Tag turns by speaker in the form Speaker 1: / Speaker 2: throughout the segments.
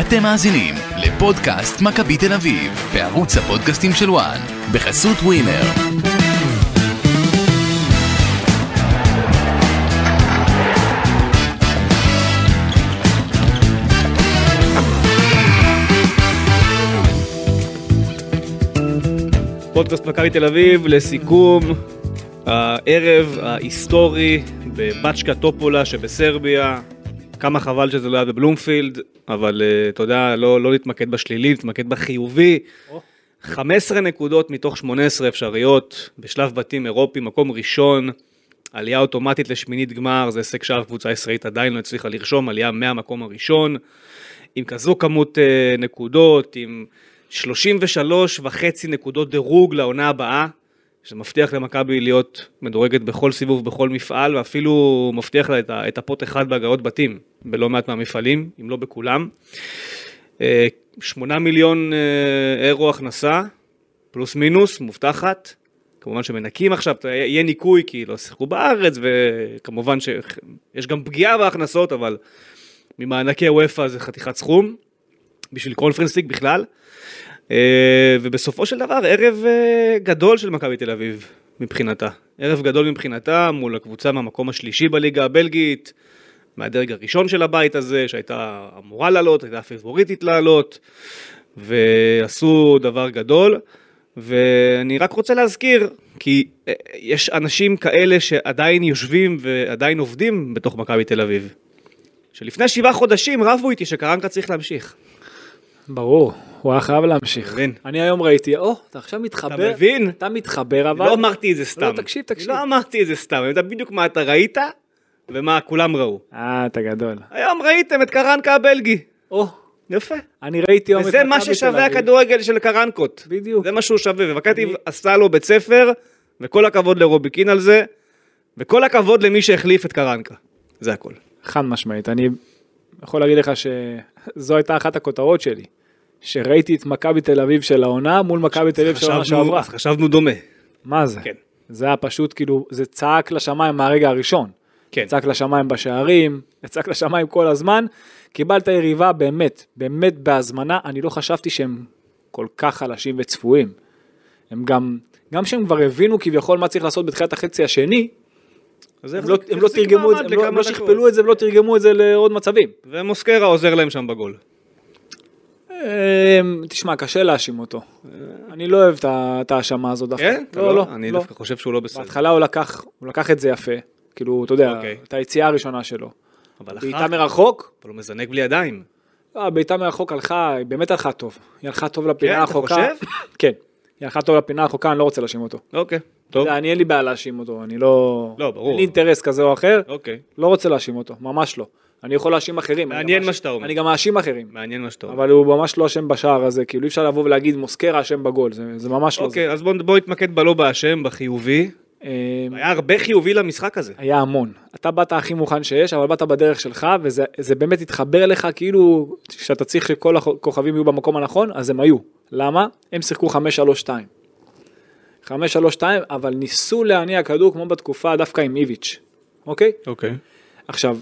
Speaker 1: אתם מאזינים לפודקאסט מכבי תל אביב, בערוץ הפודקאסטים של וואן, בחסות ווינר.
Speaker 2: פודקאסט מכבי תל אביב, לסיכום הערב ההיסטורי בבצ'קה טופולה שבסרביה. כמה חבל שזה לא היה בבלומפילד, אבל אה, אתה יודע, לא, לא להתמקד בשלילי, להתמקד בחיובי. 15 נקודות מתוך 18 אפשריות, בשלב בתים אירופי, מקום ראשון, עלייה אוטומטית לשמינית גמר, זה הישג שאר קבוצה ישראלית עדיין לא הצליחה לרשום, עלייה מהמקום הראשון, עם כזו כמות אה, נקודות, עם 33 וחצי נקודות דירוג לעונה הבאה, שזה מבטיח למכבי להיות מדורגת בכל סיבוב, בכל מפעל, ואפילו מבטיח לה את ה- את הפוט אחד בהגרלות בתים, בלא מעט מהמפעלים, אם לא בכולם. אה, 8 מיליון אה, אירו הכנסה, פלוס מינוס, מובטחת. כמובן שמנקים עכשיו, אתה- יהיה ניקוי כי לא שיחקו בארץ, וכמובן שיש גם פגיעה בהכנסות, אבל ממענקי וופא זה חתיכת סכום, בשביל קונפרנס ליג בכלל. אה, ובסופו של דבר, ערב אה, גדול של מכבי תל אביב מבחינתה. ערב גדול מבחינתה מול הקבוצה מהמקום השלישי בליגה הבלגית, מהדרג הראשון של הבית הזה, שהייתה אמורה לעלות, הייתה פיבוריטית לעלות, ועשו דבר גדול. ואני רק רוצה להזכיר, כי אה, יש אנשים כאלה שעדיין יושבים ועדיין עובדים בתוך מכבי תל אביב. שלפני שבעה חודשים רבו איתי שקרנקה צריך להמשיך.
Speaker 3: ברור, הוא היה חייב להמשיך.
Speaker 2: מבין.
Speaker 3: אני היום ראיתי, או, אתה עכשיו מתחבר.
Speaker 2: אתה מבין?
Speaker 3: אתה מתחבר אבל.
Speaker 2: לא אמרתי את זה סתם.
Speaker 3: לא, תקשיב, תקשיב.
Speaker 2: לא אמרתי את זה סתם, אני יודע בדיוק מה אתה ראית ומה כולם ראו.
Speaker 3: אה, אתה גדול.
Speaker 2: היום ראיתם את קרנקה הבלגי.
Speaker 3: או,
Speaker 2: יפה.
Speaker 3: אני ראיתי היום את
Speaker 2: וזה מה
Speaker 3: מכבי תל
Speaker 2: ששווה
Speaker 3: אביב.
Speaker 2: הכדורגל של קרנקות.
Speaker 3: בדיוק.
Speaker 2: זה מה שהוא שווה, ומכתיב עשה לו בית ספר, וכל הכבוד לרוביקין על זה, וכל הכבוד למי שהחליף את קרנקה. זה הכל.
Speaker 3: חד משמעית, אני יכול להגיד לך שזו הייתה אחת הכותרות שלי, שראיתי את מכבי תל אביב של העונה מול מכבי תל אביב של העונה
Speaker 2: חשבנו-
Speaker 3: שעברה.
Speaker 2: אז חשבנו דומה.
Speaker 3: מה זה?
Speaker 2: כן.
Speaker 3: זה היה פשוט כאילו, זה צעק לשמיים מהרגע הראשון.
Speaker 2: כן.
Speaker 3: צעק לשמיים בשערים, צעק לשמיים כל הזמן. קיבלת יריבה באמת, באמת בהזמנה, אני לא חשבתי שהם כל כך חלשים וצפויים. הם גם, גם שהם כבר הבינו כביכול מה צריך לעשות בתחילת החצי השני,
Speaker 2: אז
Speaker 3: הם
Speaker 2: איך
Speaker 3: לא,
Speaker 2: זה-
Speaker 3: הם
Speaker 2: איך
Speaker 3: לא
Speaker 2: זה
Speaker 3: תרגמו
Speaker 2: מעמד
Speaker 3: את זה, הם לא, הם
Speaker 2: לכמה
Speaker 3: לא
Speaker 2: דקות?
Speaker 3: שכפלו את זה ולא תרגמו את זה לעוד מצבים.
Speaker 2: ומוסקרה עוזר להם שם בגול.
Speaker 3: אה, תשמע, קשה להאשים אותו. אני לא אוהב את ה- את ההאשמה הזו דווקא.
Speaker 2: אה, כן? אתה
Speaker 3: לא, לא,
Speaker 2: אני
Speaker 3: לא.
Speaker 2: דווקא חושב שהוא לא בסדר.
Speaker 3: בהתחלה הוא לקח, הוא לקח את זה יפה, כאילו, אתה יודע,
Speaker 2: אוקיי.
Speaker 3: את היציאה הראשונה שלו.
Speaker 2: אבל אחר
Speaker 3: בעיטה
Speaker 2: כך,
Speaker 3: מרחוק,
Speaker 2: אבל הוא לא מזנק בלי ידיים.
Speaker 3: אה, בעיטה מרחוק הלכה, היא באמת הלכה טוב. היא הלכה טוב לפינה
Speaker 2: כן, אתה
Speaker 3: הרחוקה.
Speaker 2: חושב?
Speaker 3: כן, היא הלכה טוב לפינה הרחוקה, אני לא רוצה להאשים אותו.
Speaker 2: אוקיי, טוב.
Speaker 3: זה, אני אין לי בעיה להאשים אותו, אני לא...
Speaker 2: לא, ברור.
Speaker 3: אין לי אינטרס כזה או אחר,
Speaker 2: אוקיי,
Speaker 3: לא רוצה להאשים אותו, ממש לא. אני יכול להאשים אחרים. אני
Speaker 2: מעניין
Speaker 3: גם
Speaker 2: מה
Speaker 3: מאשים-
Speaker 2: שאתה אומר.
Speaker 3: אני גם מאשים אחרים.
Speaker 2: מעניין מה שאתה אומר.
Speaker 3: אבל הוא ממש לא אשם בשער הזה, כאילו אי אפשר לבוא ולהגיד מוסקרה אשם בגול, זה, זה ממש לא זה.
Speaker 2: אוקיי, אז בואו בוא נתמקד בלא באשם, בחיובי.
Speaker 3: אה,
Speaker 2: היה הרבה חיובי למשחק הזה.
Speaker 3: היה המון. אתה באת הכי מוכן שיש, אבל באת בדרך שלך, וזה זה באמת התחבר אליך כאילו שאתה צריך שכל הכוכבים יהיו במקום הנכון, אז הם היו. למה? הם שיחקו 5-3-2. 5-3-2, אבל ניסו להניע כדור כמו בתקופה דווקא עם איביץ', אוקיי?
Speaker 2: אוקיי.
Speaker 3: עכשיו,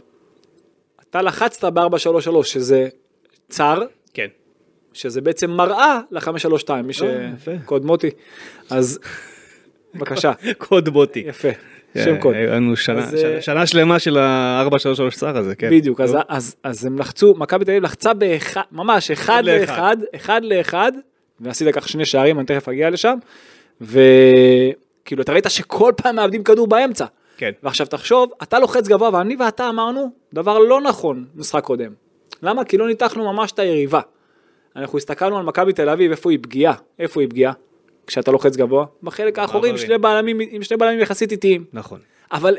Speaker 3: אתה לחצת ב-4-3-3, שזה צר,
Speaker 2: כן.
Speaker 3: שזה בעצם מראה ל-532, מי
Speaker 2: יפה.
Speaker 3: שקוד מוטי, אז בבקשה,
Speaker 2: קוד בוטי. כן,
Speaker 3: יפה, שם קוד,
Speaker 2: היה לנו שנה-
Speaker 3: אז, אה,
Speaker 2: שנה- שנה שלמה של ה-433 שר הזה, כן.
Speaker 3: בדיוק, אז-
Speaker 2: טוב.
Speaker 3: אז- אז הם לחצו, מכבי תל אביב לחצה באחד, ממש אחד
Speaker 2: לאחד.
Speaker 3: לאחד, אחד לאחד, ועשית כך שני שערים, אני תכף אגיע לשם, וכאילו אתה ראית שכל פעם מאבדים כדור באמצע,
Speaker 2: כן.
Speaker 3: ועכשיו תחשוב, אתה לוחץ גבוה, ואני ואתה אמרנו דבר לא נכון משחק קודם. למה? כי לא ניתחנו ממש את היריבה. אנחנו הסתכלנו על מכבי תל אביב, איפה היא פגיעה? איפה היא פגיעה? כשאתה לוחץ גבוה? בחלק האחורי עם
Speaker 2: מעברים.
Speaker 3: שני בלמים, עם שני בלמים יחסית איטיים.
Speaker 2: נכון.
Speaker 3: אבל,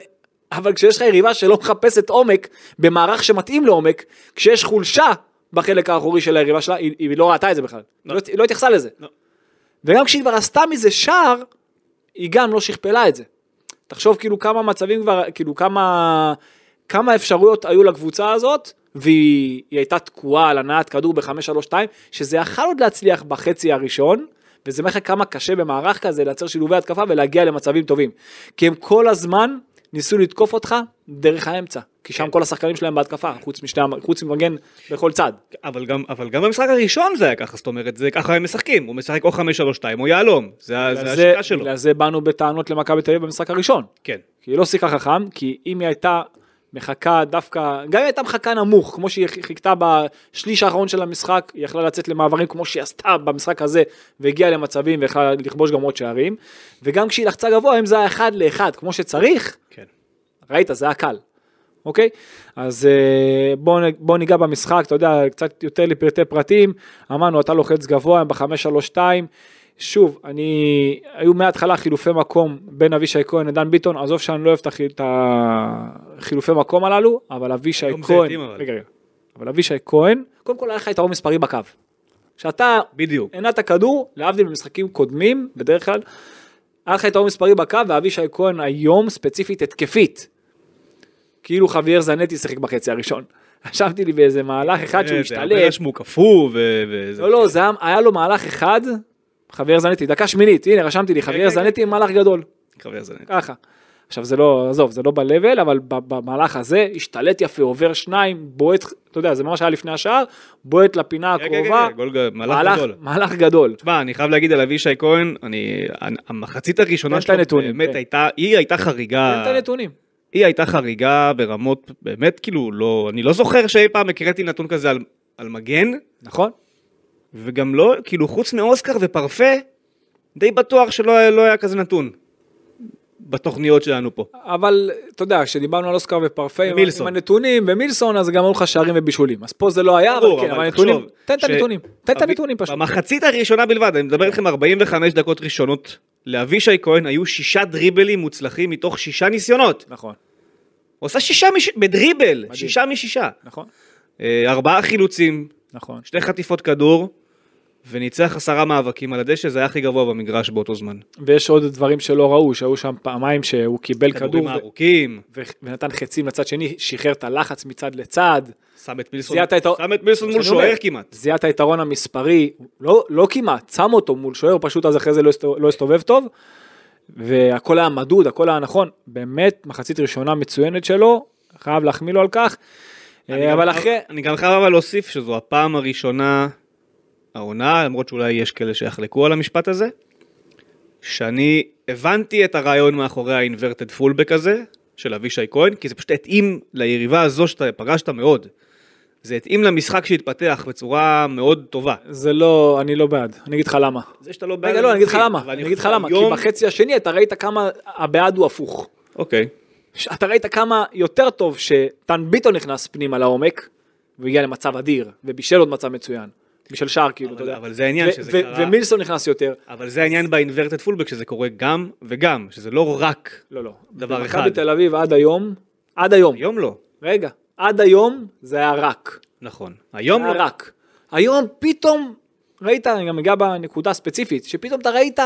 Speaker 3: אבל כשיש לך יריבה שלא מחפשת עומק, במערך שמתאים לעומק, כשיש חולשה בחלק האחורי של היריבה שלה, היא, היא לא ראתה את זה בכלל.
Speaker 2: לא.
Speaker 3: לא, היא לא התייחסה לזה.
Speaker 2: לא.
Speaker 3: וגם כשהיא כבר עשתה מזה שער, היא גם לא שכפלה את זה. תחשוב כאילו כמה מצבים כבר, כאילו כמה, כמה אפשרויות היו לקבוצה הזאת, והיא היא הייתה תקועה על הנעת כדור ב-5-3-2, שזה יכל עוד להצליח בחצי הראשון, וזה אומר לך כמה קשה במערך כזה לייצר שילובי התקפה ולהגיע למצבים טובים. כי הם כל הזמן ניסו לתקוף אותך דרך האמצע, כי
Speaker 2: כן.
Speaker 3: שם כל השחקנים שלהם בהתקפה, חוץ משתי, המ- חוץ ממגן בכל צד.
Speaker 2: אבל גם, אבל גם במשחק הראשון זה היה ככה, זאת אומרת, זה ככה הם משחקים, הוא משחק או 5-3-2 או יהלום, זה, ה- זה
Speaker 3: בגלל
Speaker 2: השיטה שלו.
Speaker 3: בגלל זה באנו בטענות למכבי תל אביב במשחק הראשון.
Speaker 2: כן,
Speaker 3: כי היא לא שיחקה חכם, כי אם היא הייתה מחכה דווקא, גם אם היא הייתה מחכה נמוך, כמו שהיא חיכתה בשליש האחרון של המשחק, היא יכלה לצאת למעברים כמו שהיא עשתה במשחק הזה, והגיעה למצבים ויכלה לכבוש גם עוד שערים, וגם כשהיא לחצה גבוה, אם זה היה אחד לאחד כמו שצריך,
Speaker 2: כן.
Speaker 3: ראית, זה היה קל. אוקיי? אז אה, בוא, נ- בוא ניגע במשחק, אתה יודע, קצת יותר לפרטי פרטים. אמרנו, אתה לוחץ גבוה, הם ב-5-3-2. שוב, אני... היו מההתחלה חילופי מקום בין אבישי כהן לדן ביטון, עזוב שאני לא אוהב את החיל- את החילופי מקום הללו, אבל אבישי
Speaker 2: היום זה
Speaker 3: כהן...
Speaker 2: התאים, אבל.
Speaker 3: רגע, רגע. אבל אבישי כהן, קודם כל היה לך יתרון מספרי בקו. כשאתה
Speaker 2: בדיוק.
Speaker 3: עינת הכדור, להבדיל ממשחקים קודמים, בדרך כלל, היה לך יתרון מספרי בקו, ואבישי כהן היום ספציפית התקפית. כאילו חוויאר זנטי שיחק בחצי הראשון. רשמתי לי באיזה מהלך אחד
Speaker 2: אה,
Speaker 3: שהוא השתלט.
Speaker 2: שהוא קפוא ו- וזה.
Speaker 3: לא, לא, זה היה- היה לו מהלך אחד, חוויאר זנטי, דקה שמינית, הנה רשמתי לי, חוויאר
Speaker 2: כן,
Speaker 3: זנטי עם מהלך גדול.
Speaker 2: חבר זנט.
Speaker 3: ככה. עכשיו זה לא, עזוב, זה לא ב-level, אבל ב- במהלך הזה השתלט יפה, עובר שניים, בועט, אתה יודע, זה ממש היה לפני השער, בועט לפינה
Speaker 2: כן, כן,
Speaker 3: הקרובה,
Speaker 2: כן, גול גדול, מהלך
Speaker 3: מהלך-
Speaker 2: גדול.
Speaker 3: מהלך גדול.
Speaker 2: תשמע, אני חייב להגיד על אבישי כהן, אני, המחצית הראשונה
Speaker 3: תן את הנתונים,
Speaker 2: באמת
Speaker 3: כן.
Speaker 2: הייתה, היא הייתה
Speaker 3: תן
Speaker 2: חריגה,
Speaker 3: את הנתונים.
Speaker 2: היא הייתה חריגה ברמות, באמת כאילו, לא, אני לא זוכר שאי פעם הקראתי נתון כזה על, על מגן,
Speaker 3: נכון?
Speaker 2: וגם לא, כאילו חוץ מאוסקר ופרפה, די בטוח שלא היה- לא היה כזה נתון בתוכניות שלנו פה.
Speaker 3: אבל אתה יודע, כשדיברנו על אוסקר ופרפה, עם-
Speaker 2: ומילסון.
Speaker 3: עם הנתונים ומילסון, אז גם היו לך שערים ובישולים. אז פה זה לא היה, אבל
Speaker 2: ברור,
Speaker 3: כן,
Speaker 2: אבל
Speaker 3: אבל הנתונים,
Speaker 2: תחשוב
Speaker 3: תן את
Speaker 2: ש-
Speaker 3: הנתונים, תן את
Speaker 2: אבי-
Speaker 3: הנתונים פשוט.
Speaker 2: במחצית הראשונה בלבד, אני מדבר איתכם 45 דקות ראשונות, לאבישי כהן היו שישה דריבלים מוצלחים מתוך שישה ניסיונות.
Speaker 3: נכון,
Speaker 2: עושה שישה מש... בדריבל, שישה משישה.
Speaker 3: נכון,
Speaker 2: אה, ארבעה חילוצים,
Speaker 3: נכון.
Speaker 2: שתי חטיפות כדור, וניצח עשרה מאבקים על הדשא, זה היה הכי גבוה במגרש באותו זמן.
Speaker 3: ויש עוד דברים שלא ראו, שהיו שם פעמיים שהוא קיבל כדור
Speaker 2: כדורים ארוכים,
Speaker 3: ו- ונתן חצים לצד שני, שחרר את הלחץ מצד לצד.
Speaker 2: שם את מילסון,
Speaker 3: זיהת את ה-
Speaker 2: שם את מילסון מול
Speaker 3: שאני אומר,
Speaker 2: שוער כמעט.
Speaker 3: זיהה את היתרון המספרי, לא, לא כמעט, שם אותו מול שוער פשוט, אז אחרי זה לא, הסתו, לא הסתובב טוב. והכל היה מדוד, הכל היה נכון, באמת מחצית ראשונה מצוינת שלו, חייב להחמיא לו על כך.
Speaker 2: אני
Speaker 3: אה,
Speaker 2: גם
Speaker 3: אבל
Speaker 2: חייב-
Speaker 3: אחרי,
Speaker 2: אני גם חייב אבל להוסיף שזו הפעם הראשונה העונה, למרות שאולי יש כאלה שיחלקו על המשפט הזה, שאני הבנתי את הרעיון מאחורי האינברטד פולבק הזה, של אבישי כהן, כי זה פשוט התאים ליריבה הזו שאתה פגשת מאוד. זה התאים למשחק שהתפתח בצורה מאוד טובה.
Speaker 3: זה לא, אני לא בעד, אני אגיד לך למה.
Speaker 2: זה שאתה לא בעד...
Speaker 3: רגע, לא, אני אגיד לך
Speaker 2: מבין,
Speaker 3: למה,
Speaker 2: אבל
Speaker 3: אני אגיד לך
Speaker 2: חושב
Speaker 3: למה, כי
Speaker 2: היום-
Speaker 3: בחצי השני אתה ראית כמה הבעד הוא הפוך.
Speaker 2: אוקיי.
Speaker 3: ש- אתה ראית כמה יותר טוב שטן ביטון נכנס פנימה לעומק, והגיע למצב אדיר, ובישל עוד מצב מצוין. בישל שער כאילו, אתה
Speaker 2: אבל-
Speaker 3: יודע.
Speaker 2: אבל זה העניין
Speaker 3: ו-
Speaker 2: שזה
Speaker 3: ו-
Speaker 2: קרה.
Speaker 3: ומילסון נכנס יותר.
Speaker 2: אבל זה העניין באינברטד פולבק, שזה קורה גם וגם, שזה לא רק...
Speaker 3: לא, לא.
Speaker 2: דבר אחד.
Speaker 3: במכבי תל אביב עד היום, עד היום,
Speaker 2: היום לא.
Speaker 3: רגע, עד היום זה היה רק.
Speaker 2: נכון. היום
Speaker 3: היה
Speaker 2: לא.
Speaker 3: רק. היום פתאום, ראית, אני גם אגע בנקודה הספציפית, שפתאום אתה ראית,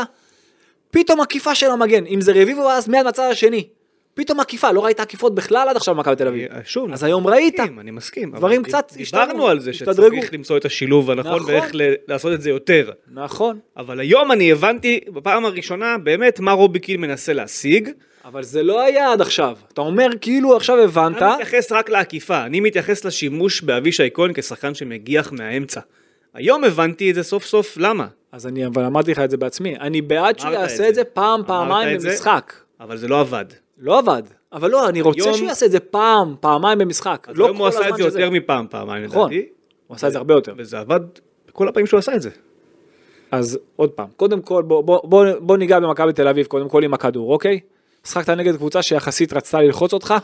Speaker 3: פתאום עקיפה של המגן, אם זה רביבו אז מיד מהצד השני. פתאום עקיפה, לא ראית עקיפות בכלל עד עכשיו במכבי תל אביב.
Speaker 2: אה, שוב,
Speaker 3: אז
Speaker 2: אני
Speaker 3: היום ראית.
Speaker 2: מסכים, אני מסכים. אבל
Speaker 3: דברים
Speaker 2: דיב-
Speaker 3: קצת
Speaker 2: דיברנו
Speaker 3: השתנו,
Speaker 2: על זה
Speaker 3: השתדרגו.
Speaker 2: שצריך למצוא את השילוב הנכון
Speaker 3: נכון.
Speaker 2: ואיך ל- לעשות את זה יותר.
Speaker 3: נכון,
Speaker 2: אבל היום אני הבנתי בפעם הראשונה באמת מה רובי קין מנסה להשיג.
Speaker 3: אבל זה לא היה עד עכשיו. אתה אומר כאילו עכשיו הבנת,
Speaker 2: אני מתייחס רק לעקיפה, אני מתייחס לשימוש באבישי כהן כשחקן שמגיח מהאמצע. היום הבנתי את זה סוף סוף, למה?
Speaker 3: אז אני אבל אמרתי לך את זה בעצמי, אני בעד שהוא
Speaker 2: אמרת את
Speaker 3: יעשה את
Speaker 2: זה.
Speaker 3: זה פעם,
Speaker 2: אמרת
Speaker 3: פעמיים
Speaker 2: את זה.
Speaker 3: במשחק.
Speaker 2: אבל זה לא עבד.
Speaker 3: לא עבד, אבל לא, אני רוצה
Speaker 2: היום-
Speaker 3: שהוא יעשה את זה פעם, פעמיים במשחק.
Speaker 2: אז
Speaker 3: לא
Speaker 2: היום הוא
Speaker 3: כל
Speaker 2: עשה את
Speaker 3: הזמן
Speaker 2: זה
Speaker 3: שזה-
Speaker 2: יותר מפעם, פעמיים
Speaker 3: נכון.
Speaker 2: לדעתי.
Speaker 3: הוא עשה את זה הרבה יותר.
Speaker 2: וזה עבד בכל הפעמים שהוא עשה את זה.
Speaker 3: אז עוד פעם, קודם כל בוא, בוא, בוא, בוא ניגע במכבי תל אביב, קודם כל עם הכדור, אוקיי? שחקת נגד קבוצה שיחסית רצתה ללחוץ אותך,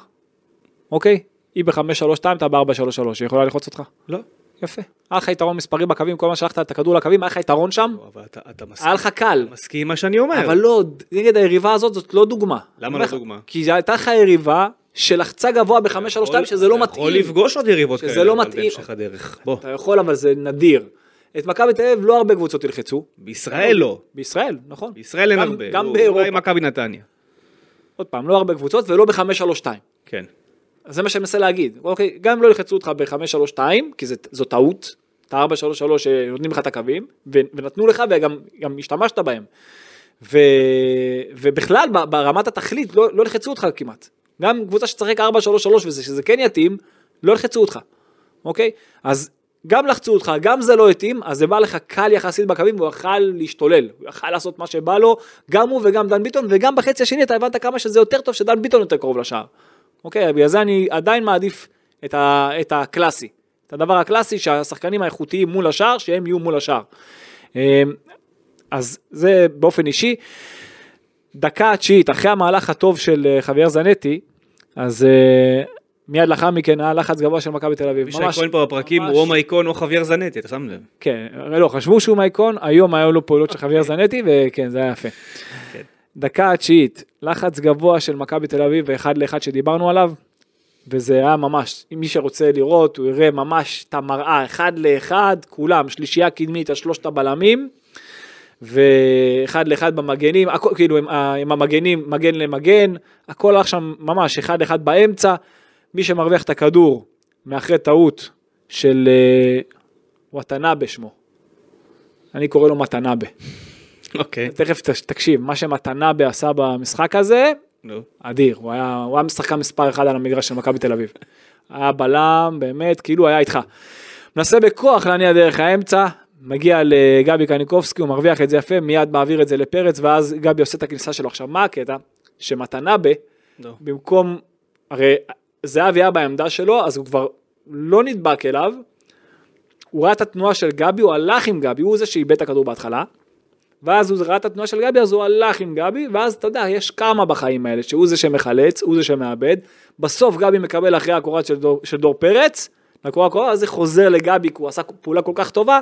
Speaker 3: אוקיי? היא ב-5-3-2, אתה ב-4-3-3, היא יכולה ללחוץ אותך?
Speaker 2: לא.
Speaker 3: יפה. היה לך יתרון מספרי בקווים, כל מה שלחת את הכדור לקווים, היה לך יתרון שם,
Speaker 2: אבל אתה, אתה מסכים,
Speaker 3: היה לך קל.
Speaker 2: מסכים עם מה שאני אומר.
Speaker 3: אבל לא, נגד היריבה הזאת זאת לא דוגמה. אני אומר
Speaker 2: לא
Speaker 3: לך,
Speaker 2: דוגמה?
Speaker 3: כי זו הייתה לך יריבה שלחצה גבוה ב-5-3-2, שזה לא
Speaker 2: אתה יכול
Speaker 3: מתאים.
Speaker 2: לפגוש עוד יריבות
Speaker 3: שזה
Speaker 2: כאלה.
Speaker 3: לא
Speaker 2: אבל
Speaker 3: מתאים.
Speaker 2: בהמשך הדרך. בוא,
Speaker 3: אתה יכול, אבל זה נדיר. את מכבי תל אביב לא הרבה קבוצות ילחצו.
Speaker 2: בישראל לא.
Speaker 3: בישראל, נכון.
Speaker 2: בישראל אין
Speaker 3: גם-
Speaker 2: הרבה.
Speaker 3: גם
Speaker 2: לא,
Speaker 3: באירופה.
Speaker 2: אולי מכבי נתניה.
Speaker 3: עוד פעם, לא הרבה קבוצות ולא ב-5-3-2.
Speaker 2: כן.
Speaker 3: אז זה מה שאני מנסה להגיד. אוקיי, גם אם לא ילחצו אותך ב-5-3-2, כי זה, זו טעות. את ה-4-3-3 שנותנים אה, לך את הקווים, ו- ונתנו לך וגם גם השתמשת בהם. ו, ובכלל, ב- ברמת התכלית לא, לא לחצו אותך כמעט. גם קבוצה שתשחק 4-3-3 וזה, שזה כן יתאים, לא ילחצו אותך, אוקיי? אז גם לחצו אותך, גם זה לא התאים, אז זה בא לך קל יחסית בקווים, והוא יכל להשתולל, הוא יכל לעשות מה שבא לו, גם הוא וגם דן ביטון, וגם בחצי השני אתה הבנת כמה שזה יותר טוב שדן ביטון יותר קרוב לשער. אוקיי, בגלל זה אני עדיין מעדיף את, ה, את הקלאסי, את הדבר הקלאסי שהשחקנים האיכותיים מול השער, שהם יהיו מול השער. אה, אז זה באופן אישי. דקה התשיעית, אחרי המהלך הטוב של אה, חוויאר זנטי, אז אה, מיד לאחר מכן היה לחץ גבוה של מכבי תל אביב.
Speaker 2: אבישי
Speaker 3: ממש-
Speaker 2: כהן פה בפרקים
Speaker 3: ממש-
Speaker 2: הוא או מייקון או חוויאר זנטי, אתה שם לב.
Speaker 3: כן, הרי לא, חשבו שהוא מייקון, היום היו לו פעולות של חוויאר זנטי, וכן, זה היה יפה.
Speaker 2: אוקיי. כן.
Speaker 3: דקה התשיעית, לחץ גבוה של מכבי תל אביב, ואחד לאחד שדיברנו עליו, וזה היה ממש, אם מי שרוצה לראות, הוא יראה ממש את המראה, אחד לאחד, כולם, שלישייה קדמית, השלושת הבלמים, ואחד לאחד במגנים, הכל, כאילו עם, ה- עם המגנים, מגן למגן, הכל הלך שם ממש אחד לאחד באמצע, מי שמרוויח את הכדור מאחרי טעות של אה, וואטנאבה שמו. אני קורא לו מתנאבה.
Speaker 2: אוקיי.
Speaker 3: תכף תש- תקשיב, מה שמתנאבה עשה במשחק הזה,
Speaker 2: נו.
Speaker 3: אדיר, הוא היה, הוא היה שחקן מספר אחד על המגרש של מכבי תל אביב. היה בלם, באמת, כאילו היה איתך. מנסה בכוח להניע דרך האמצע, מגיע לגבי קניקובסקי, הוא מרוויח את זה יפה, מיד מעביר את זה לפרץ, ואז גבי עושה את הכניסה שלו. עכשיו, מה הקטע? שמתנאבה,
Speaker 2: נו.
Speaker 3: במקום, הרי זהבי היה בעמדה שלו, אז הוא כבר לא נדבק אליו. הוא ראה את התנועה של גבי, הוא הלך עם גבי, הוא זה שאיבד את הכדור בהתחלה. ואז הוא ראה את התנועה של גבי, אז הוא הלך עם גבי, ואז אתה יודע, יש כמה בחיים האלה, שהוא זה שמחלץ, הוא זה שמאבד. בסוף גבי מקבל אחרי הקורת של דור, של דור פרץ, לקורה הקורה, אז זה חוזר לגבי, כי הוא עשה פעולה כל כך טובה,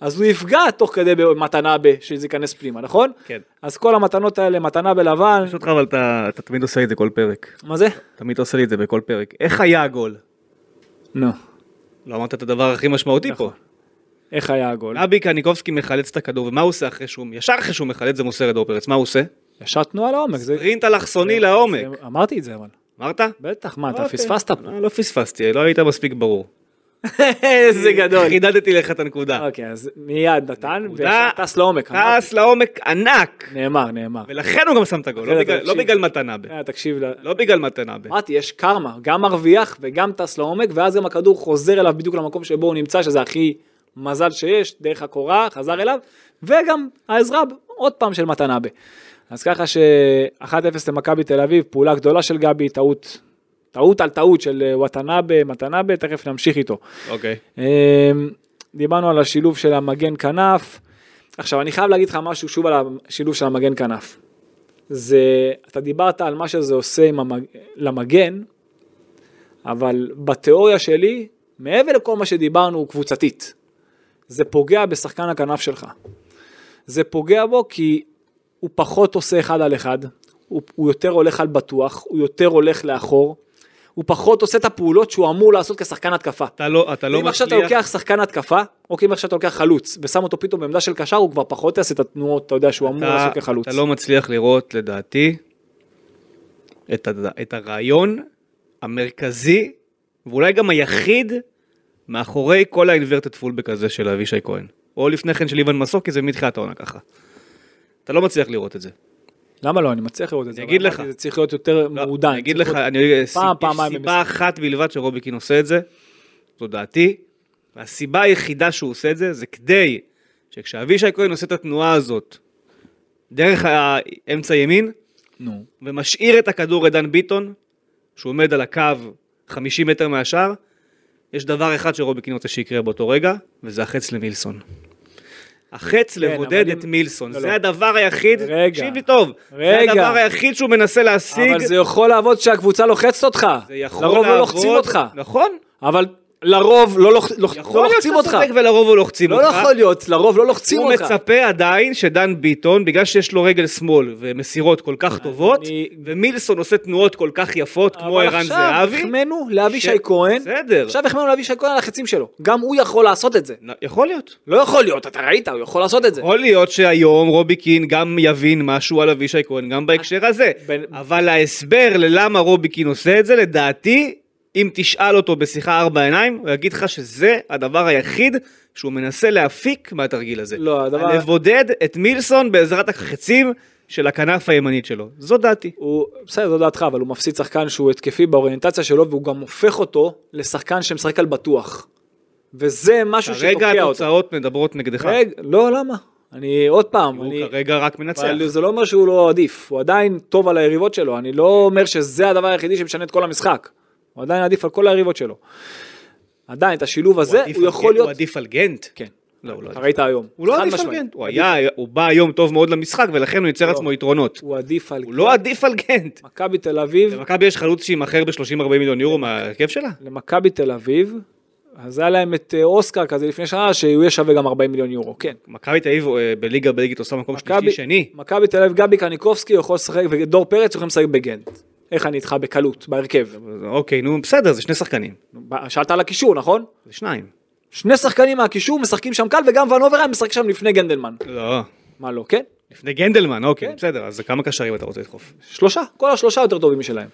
Speaker 3: אז הוא יפגע תוך כדי במתנה ב, שזה ייכנס פנימה, נכון?
Speaker 2: כן.
Speaker 3: אז כל המתנות האלה, מתנה בלבן,
Speaker 2: פשוט לך אבל אתה אתה תמיד עושה לי את זה כל פרק.
Speaker 3: מה זה?
Speaker 2: תמיד עושה לי את זה בכל פרק. איך היה הגול?
Speaker 3: נו.
Speaker 2: לא אמרת את הדבר הכי משמעותי פה.
Speaker 3: נכון. איך היה הגול?
Speaker 2: גבי קניקובסקי מחלץ את הכדור, ומה הוא עושה אחרי שהוא, ישר אחרי שהוא מחלץ זה מוסר את דור פרץ, מה הוא עושה?
Speaker 3: ישר תנועה לעומק. זה-
Speaker 2: רינט אלכסוני לעומק.
Speaker 3: זה- אמרתי את זה אבל.
Speaker 2: אמרת?
Speaker 3: בטח, מה, אתה
Speaker 2: אוקיי.
Speaker 3: פספסת פה.
Speaker 2: לא לא פספסתי, לא היית מספיק ברור.
Speaker 3: איזה גדול.
Speaker 2: חידדתי לך את הנקודה.
Speaker 3: אוקיי, אז מיד נתן,
Speaker 2: נקודה.
Speaker 3: וישר טס לעומק. אמרתי.
Speaker 2: טס לעומק ענק,
Speaker 3: נאמר, נאמר.
Speaker 2: ולכן הוא גם שם את הגול, לא
Speaker 3: אתה
Speaker 2: בגלל- לא
Speaker 3: תקשיב.
Speaker 2: בגלל מתנבה.
Speaker 3: אה, תקשיב, ל-
Speaker 2: לא בגלל מתנבה.
Speaker 3: אמרתי, יש קרמה, גם מרוויח וגם טס לעומק, ואז גם הכדור חוזר אליו בדיוק למקום שבו הוא נמצא, שזה הכי מזל שיש, דרך הקורה, חזר אליו, וגם העזרה, עוד פעם של מתנבה. אז ככה ש-1-0 למכבי תל אביב, פעולה גדולה של גבי, טעות, טעות על טעות של אה, וואטנאבה, מתנאבה, תכף נמשיך איתו.
Speaker 2: אוקיי.
Speaker 3: אמ, דיברנו על השילוב של המגן כנף. עכשיו, אני חייב להגיד לך משהו שוב על השילוב של המגן כנף. זה, אתה דיברת על מה שזה עושה עם המג... למגן, אבל בתיאוריה שלי, מעבר לכל מה שדיברנו, הוא קבוצתית. זה פוגע בשחקן הכנף שלך. זה פוגע בו כי הוא פחות עושה אחד על אחד, הוא, הוא יותר הולך על בטוח, הוא יותר הולך לאחור, הוא פחות עושה את הפעולות שהוא אמור לעשות כשחקן התקפה.
Speaker 2: אתה לא, אתה לא
Speaker 3: אם עכשיו אתה
Speaker 2: מצליח,
Speaker 3: לוקח שחקן התקפה, או כי אם עכשיו אתה לוקח חלוץ, ושם אותו פתאום בעמדה של קשר, הוא כבר פחות יעשה את התנועות, אתה יודע שהוא אמור
Speaker 2: אתה-
Speaker 3: לעשות כחלוץ.
Speaker 2: אתה לא מצליח לראות לדעתי את ה- את הרעיון המרכזי, ואולי גם היחיד, מאחורי כל האינברטד פולבק הזה של אבישי כהן. או לפני כן של איוון מסוקי, זה מתחילת העונה ככה. אתה לא מצליח לראות את זה.
Speaker 3: למה לא? אני מצליח לראות את זה.
Speaker 2: אני אגיד
Speaker 3: אבל
Speaker 2: לך.
Speaker 3: אמרתי, זה צריך להיות יותר
Speaker 2: לא,
Speaker 3: מעודן.
Speaker 2: אני אגיד
Speaker 3: צריך
Speaker 2: לך,
Speaker 3: להיות-
Speaker 2: אני אגיד,
Speaker 3: פעם,
Speaker 2: סיב-
Speaker 3: פעמיים
Speaker 2: יש
Speaker 3: במשחק.
Speaker 2: סיבה אחת בלבד שרוביקין עושה את זה, זו דעתי, והסיבה היחידה שהוא עושה את זה, זה כדי שכשאבישי כהן עושה את התנועה הזאת, דרך האמצע ימין,
Speaker 3: נו.
Speaker 2: ומשאיר את הכדור לדן ביטון, שהוא עומד על הקו 50 מטר מהשאר, יש דבר אחד שרוביקין רוצה שיקרה באותו רגע, וזה החץ למילסון. החץ לבודד
Speaker 3: כן, אבל
Speaker 2: את
Speaker 3: אם-
Speaker 2: מילסון,
Speaker 3: לא,
Speaker 2: זה
Speaker 3: לא.
Speaker 2: הדבר היחיד,
Speaker 3: רגע.
Speaker 2: תקשיב לי טוב, זה
Speaker 3: רגע.
Speaker 2: הדבר היחיד שהוא מנסה להשיג,
Speaker 3: אבל זה יכול לעבוד כשהקבוצה לוחצת אותך.
Speaker 2: זה יכול
Speaker 3: לרוב לא
Speaker 2: לעבוד.
Speaker 3: לוחצים אותך.
Speaker 2: נכון.
Speaker 3: אבל לרוב לא לוח- לוח- לא
Speaker 2: יכול להיות
Speaker 3: לוחצים
Speaker 2: שאתה
Speaker 3: אותך.
Speaker 2: צודק ולרוב הוא לוחצים
Speaker 3: לא
Speaker 2: אותך.
Speaker 3: יכול להיות, לרוב לא לוחצים
Speaker 2: הוא
Speaker 3: אותך.
Speaker 2: מצפה עדיין שדן ביטון, בגלל שיש לו רגל שמאל ומסירות כל כך טובות,
Speaker 3: אני-
Speaker 2: ומילסון עושה תנועות כל כך יפות כמו
Speaker 3: אבל
Speaker 2: ערן
Speaker 3: עכשיו
Speaker 2: זהבי,
Speaker 3: החמאנו לאבישי
Speaker 2: ש-
Speaker 3: כהן.
Speaker 2: בסדר.
Speaker 3: עכשיו החמאנו לאבישי כהן על החצים שלו. גם הוא יכול לעשות את זה.
Speaker 2: נ- יכול להיות.
Speaker 3: לא יכול להיות, אתה ראית, הוא יכול לעשות את זה.
Speaker 2: יכול להיות שהיום רובי קין גם יבין משהו על אבישי כהן, גם בהקשר הזה.
Speaker 3: בין-
Speaker 2: אבל ההסבר ללמה רובי קין עושה את זה, לדעתי, אם תשאל אותו בשיחה ארבע עיניים, הוא יגיד לך שזה הדבר היחיד שהוא מנסה להפיק מהתרגיל הזה.
Speaker 3: לא, הדבר-
Speaker 2: לבודד את מילסון בעזרת החצים של הכנף הימנית שלו. זו דעתי.
Speaker 3: הוא, בסדר, זו דעתך, אבל הוא מפסיד שחקן שהוא התקפי באוריינטציה שלו, והוא גם הופך אותו לשחקן שמשחק על בטוח. וזה משהו
Speaker 2: כרגע
Speaker 3: שתוקע אותו.
Speaker 2: התוצאות מדברות נגדך.
Speaker 3: רגע, לא, למה? אני עוד פעם,
Speaker 2: הוא
Speaker 3: אני...
Speaker 2: כרגע רק מנצח.
Speaker 3: אבל זה לא אומר שהוא לא עדיף, הוא עדיין טוב על היריבות שלו, אני לא
Speaker 2: כן.
Speaker 3: אומר שזה הדבר היחידי שמשנה את כל המשחק. הוא עדיין עדיף על כל היריבות שלו. עדיין, את השילוב
Speaker 2: הוא
Speaker 3: הזה,
Speaker 2: עדיף
Speaker 3: הוא
Speaker 2: על גנט-
Speaker 3: יכול להיות...
Speaker 2: הוא עדיף על גנט.
Speaker 3: כן,
Speaker 2: לא, הוא לא עדיף.
Speaker 3: ראית היום.
Speaker 2: הוא לא
Speaker 3: חד
Speaker 2: עדיף על
Speaker 3: משמעית. לא.
Speaker 2: גנט. הוא היה- הוא בא היום טוב מאוד למשחק, ולכן הוא ייצר לעצמו יתרונות.
Speaker 3: הוא עדיף על...
Speaker 2: הוא לא עדיף על גנט.
Speaker 3: מכבי תל אביב,
Speaker 2: למכבי יש חלוץ שימכר ב-30-40 מיליון יורו מההרכב שלה?
Speaker 3: למכבי תל אביב, אז היה להם את אה, אוסקר כזה לפני שנה, שהוא יהיה שווה גם 40 מיליון יורו, כן.
Speaker 2: מכבי תל אביב אה, בליגה בלגית עושה מקום שלישי שני.
Speaker 3: מכבי תל אביב, גבי קניקובסקי יכול לשחק, ודור פרץ יכולים לשחק בגנט. איך אני איתך בקלות, בהרכב.
Speaker 2: אוקיי, נו בסדר, זה שני שחקנים.
Speaker 3: שאלת על הקישור, נכון?
Speaker 2: זה שניים.
Speaker 3: שני שחקנים מהקישור משחקים שם קל, וגם ון אוברהיים משחק שם לפני גנדלמן.
Speaker 2: לא.
Speaker 3: מה לא, כן?
Speaker 2: לפני גנדלמן, אוקיי,
Speaker 3: כן.
Speaker 2: בסדר, אז כמה קשרים אתה רוצה לדחוף?
Speaker 3: שלושה, כל השלושה יותר טובים משלהם.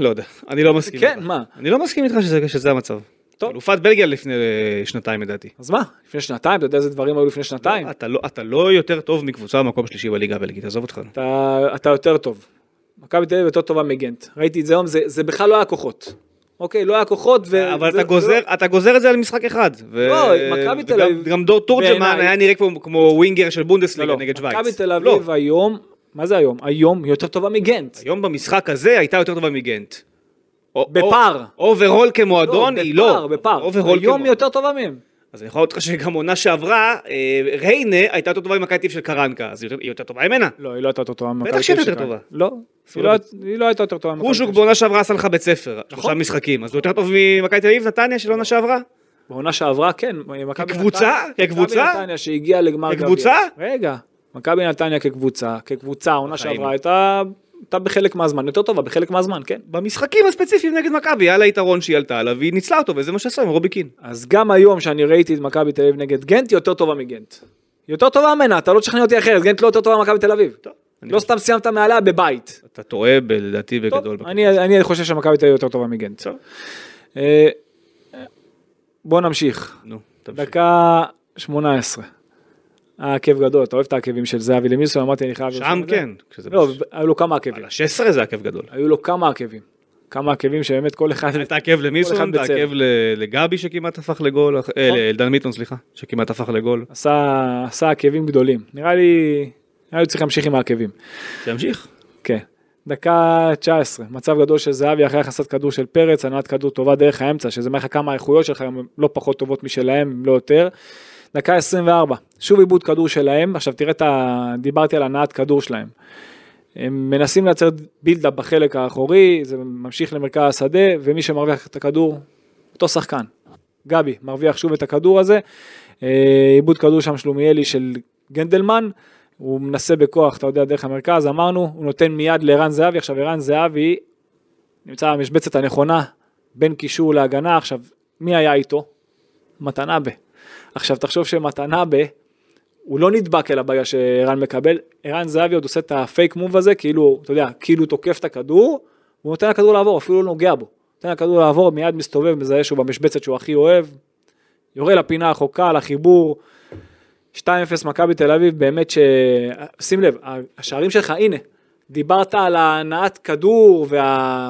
Speaker 2: לא יודע, אני לא מסכים
Speaker 3: כן,
Speaker 2: איתך.
Speaker 3: מה?
Speaker 2: אני לא מסכים איתך שזה- שזה המצב.
Speaker 3: טוב.
Speaker 2: אלופת בלגיה לפני אה, שנתיים לדעתי.
Speaker 3: אז מה, לפני שנתיים, אתה יודע איזה דברים היו לפני שנתיים?
Speaker 2: אתה לא- אתה לא יותר טוב מקבוצה במקום שלישי בליגה הבלגית, עזוב אותך.
Speaker 3: אתה, אתה יותר טוב. מכבי תל אביב יותר טובה מגנט. ראיתי את זה היום, זה, זה בכלל לא היה כוחות. אוקיי, לא היה כוחות, ו...
Speaker 2: אה, אבל
Speaker 3: זה-
Speaker 2: אתה גוזר, אתה גוזר את זה על משחק אחד. ו-
Speaker 3: לא, מכבי תל
Speaker 2: וגם-
Speaker 3: אביב-
Speaker 2: גם דור תורג'מן
Speaker 3: בעיניי-
Speaker 2: היה נראה כמו- כמו ווינגר של
Speaker 3: לא,
Speaker 2: בונדסליגה
Speaker 3: לא.
Speaker 2: נגד שווייץ.
Speaker 3: מכבי תל
Speaker 2: לא,
Speaker 3: אביב היום, מה זה היום? היום היא יותר טובה מגנט.
Speaker 2: היום במשחק הזה הייתה יותר טובה מגנט. או-
Speaker 3: בפער.
Speaker 2: או- אוברול כמועדון היא לא.
Speaker 3: בפער, בפער.
Speaker 2: אוברול
Speaker 3: היום
Speaker 2: כמועדון.
Speaker 3: היא יותר טובה מהם.
Speaker 2: אז אני יכול להגיד לך שגם עונה שעברה, אה, ריינה הייתה יותר טובה עם מכבי תל אביב של קרנקה, אז היא יותר- היא יותר טובה ממנה.
Speaker 3: לא, היא לא הייתה יותר טובה ממכבי
Speaker 2: שהיא
Speaker 3: תל אביב
Speaker 2: יותר
Speaker 3: שלה.
Speaker 2: טובה.
Speaker 3: לא, היא לא- היא לא הייתה יותר טובה ממכבי
Speaker 2: רוז'וק
Speaker 3: תל אביב. נכון.
Speaker 2: בעונה שעברה עשה לך בית ספר, שלושה משחקים, אז הוא יותר טוב ממכבי תל אביב נתניה של עונה שעברה?
Speaker 3: בעונה שעברה, כן. מכבי
Speaker 2: כקבוצה?
Speaker 3: נתניה-
Speaker 2: כקבוצה?
Speaker 3: מכבי נתניה שהגיעה לגמר גביע.
Speaker 2: כקבוצה?
Speaker 3: רגע. מכבי נתניה כקבוצה, כקבוצה, העונה
Speaker 2: בחיים.
Speaker 3: שעברה הייתה הייתה בחלק מהזמן, יותר טובה בחלק מהזמן, כן.
Speaker 2: במשחקים הספציפיים נגד מכבי, היה לה יתרון שהיא עלתה עליו, והיא ניצלה אותו, וזה מה שעשה עם רובי קין.
Speaker 3: אז גם היום שאני ראיתי את מכבי תל אביב נגד גנט, היא יותר טובה מגנט. היא יותר טובה ממנה, אתה לא תשכנע אותי אחרת, גנט לא יותר טובה ממכבי תל אביב.
Speaker 2: אני-
Speaker 3: לא סתם סיימת מעליה בבית.
Speaker 2: אתה טועה ב- לדעתי בגדול.
Speaker 3: טוב, אני אני חושב שמכבי תל אביב יותר טובה מגנט.
Speaker 2: טוב.
Speaker 3: אה, אה, בוא נמשיך.
Speaker 2: נו, תמשיך.
Speaker 3: דקה 18. היה עקב גדול, אתה אוהב את העקבים של זהבי למיסון, אמרתי אני חייב...
Speaker 2: שם
Speaker 3: לרשום את זה.
Speaker 2: כן. כשזה
Speaker 3: לא,
Speaker 2: בש-
Speaker 3: היו לו כמה עקבים.
Speaker 2: על ה-16 זה עקב גדול.
Speaker 3: היו לו כמה עקבים. כמה עקבים שבאמת כל אחד...
Speaker 2: אתה עקב
Speaker 3: כל
Speaker 2: למילסון,
Speaker 3: אחד
Speaker 2: אתה
Speaker 3: בצבע.
Speaker 2: עקב ל- לגבי שכמעט הפך לגול, אח- אה,
Speaker 3: נכון.
Speaker 2: לאלדן מיטון סליחה, שכמעט הפך לגול.
Speaker 3: עשה עשה עקבים גדולים. נראה לי... נראה לי הוא צריך להמשיך עם העקבים.
Speaker 2: תמשיך.
Speaker 3: כן. דקה 19, מצב גדול של זהבי אחרי הכנסת כדור של פרץ, הנעת כדור טובה דרך האמצע, שזה מראה לך כמה האיכויות שלך גם לא פחות טובות משלהם, אם לא יותר. דקה 24, שוב עיבוד כדור שלהם, עכשיו תראה את ה... דיברתי על הנעת כדור שלהם. הם מנסים לייצר בילדאפ בחלק האחורי, זה ממשיך למרכז השדה, ומי שמרוויח את הכדור, אותו שחקן. גבי מרוויח שוב את הכדור הזה, אה, עיבוד כדור שם שלומיאלי של גנדלמן, הוא מנסה בכוח, אתה יודע, דרך המרכז, אמרנו, הוא נותן מיד לערן זהבי, עכשיו ערן זהבי נמצא במשבצת הנכונה בין קישור להגנה, עכשיו, מי היה איתו? מתנבה. עכשיו תחשוב שמתנבה, הוא לא נדבק אל הבעיה שערן מקבל, ערן זהבי עוד עושה את הפייק מוב הזה, כאילו, אתה יודע, כאילו הוא תוקף את הכדור, הוא נותן לכדור לעבור, אפילו לא נוגע בו. נותן לכדור לעבור, מיד מסתובב, מזהה שהוא במשבצת שהוא הכי אוהב, יורה לפינה החוקה, לחיבור. 2-0 מכבי תל אביב, באמת ש... שים לב, השערים שלך, הנה, דיברת על ההנעת כדור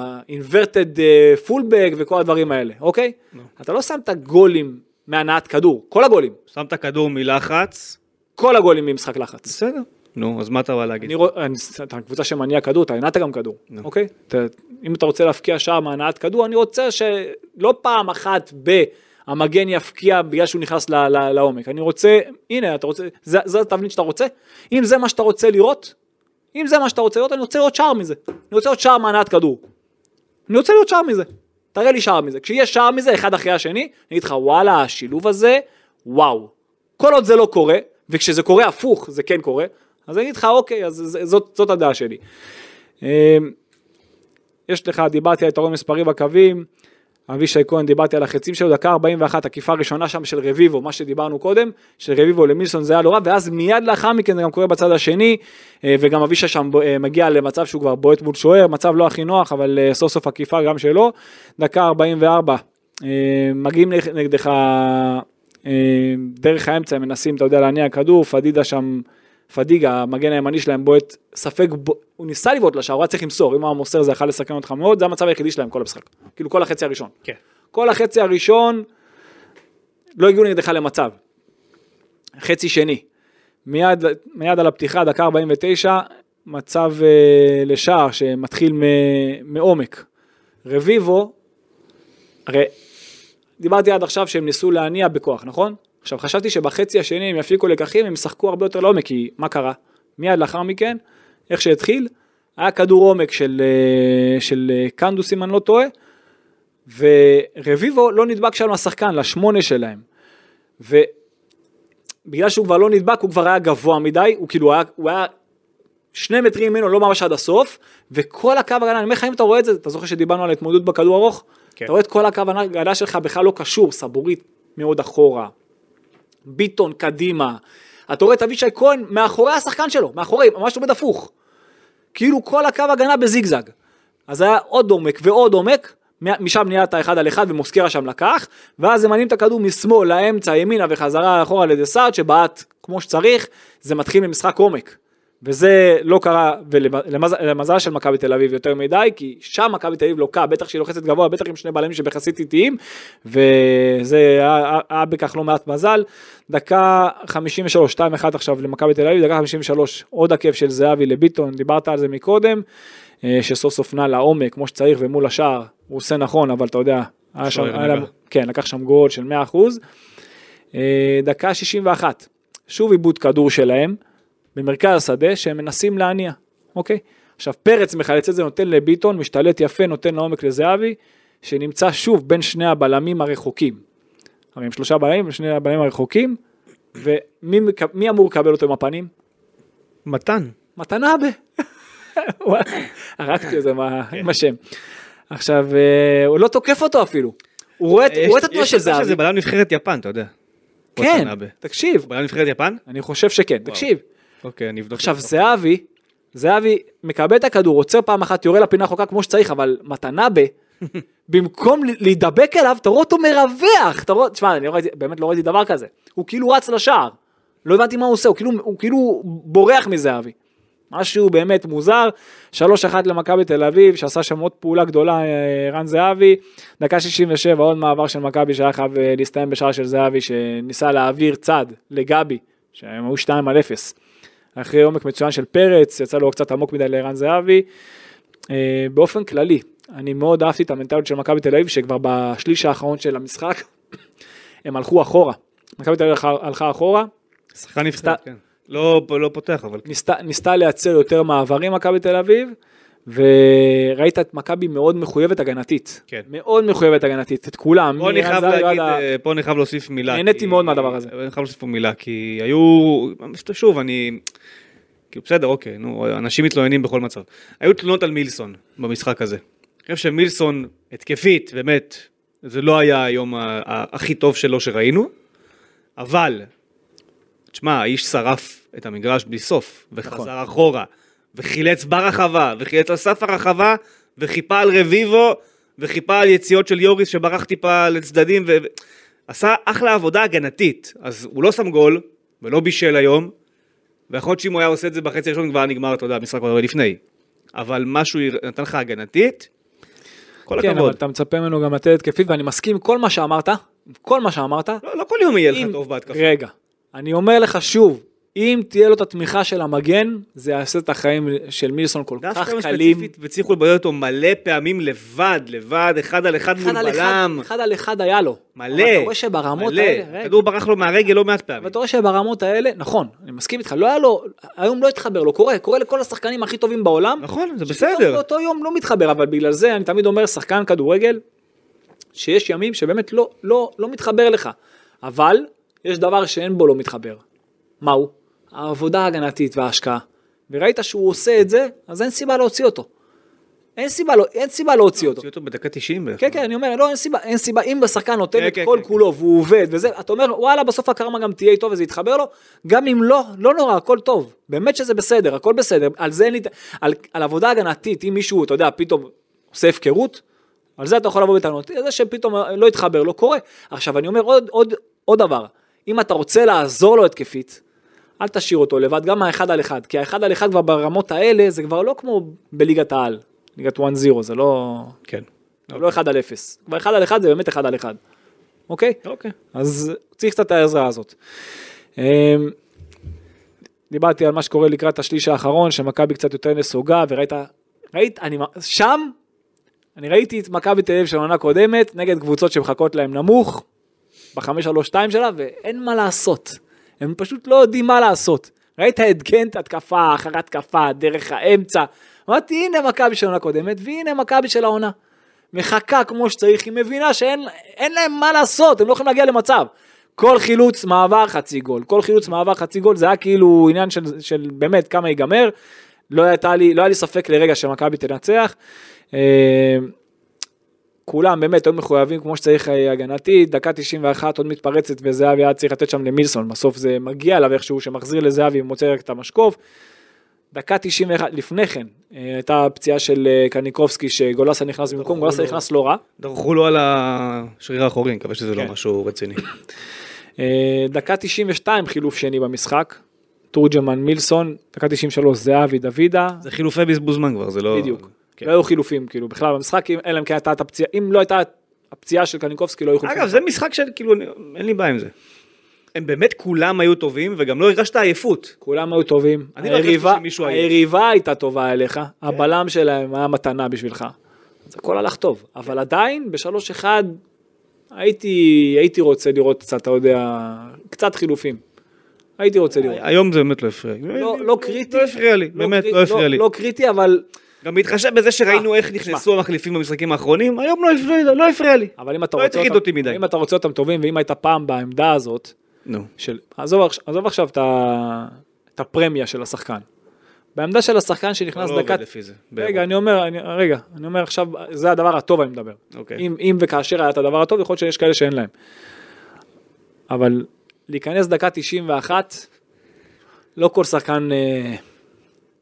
Speaker 3: וה-inverted אה, fullback וכל הדברים האלה, אוקיי? אתה לא שמת גולים מהנעת כדור, כל הגולים,
Speaker 2: שם את הכדור מלחץ.
Speaker 3: כל הגולים ממשחק לחץ.
Speaker 2: בסדר. נו, אז מה אתה בא להגיד?
Speaker 3: אני רואה, אני- אתה קבוצה שמניעה כדור, אתה הנעת גם כדור,
Speaker 2: נו.
Speaker 3: אוקיי? אתה- אם אתה רוצה להפקיע שער מהנעת כדור, אני רוצה שלא פעם אחת ב... המגן יפקיע בגלל שהוא נכנס ל- ל- לעומק. אני רוצה, הנה, אתה רוצה, זה- זו התבנית שאתה רוצה? אם זה מה שאתה רוצה לראות, אם זה מה שאתה רוצה לראות, אני רוצה לראות שער מזה. אני רוצה לראות שער מהנעת כדור. אני רוצה לראות שער מזה. תראה לי שער מזה. כשיהיה שער מזה, אחד אחרי השני, אני אגיד לך, וואלה, השילוב הזה, וואו. כל עוד זה לא קורה, וכשזה קורה הפוך, זה כן קורה, אז אני אגיד לך, אוקיי, אז ז- זאת, זאת הדעה שלי. אמ, יש לך, דיברתי על יתרון מספרי בקווים, אבישי כהן, דיברתי על החצים שלו, דקה 41, עקיפה ראשונה שם של רביבו, מה שדיברנו קודם, של רביבו למילסון זה היה לא רע, ואז מיד לאחר מכן זה גם קורה בצד השני, אה, וגם אבישי שם בו- אה, מגיע למצב שהוא כבר בועט מול שוער, מצב לא הכי נוח, אבל אה, סוף סוף עקיפה גם שלו, דקה 44, אה, מגיעים נג- נגדך אה, דרך האמצע, מנסים, אתה יודע, להניע כדור, פדידה שם פדיגה, המגן הימני שלהם בועט, ספק, בו... הוא ניסה לבעוט לשער, הוא היה צריך למסור, אם הוא היה מוסר זה יכול לסכן אותך מאוד, זה המצב היחידי שלהם כל המשחק, כאילו כל החצי הראשון.
Speaker 2: כן.
Speaker 3: כל החצי הראשון לא הגיעו נגדך למצב. חצי שני, מיד, מיד על הפתיחה, דקה 49, מצב אה, לשער שמתחיל מ, מעומק. רביבו, הרי דיברתי עד עכשיו שהם ניסו להניע בכוח, נכון? עכשיו חשבתי שבחצי השני הם יפיקו לקחים, הם ישחקו הרבה יותר לעומק, כי מה קרה? מיד לאחר מכן, איך שהתחיל, היה כדור עומק של, אה, של אה, קנדוס אם אני לא טועה, ורביבו לא נדבק שם לשחקן, לשמונה שלהם. ובגלל שהוא כבר לא נדבק, הוא כבר היה גבוה מדי, הוא כאילו היה, הוא היה שני מטרים ממנו, לא ממש עד הסוף, וכל הקו הגנה, אני אומר לך אם אתה רואה את זה, אתה זוכר שדיברנו על התמודדות בכדור ארוך?
Speaker 2: כן.
Speaker 3: אתה רואה את כל הקו הגנה שלך בכלל לא קשור, סבורית מאוד אחורה, ביטון קדימה, אתה רואה את אבישי כהן מאחורי השחקן שלו, מאחורי, ממש עומד הפוך. כאילו כל הקו הגנה בזיגזג. אז היה עוד עומק ועוד עומק, מ- משם נהיה את האחד על אחד ומוסקרה שם לקח, ואז הם מניעים את הכדור משמאל לאמצע, ימינה וחזרה אחורה לדסארד שבעט כמו שצריך, זה מתחיל ממשחק עומק. וזה לא קרה, ולמזל של מכבי תל אביב יותר מדי, כי שם מכבי תל אביב לוקה, בטח שהיא לוחצת גבוה, בטח עם שני בלמים שבחסית איטיים, וזה היה- היה בכך לא מעט מזל. דקה 53, 2-1 עכשיו למכבי תל אביב, דקה 53, עוד עקב של זהבי לביטון, דיברת על זה מקודם, אה, שסוף סוף נע לעומק, כמו שצריך, ומול השער, הוא עושה נכון, אבל אתה יודע, היה שם,
Speaker 2: שוער
Speaker 3: היה לה-
Speaker 2: נגע.
Speaker 3: כן, לקח שם גול של 100%. אה, דקה 61, שוב עיבוד כדור שלהם, במרכז השדה, שהם מנסים להניע, אוקיי? עכשיו פרץ מחלץ את זה, נותן לביטון, משתלט יפה, נותן לעומק לזהבי, שנמצא שוב בין שני הבלמים הרחוקים. הרי הם שלושה בלמים, הם שני הבלמים הרחוקים, ומי מק- מי אמור לקבל אותו עם הפנים?
Speaker 2: מתן.
Speaker 3: מתנאבה. וואי, הרגתי את זה מה-
Speaker 2: כן.
Speaker 3: עם השם. עכשיו, אה, הוא לא תוקף אותו אפילו. הוא רואה את- הוא רואה את התנועה של
Speaker 2: יש
Speaker 3: זהבי.
Speaker 2: שזה בלם נבחרת יפן, אתה יודע.
Speaker 3: כן,
Speaker 2: מתנאבה.
Speaker 3: תקשיב,
Speaker 2: בלם נבחרת יפן?
Speaker 3: אני חושב שכן, תקשיב.
Speaker 2: אוקיי, אני אבדוק.
Speaker 3: עכשיו
Speaker 2: את זה.
Speaker 3: זהבי, זהבי מקבל את הכדור, עוצר פעם אחת, יורה לפינה החוקה כמו שצריך, אבל מתנבה, במקום ל- להידבק אליו, אתה רואה אותו מרווח, אתה רואה, תשמע, אני לא ראיתי, באמת לא ראיתי דבר כזה. הוא כאילו רץ לשער, לא הבנתי מה הוא עושה, הוא כאילו, הוא כאילו בורח מזהבי. משהו באמת מוזר, 3-1 למכבי תל אביב, שעשה שם עוד פעולה גדולה, אה, רן זהבי, דקה 67, עוד מעבר של מכבי שהיה חייב אה, להסתיים בשער של זהבי, שניסה להעביר צד לגבי, שהם היו 2 על 0. אחרי עומק מצוין של פרץ, יצא לו קצת עמוק מדי לערן זהבי. אה, באופן כללי, אני מאוד אהבתי את המנטליות של מכבי תל אביב, שכבר בשליש האחרון של המשחק, הם הלכו אחורה. מכבי תל אביב הלכה- הלכה אחורה,
Speaker 2: שחקן נבחרת, כן. לא לא פותח, אבל
Speaker 3: ניסתה, ניסתה לייצר יותר מעברים מכבי תל אביב, וראית את מכבי מאוד מחויבת הגנתית.
Speaker 2: כן.
Speaker 3: מאוד מחויבת הגנתית, את כולם.
Speaker 2: פה אני
Speaker 3: מערן
Speaker 2: חייב
Speaker 3: זהבי
Speaker 2: להגיד,
Speaker 3: ועד ה-
Speaker 2: אה, פה אני חייב להוסיף מילה.
Speaker 3: נהניתי
Speaker 2: כי-
Speaker 3: מאוד מהדבר הזה.
Speaker 2: אני חייב להוסיף פה מילה, כי היו, שוב, אני, כאילו בסדר, אוקיי, נו, אנשים מתלוננים בכל מצב. היו תלונות על מילסון במשחק הזה. אני חושב שמילסון, התקפית, באמת, זה לא היה היום ה- ה- הכי טוב שלו שראינו, אבל, תשמע, האיש שרף את המגרש בלי סוף,
Speaker 3: נכון.
Speaker 2: וחזר אחורה, וחילץ ברחבה, וחילץ על סף הרחבה, וחיפה על רביבו, וחיפה על יציאות של יוריס שברח טיפה לצדדים, ו... עשה אחלה עבודה הגנתית, אז הוא לא שם גול, ולא בישל היום, ויכול להיות שאם הוא היה עושה את זה בחצי הראשון כבר היה נגמר, אתה יודע, המשחק כבר לפני. אבל מה שהוא נתן לך הגנתית, כל
Speaker 3: כן, אבל
Speaker 2: הכבוד.
Speaker 3: אתה מצפה ממנו גם לתת התקפית, ואני מסכים עם כל מה שאמרת, עם כל מה שאמרת,
Speaker 2: לא, לא כל יום יהיה
Speaker 3: אם-
Speaker 2: לך טוב בהתקפה.
Speaker 3: רגע, אני אומר לך שוב, אם תהיה לו את התמיכה של המגן, זה יעשה את החיים של מילסון כל כך
Speaker 2: דווקא
Speaker 3: קלים.
Speaker 2: ספציפית, והצליחו לבודד אותו מלא פעמים לבד, לבד, אחד על אחד
Speaker 3: אחד
Speaker 2: מול
Speaker 3: על אחד,
Speaker 2: בלם,
Speaker 3: אחד על אחד היה לו.
Speaker 2: מלא,
Speaker 3: אבל אתה רואה שברמות
Speaker 2: מלא,
Speaker 3: האלה, רגע,
Speaker 2: הכדור ברח לו מהרגל לא מעט פעמים.
Speaker 3: אבל אתה רואה שברמות האלה, נכון, אני מסכים איתך, לא היה לו, היום לא התחבר לו, קורה, קורה לכל השחקנים הכי טובים בעולם.
Speaker 2: נכון, זה
Speaker 3: שפתאום
Speaker 2: בסדר.
Speaker 3: באותו יום לא מתחבר, אבל בגלל זה אני תמיד אומר, שחקן כדורגל, שיש ימים שבאמת לא, לא, לא מתחבר לך. אבל, יש דבר שאין בו לא מתחבר. מהו? העבודה ההגנתית וההשקעה. וראית שהוא עושה את זה, אז אין סיבה להוציא אותו. אין סיבה, לא, אין סיבה להוציא אותו.
Speaker 2: הוציאו אותו בדקה 90 בערך.
Speaker 3: כן, כן, אני אומר, לא, אין סיבה, אין סיבה, אם השחקן נותן
Speaker 2: כן,
Speaker 3: את
Speaker 2: כן,
Speaker 3: כל
Speaker 2: כן,
Speaker 3: כולו והוא עובד וזה, אתה אומר, וואלה, בסוף הקרמה גם תהיה איתו וזה יתחבר לו, גם אם לא, לא נורא, הכל טוב, באמת שזה בסדר, הכל בסדר, על זה אין לי, ת- על, על עבודה הגנתית, אם מישהו, אתה יודע, פתאום עושה הפקרות, על זה אתה יכול לבוא בטענות, זה שפתאום לא התחבר, לא קורה. עכשיו, אני אומר עוד, עוד, עוד דבר, אם אתה רוצה לעזור לו התקפית, אל תשאיר אותו לבד, גם האחד על אחד, כי האחד על אחד כבר ברמות האלה זה כבר לא כמו בליגת העל, ליגת 1-0, זה לא,
Speaker 2: כן.
Speaker 3: זה לא אחד על אפס, כבר אחד על אחד זה באמת אחד על אחד, אוקיי?
Speaker 2: אוקיי.
Speaker 3: אז צריך קצת את העזרה הזאת. אמ, דיברתי על מה שקורה לקראת השליש האחרון, שמכבי קצת יותר נסוגה, וראית, ראית, אני, מ- שם, אני ראיתי את מכבי תל אביב של העונה הקודמת, נגד קבוצות שמחכות להם נמוך, ב-532 שלה, ואין מה לעשות. הם פשוט לא יודעים מה לעשות. ראית את גנט התקפה אחר התקפה, דרך האמצע. אמרתי, הנה מכבי של העונה הקודמת, והנה מכבי של העונה. מחכה כמו שצריך, היא מבינה שאין אין להם מה לעשות, הם לא יכולים להגיע למצב. כל חילוץ מעבר חצי גול, כל חילוץ מעבר חצי גול זה היה כאילו עניין של, של באמת כמה ייגמר. לא, הייתה לי, לא היה לי ספק לרגע שמכבי תנצח. אה, כולם באמת היו מחויבים כמו שצריך אה, הגנתי, דקה 91 עוד מתפרצת וזהבי היה צריך לתת שם למילסון, בסוף זה מגיע אליו איכשהו שמחזיר לזהבי ומוצא רק את המשקוף. דקה 91 לפני כן אה, הייתה פציעה של אה, קניקובסקי שגולסה נכנס במקום, גולסה
Speaker 2: לו.
Speaker 3: נכנס לא רע.
Speaker 2: דרכו לו על השריר האחורי, מקווה שזה
Speaker 3: כן.
Speaker 2: לא משהו רציני.
Speaker 3: אה, דקה 92 חילוף שני במשחק, תורג'מן מילסון, דקה 93 זהבי דוידה,
Speaker 2: זה חילופי בזבוז זמן כבר, זה לא...
Speaker 3: בדיוק.
Speaker 2: כן.
Speaker 3: לא היו חילופים כאילו בכלל במשחק, אם- אלא אם כן הייתה את הפציעה, אם לא הייתה הפציעה של קניקובסקי לא היו חילופים.
Speaker 2: אגב, זה משחק של כאילו, אני- אין לי בעיה עם זה. הם באמת כולם היו טובים, וגם לא הרגשת עייפות.
Speaker 3: כולם היו טובים,
Speaker 2: אני לא
Speaker 3: היריבה-
Speaker 2: הרגשתי שמישהו היה. כן.
Speaker 3: היריבה הייתה טובה אליך, הבלם שלהם היה מתנה בשבילך. אז הכל הלך טוב,
Speaker 2: כן.
Speaker 3: אבל עדיין ב-3-1 הייתי הייתי רוצה לראות קצת, אתה יודע, קצת חילופים. הייתי רוצה לראות.
Speaker 2: היום זה באמת לא הפריע.
Speaker 3: לא- לא קריטי.
Speaker 2: לא הפריע לי, באמת,
Speaker 3: קריט-
Speaker 2: לא הפריע לי.
Speaker 3: לא קריטי, אבל
Speaker 2: גם בהתחשב בזה שראינו
Speaker 3: אה,
Speaker 2: איך נכנסו המחליפים במשחקים האחרונים, היום לא הפריע- לא הפריע לי.
Speaker 3: אבל אם אתה
Speaker 2: לא
Speaker 3: רוצה
Speaker 2: הטריד אותי מדי.
Speaker 3: אם אתה רוצה אותם טובים, ואם היית פעם בעמדה הזאת,
Speaker 2: נו.
Speaker 3: של, עזוב, עכש- עזוב עכשיו את ה- את הפרמיה של השחקן. בעמדה של השחקן שנכנס
Speaker 2: לא
Speaker 3: דקה...
Speaker 2: עובד לפי זה.
Speaker 3: רגע, אני אומר, אני, רגע, אני אומר עכשיו, זה הדבר הטוב אני מדבר.
Speaker 2: אוקיי.
Speaker 3: אם, אם וכאשר היה את הדבר הטוב, יכול להיות שיש כאלה שאין להם. אבל להיכנס דקה 91, לא כל שחקן אה,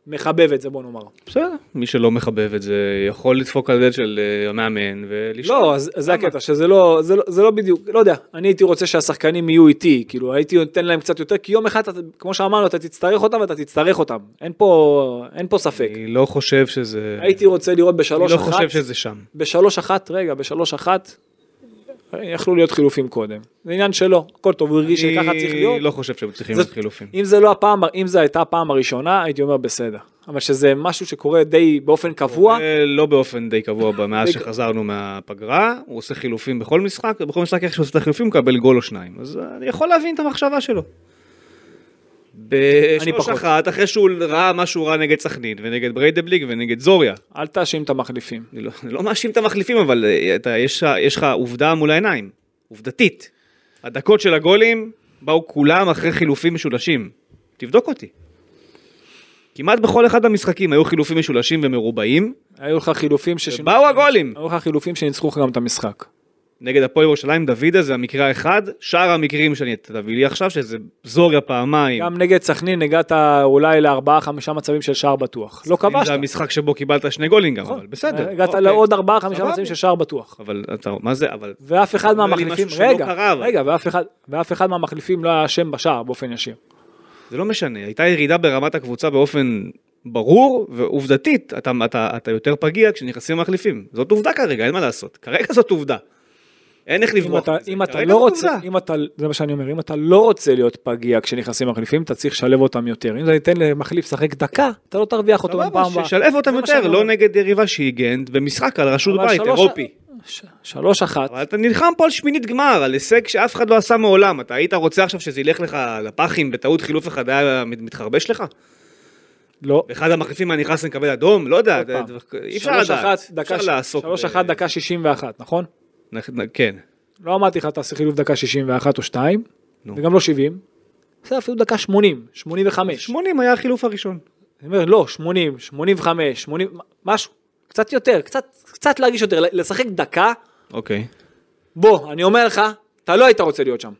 Speaker 3: מחבב את זה, בוא נאמר.
Speaker 2: בסדר. מי שלא מחבב את זה, יכול לדפוק על יד של אה, המאמן ולשאול.
Speaker 3: לא, אז- זה הקטע, שזה לא, זה לא, זה לא בדיוק, לא יודע, אני הייתי רוצה שהשחקנים יהיו איתי, כאילו הייתי נותן להם קצת יותר, כי יום אחד, אתה, כמו שאמרנו, אתה תצטרך אותם ואתה תצטרך אותם, אין פה, אין פה ספק.
Speaker 2: אני לא חושב שזה...
Speaker 3: הייתי רוצה לראות בשלוש
Speaker 2: אני לא
Speaker 3: אחת,
Speaker 2: חושב שזה שם.
Speaker 3: בשלוש אחת, רגע, בשלוש אחת, יכלו להיות חילופים קודם. זה עניין שלו, הכל טוב, הוא הרגיש שככה צריך להיות.
Speaker 2: אני לא חושב שהם צריכים
Speaker 3: זה-
Speaker 2: להיות חילופים.
Speaker 3: אם זה לא הפעם, אם זה הייתה הפעם הראשונה, הייתי אומר בסדר. אבל שזה משהו שקורה די באופן קבוע,
Speaker 2: אה, לא באופן די קבוע ב- מאז
Speaker 3: די-
Speaker 2: שחזרנו מהפגרה, הוא עושה חילופים בכל משחק, ובכל משחק איך שהוא עושה את החילופים הוא מקבל גול או שניים. אז אה, אני יכול להבין את המחשבה שלו. בשלוש
Speaker 3: פחות.
Speaker 2: אחת, אחרי שהוא ראה מה שהוא ראה נגד סכנין, ונגד בריידבליג, ונגד זוריה.
Speaker 3: אל תאשים את המחליפים.
Speaker 2: אני לא, אני לא מאשים את המחליפים, אבל אה, אתה, יש, לך- יש לך עובדה מול העיניים, עובדתית. הדקות של הגולים באו כולם אחרי חילופים משולשים. תבדוק אותי. כמעט בכל אחד מהמשחקים היו חילופים משולשים ומרובעים,
Speaker 3: היו לך חילופים ששינו...
Speaker 2: ובאו הגולים.
Speaker 3: היו לך חילופים שניצחו לך גם את המשחק.
Speaker 2: נגד הפועל ירושלים, דוידה זה המקרה האחד, שאר המקרים שאני תביא לי עכשיו, שזה זוריה פעמיים.
Speaker 3: גם נגד סכנין הגעת אולי לארבעה חמישה מצבים של שער בטוח. לא
Speaker 2: אם זה
Speaker 3: כבשת. נכון.
Speaker 2: המשחק שבו קיבלת שני גולים גם, אבל בסדר.
Speaker 3: הגעת
Speaker 2: אוקיי.
Speaker 3: לעוד ארבעה חמישה
Speaker 2: סבבה.
Speaker 3: מצבים של שער בטוח.
Speaker 2: אבל אתה, מה זה, אבל
Speaker 3: ואף אחד
Speaker 2: אומר לי
Speaker 3: מהמחליפים,
Speaker 2: משהו שלא
Speaker 3: רגע,
Speaker 2: קרה, אבל.
Speaker 3: רגע, ואף אחד- ואף אחד מהמחליפים לא היה אשם בשער באופן ישיר.
Speaker 2: זה לא משנה, הייתה ירידה ברמת הקבוצה באופן ברור, ועובדתית, אתה, אתה, אתה יותר פגיע כשנכנסים מחליפים. זאת עובדה כרגע, אין מה לעשות. כרגע זאת עובדה. אין איך
Speaker 3: אם
Speaker 2: לברוח.
Speaker 3: אתה,
Speaker 2: מזה.
Speaker 3: אם אתה
Speaker 2: כרגע
Speaker 3: לא
Speaker 2: זאת
Speaker 3: רוצה,
Speaker 2: עובדה.
Speaker 3: אם אתה, זה מה שאני אומר, אם אתה לא רוצה להיות פגיע כשנכנסים מחליפים, אתה צריך לשלב אותם יותר. אם אתה ניתן למחליף לשחק דקה, אתה לא תרוויח אותו גם
Speaker 2: סבבה,
Speaker 3: פעם הבאה.
Speaker 2: ששלב אותם
Speaker 3: זה מה שאני
Speaker 2: יותר, לא
Speaker 3: אומר.
Speaker 2: נגד יריבה שהיא גנט במשחק על רשות
Speaker 3: אבל
Speaker 2: בית,
Speaker 3: שלוש-
Speaker 2: אירופי.
Speaker 3: ש- שלוש אחת,
Speaker 2: אבל אתה נלחם פה על שמינית גמר, על הישג שאף אחד לא עשה מעולם. אתה היית רוצה עכשיו שזה ילך לך לפחים בטעות חילוף אחד היה מת- מתחרבש לך?
Speaker 3: לא,
Speaker 2: ואחד המחליפים היה נכנס לקבל אדום? לא יודע,
Speaker 3: עוד פעם.
Speaker 2: אי אפשר
Speaker 3: שלוש
Speaker 2: לדעת.
Speaker 3: אחת,
Speaker 2: אי
Speaker 3: דקה
Speaker 2: אפשר
Speaker 3: ש-
Speaker 2: לעסוק.
Speaker 3: שלוש
Speaker 2: ב-
Speaker 3: אחת, דקה שישים ואחת, נכון?
Speaker 2: נ- נ- כן.
Speaker 3: לא אמרתי לך תעשה חילוף דקה 61 או 2,
Speaker 2: נו.
Speaker 3: וגם לא 70. זה אפילו דקה 80, 85.
Speaker 2: 80 היה החילוף הראשון.
Speaker 3: אני אומר, לא, 80, 85, 80, משהו. קצת יותר, קצת, קצת להרגיש יותר, לשחק דקה,
Speaker 2: אוקיי.
Speaker 3: בוא, אני אומר לך, אתה לא היית רוצה להיות שם.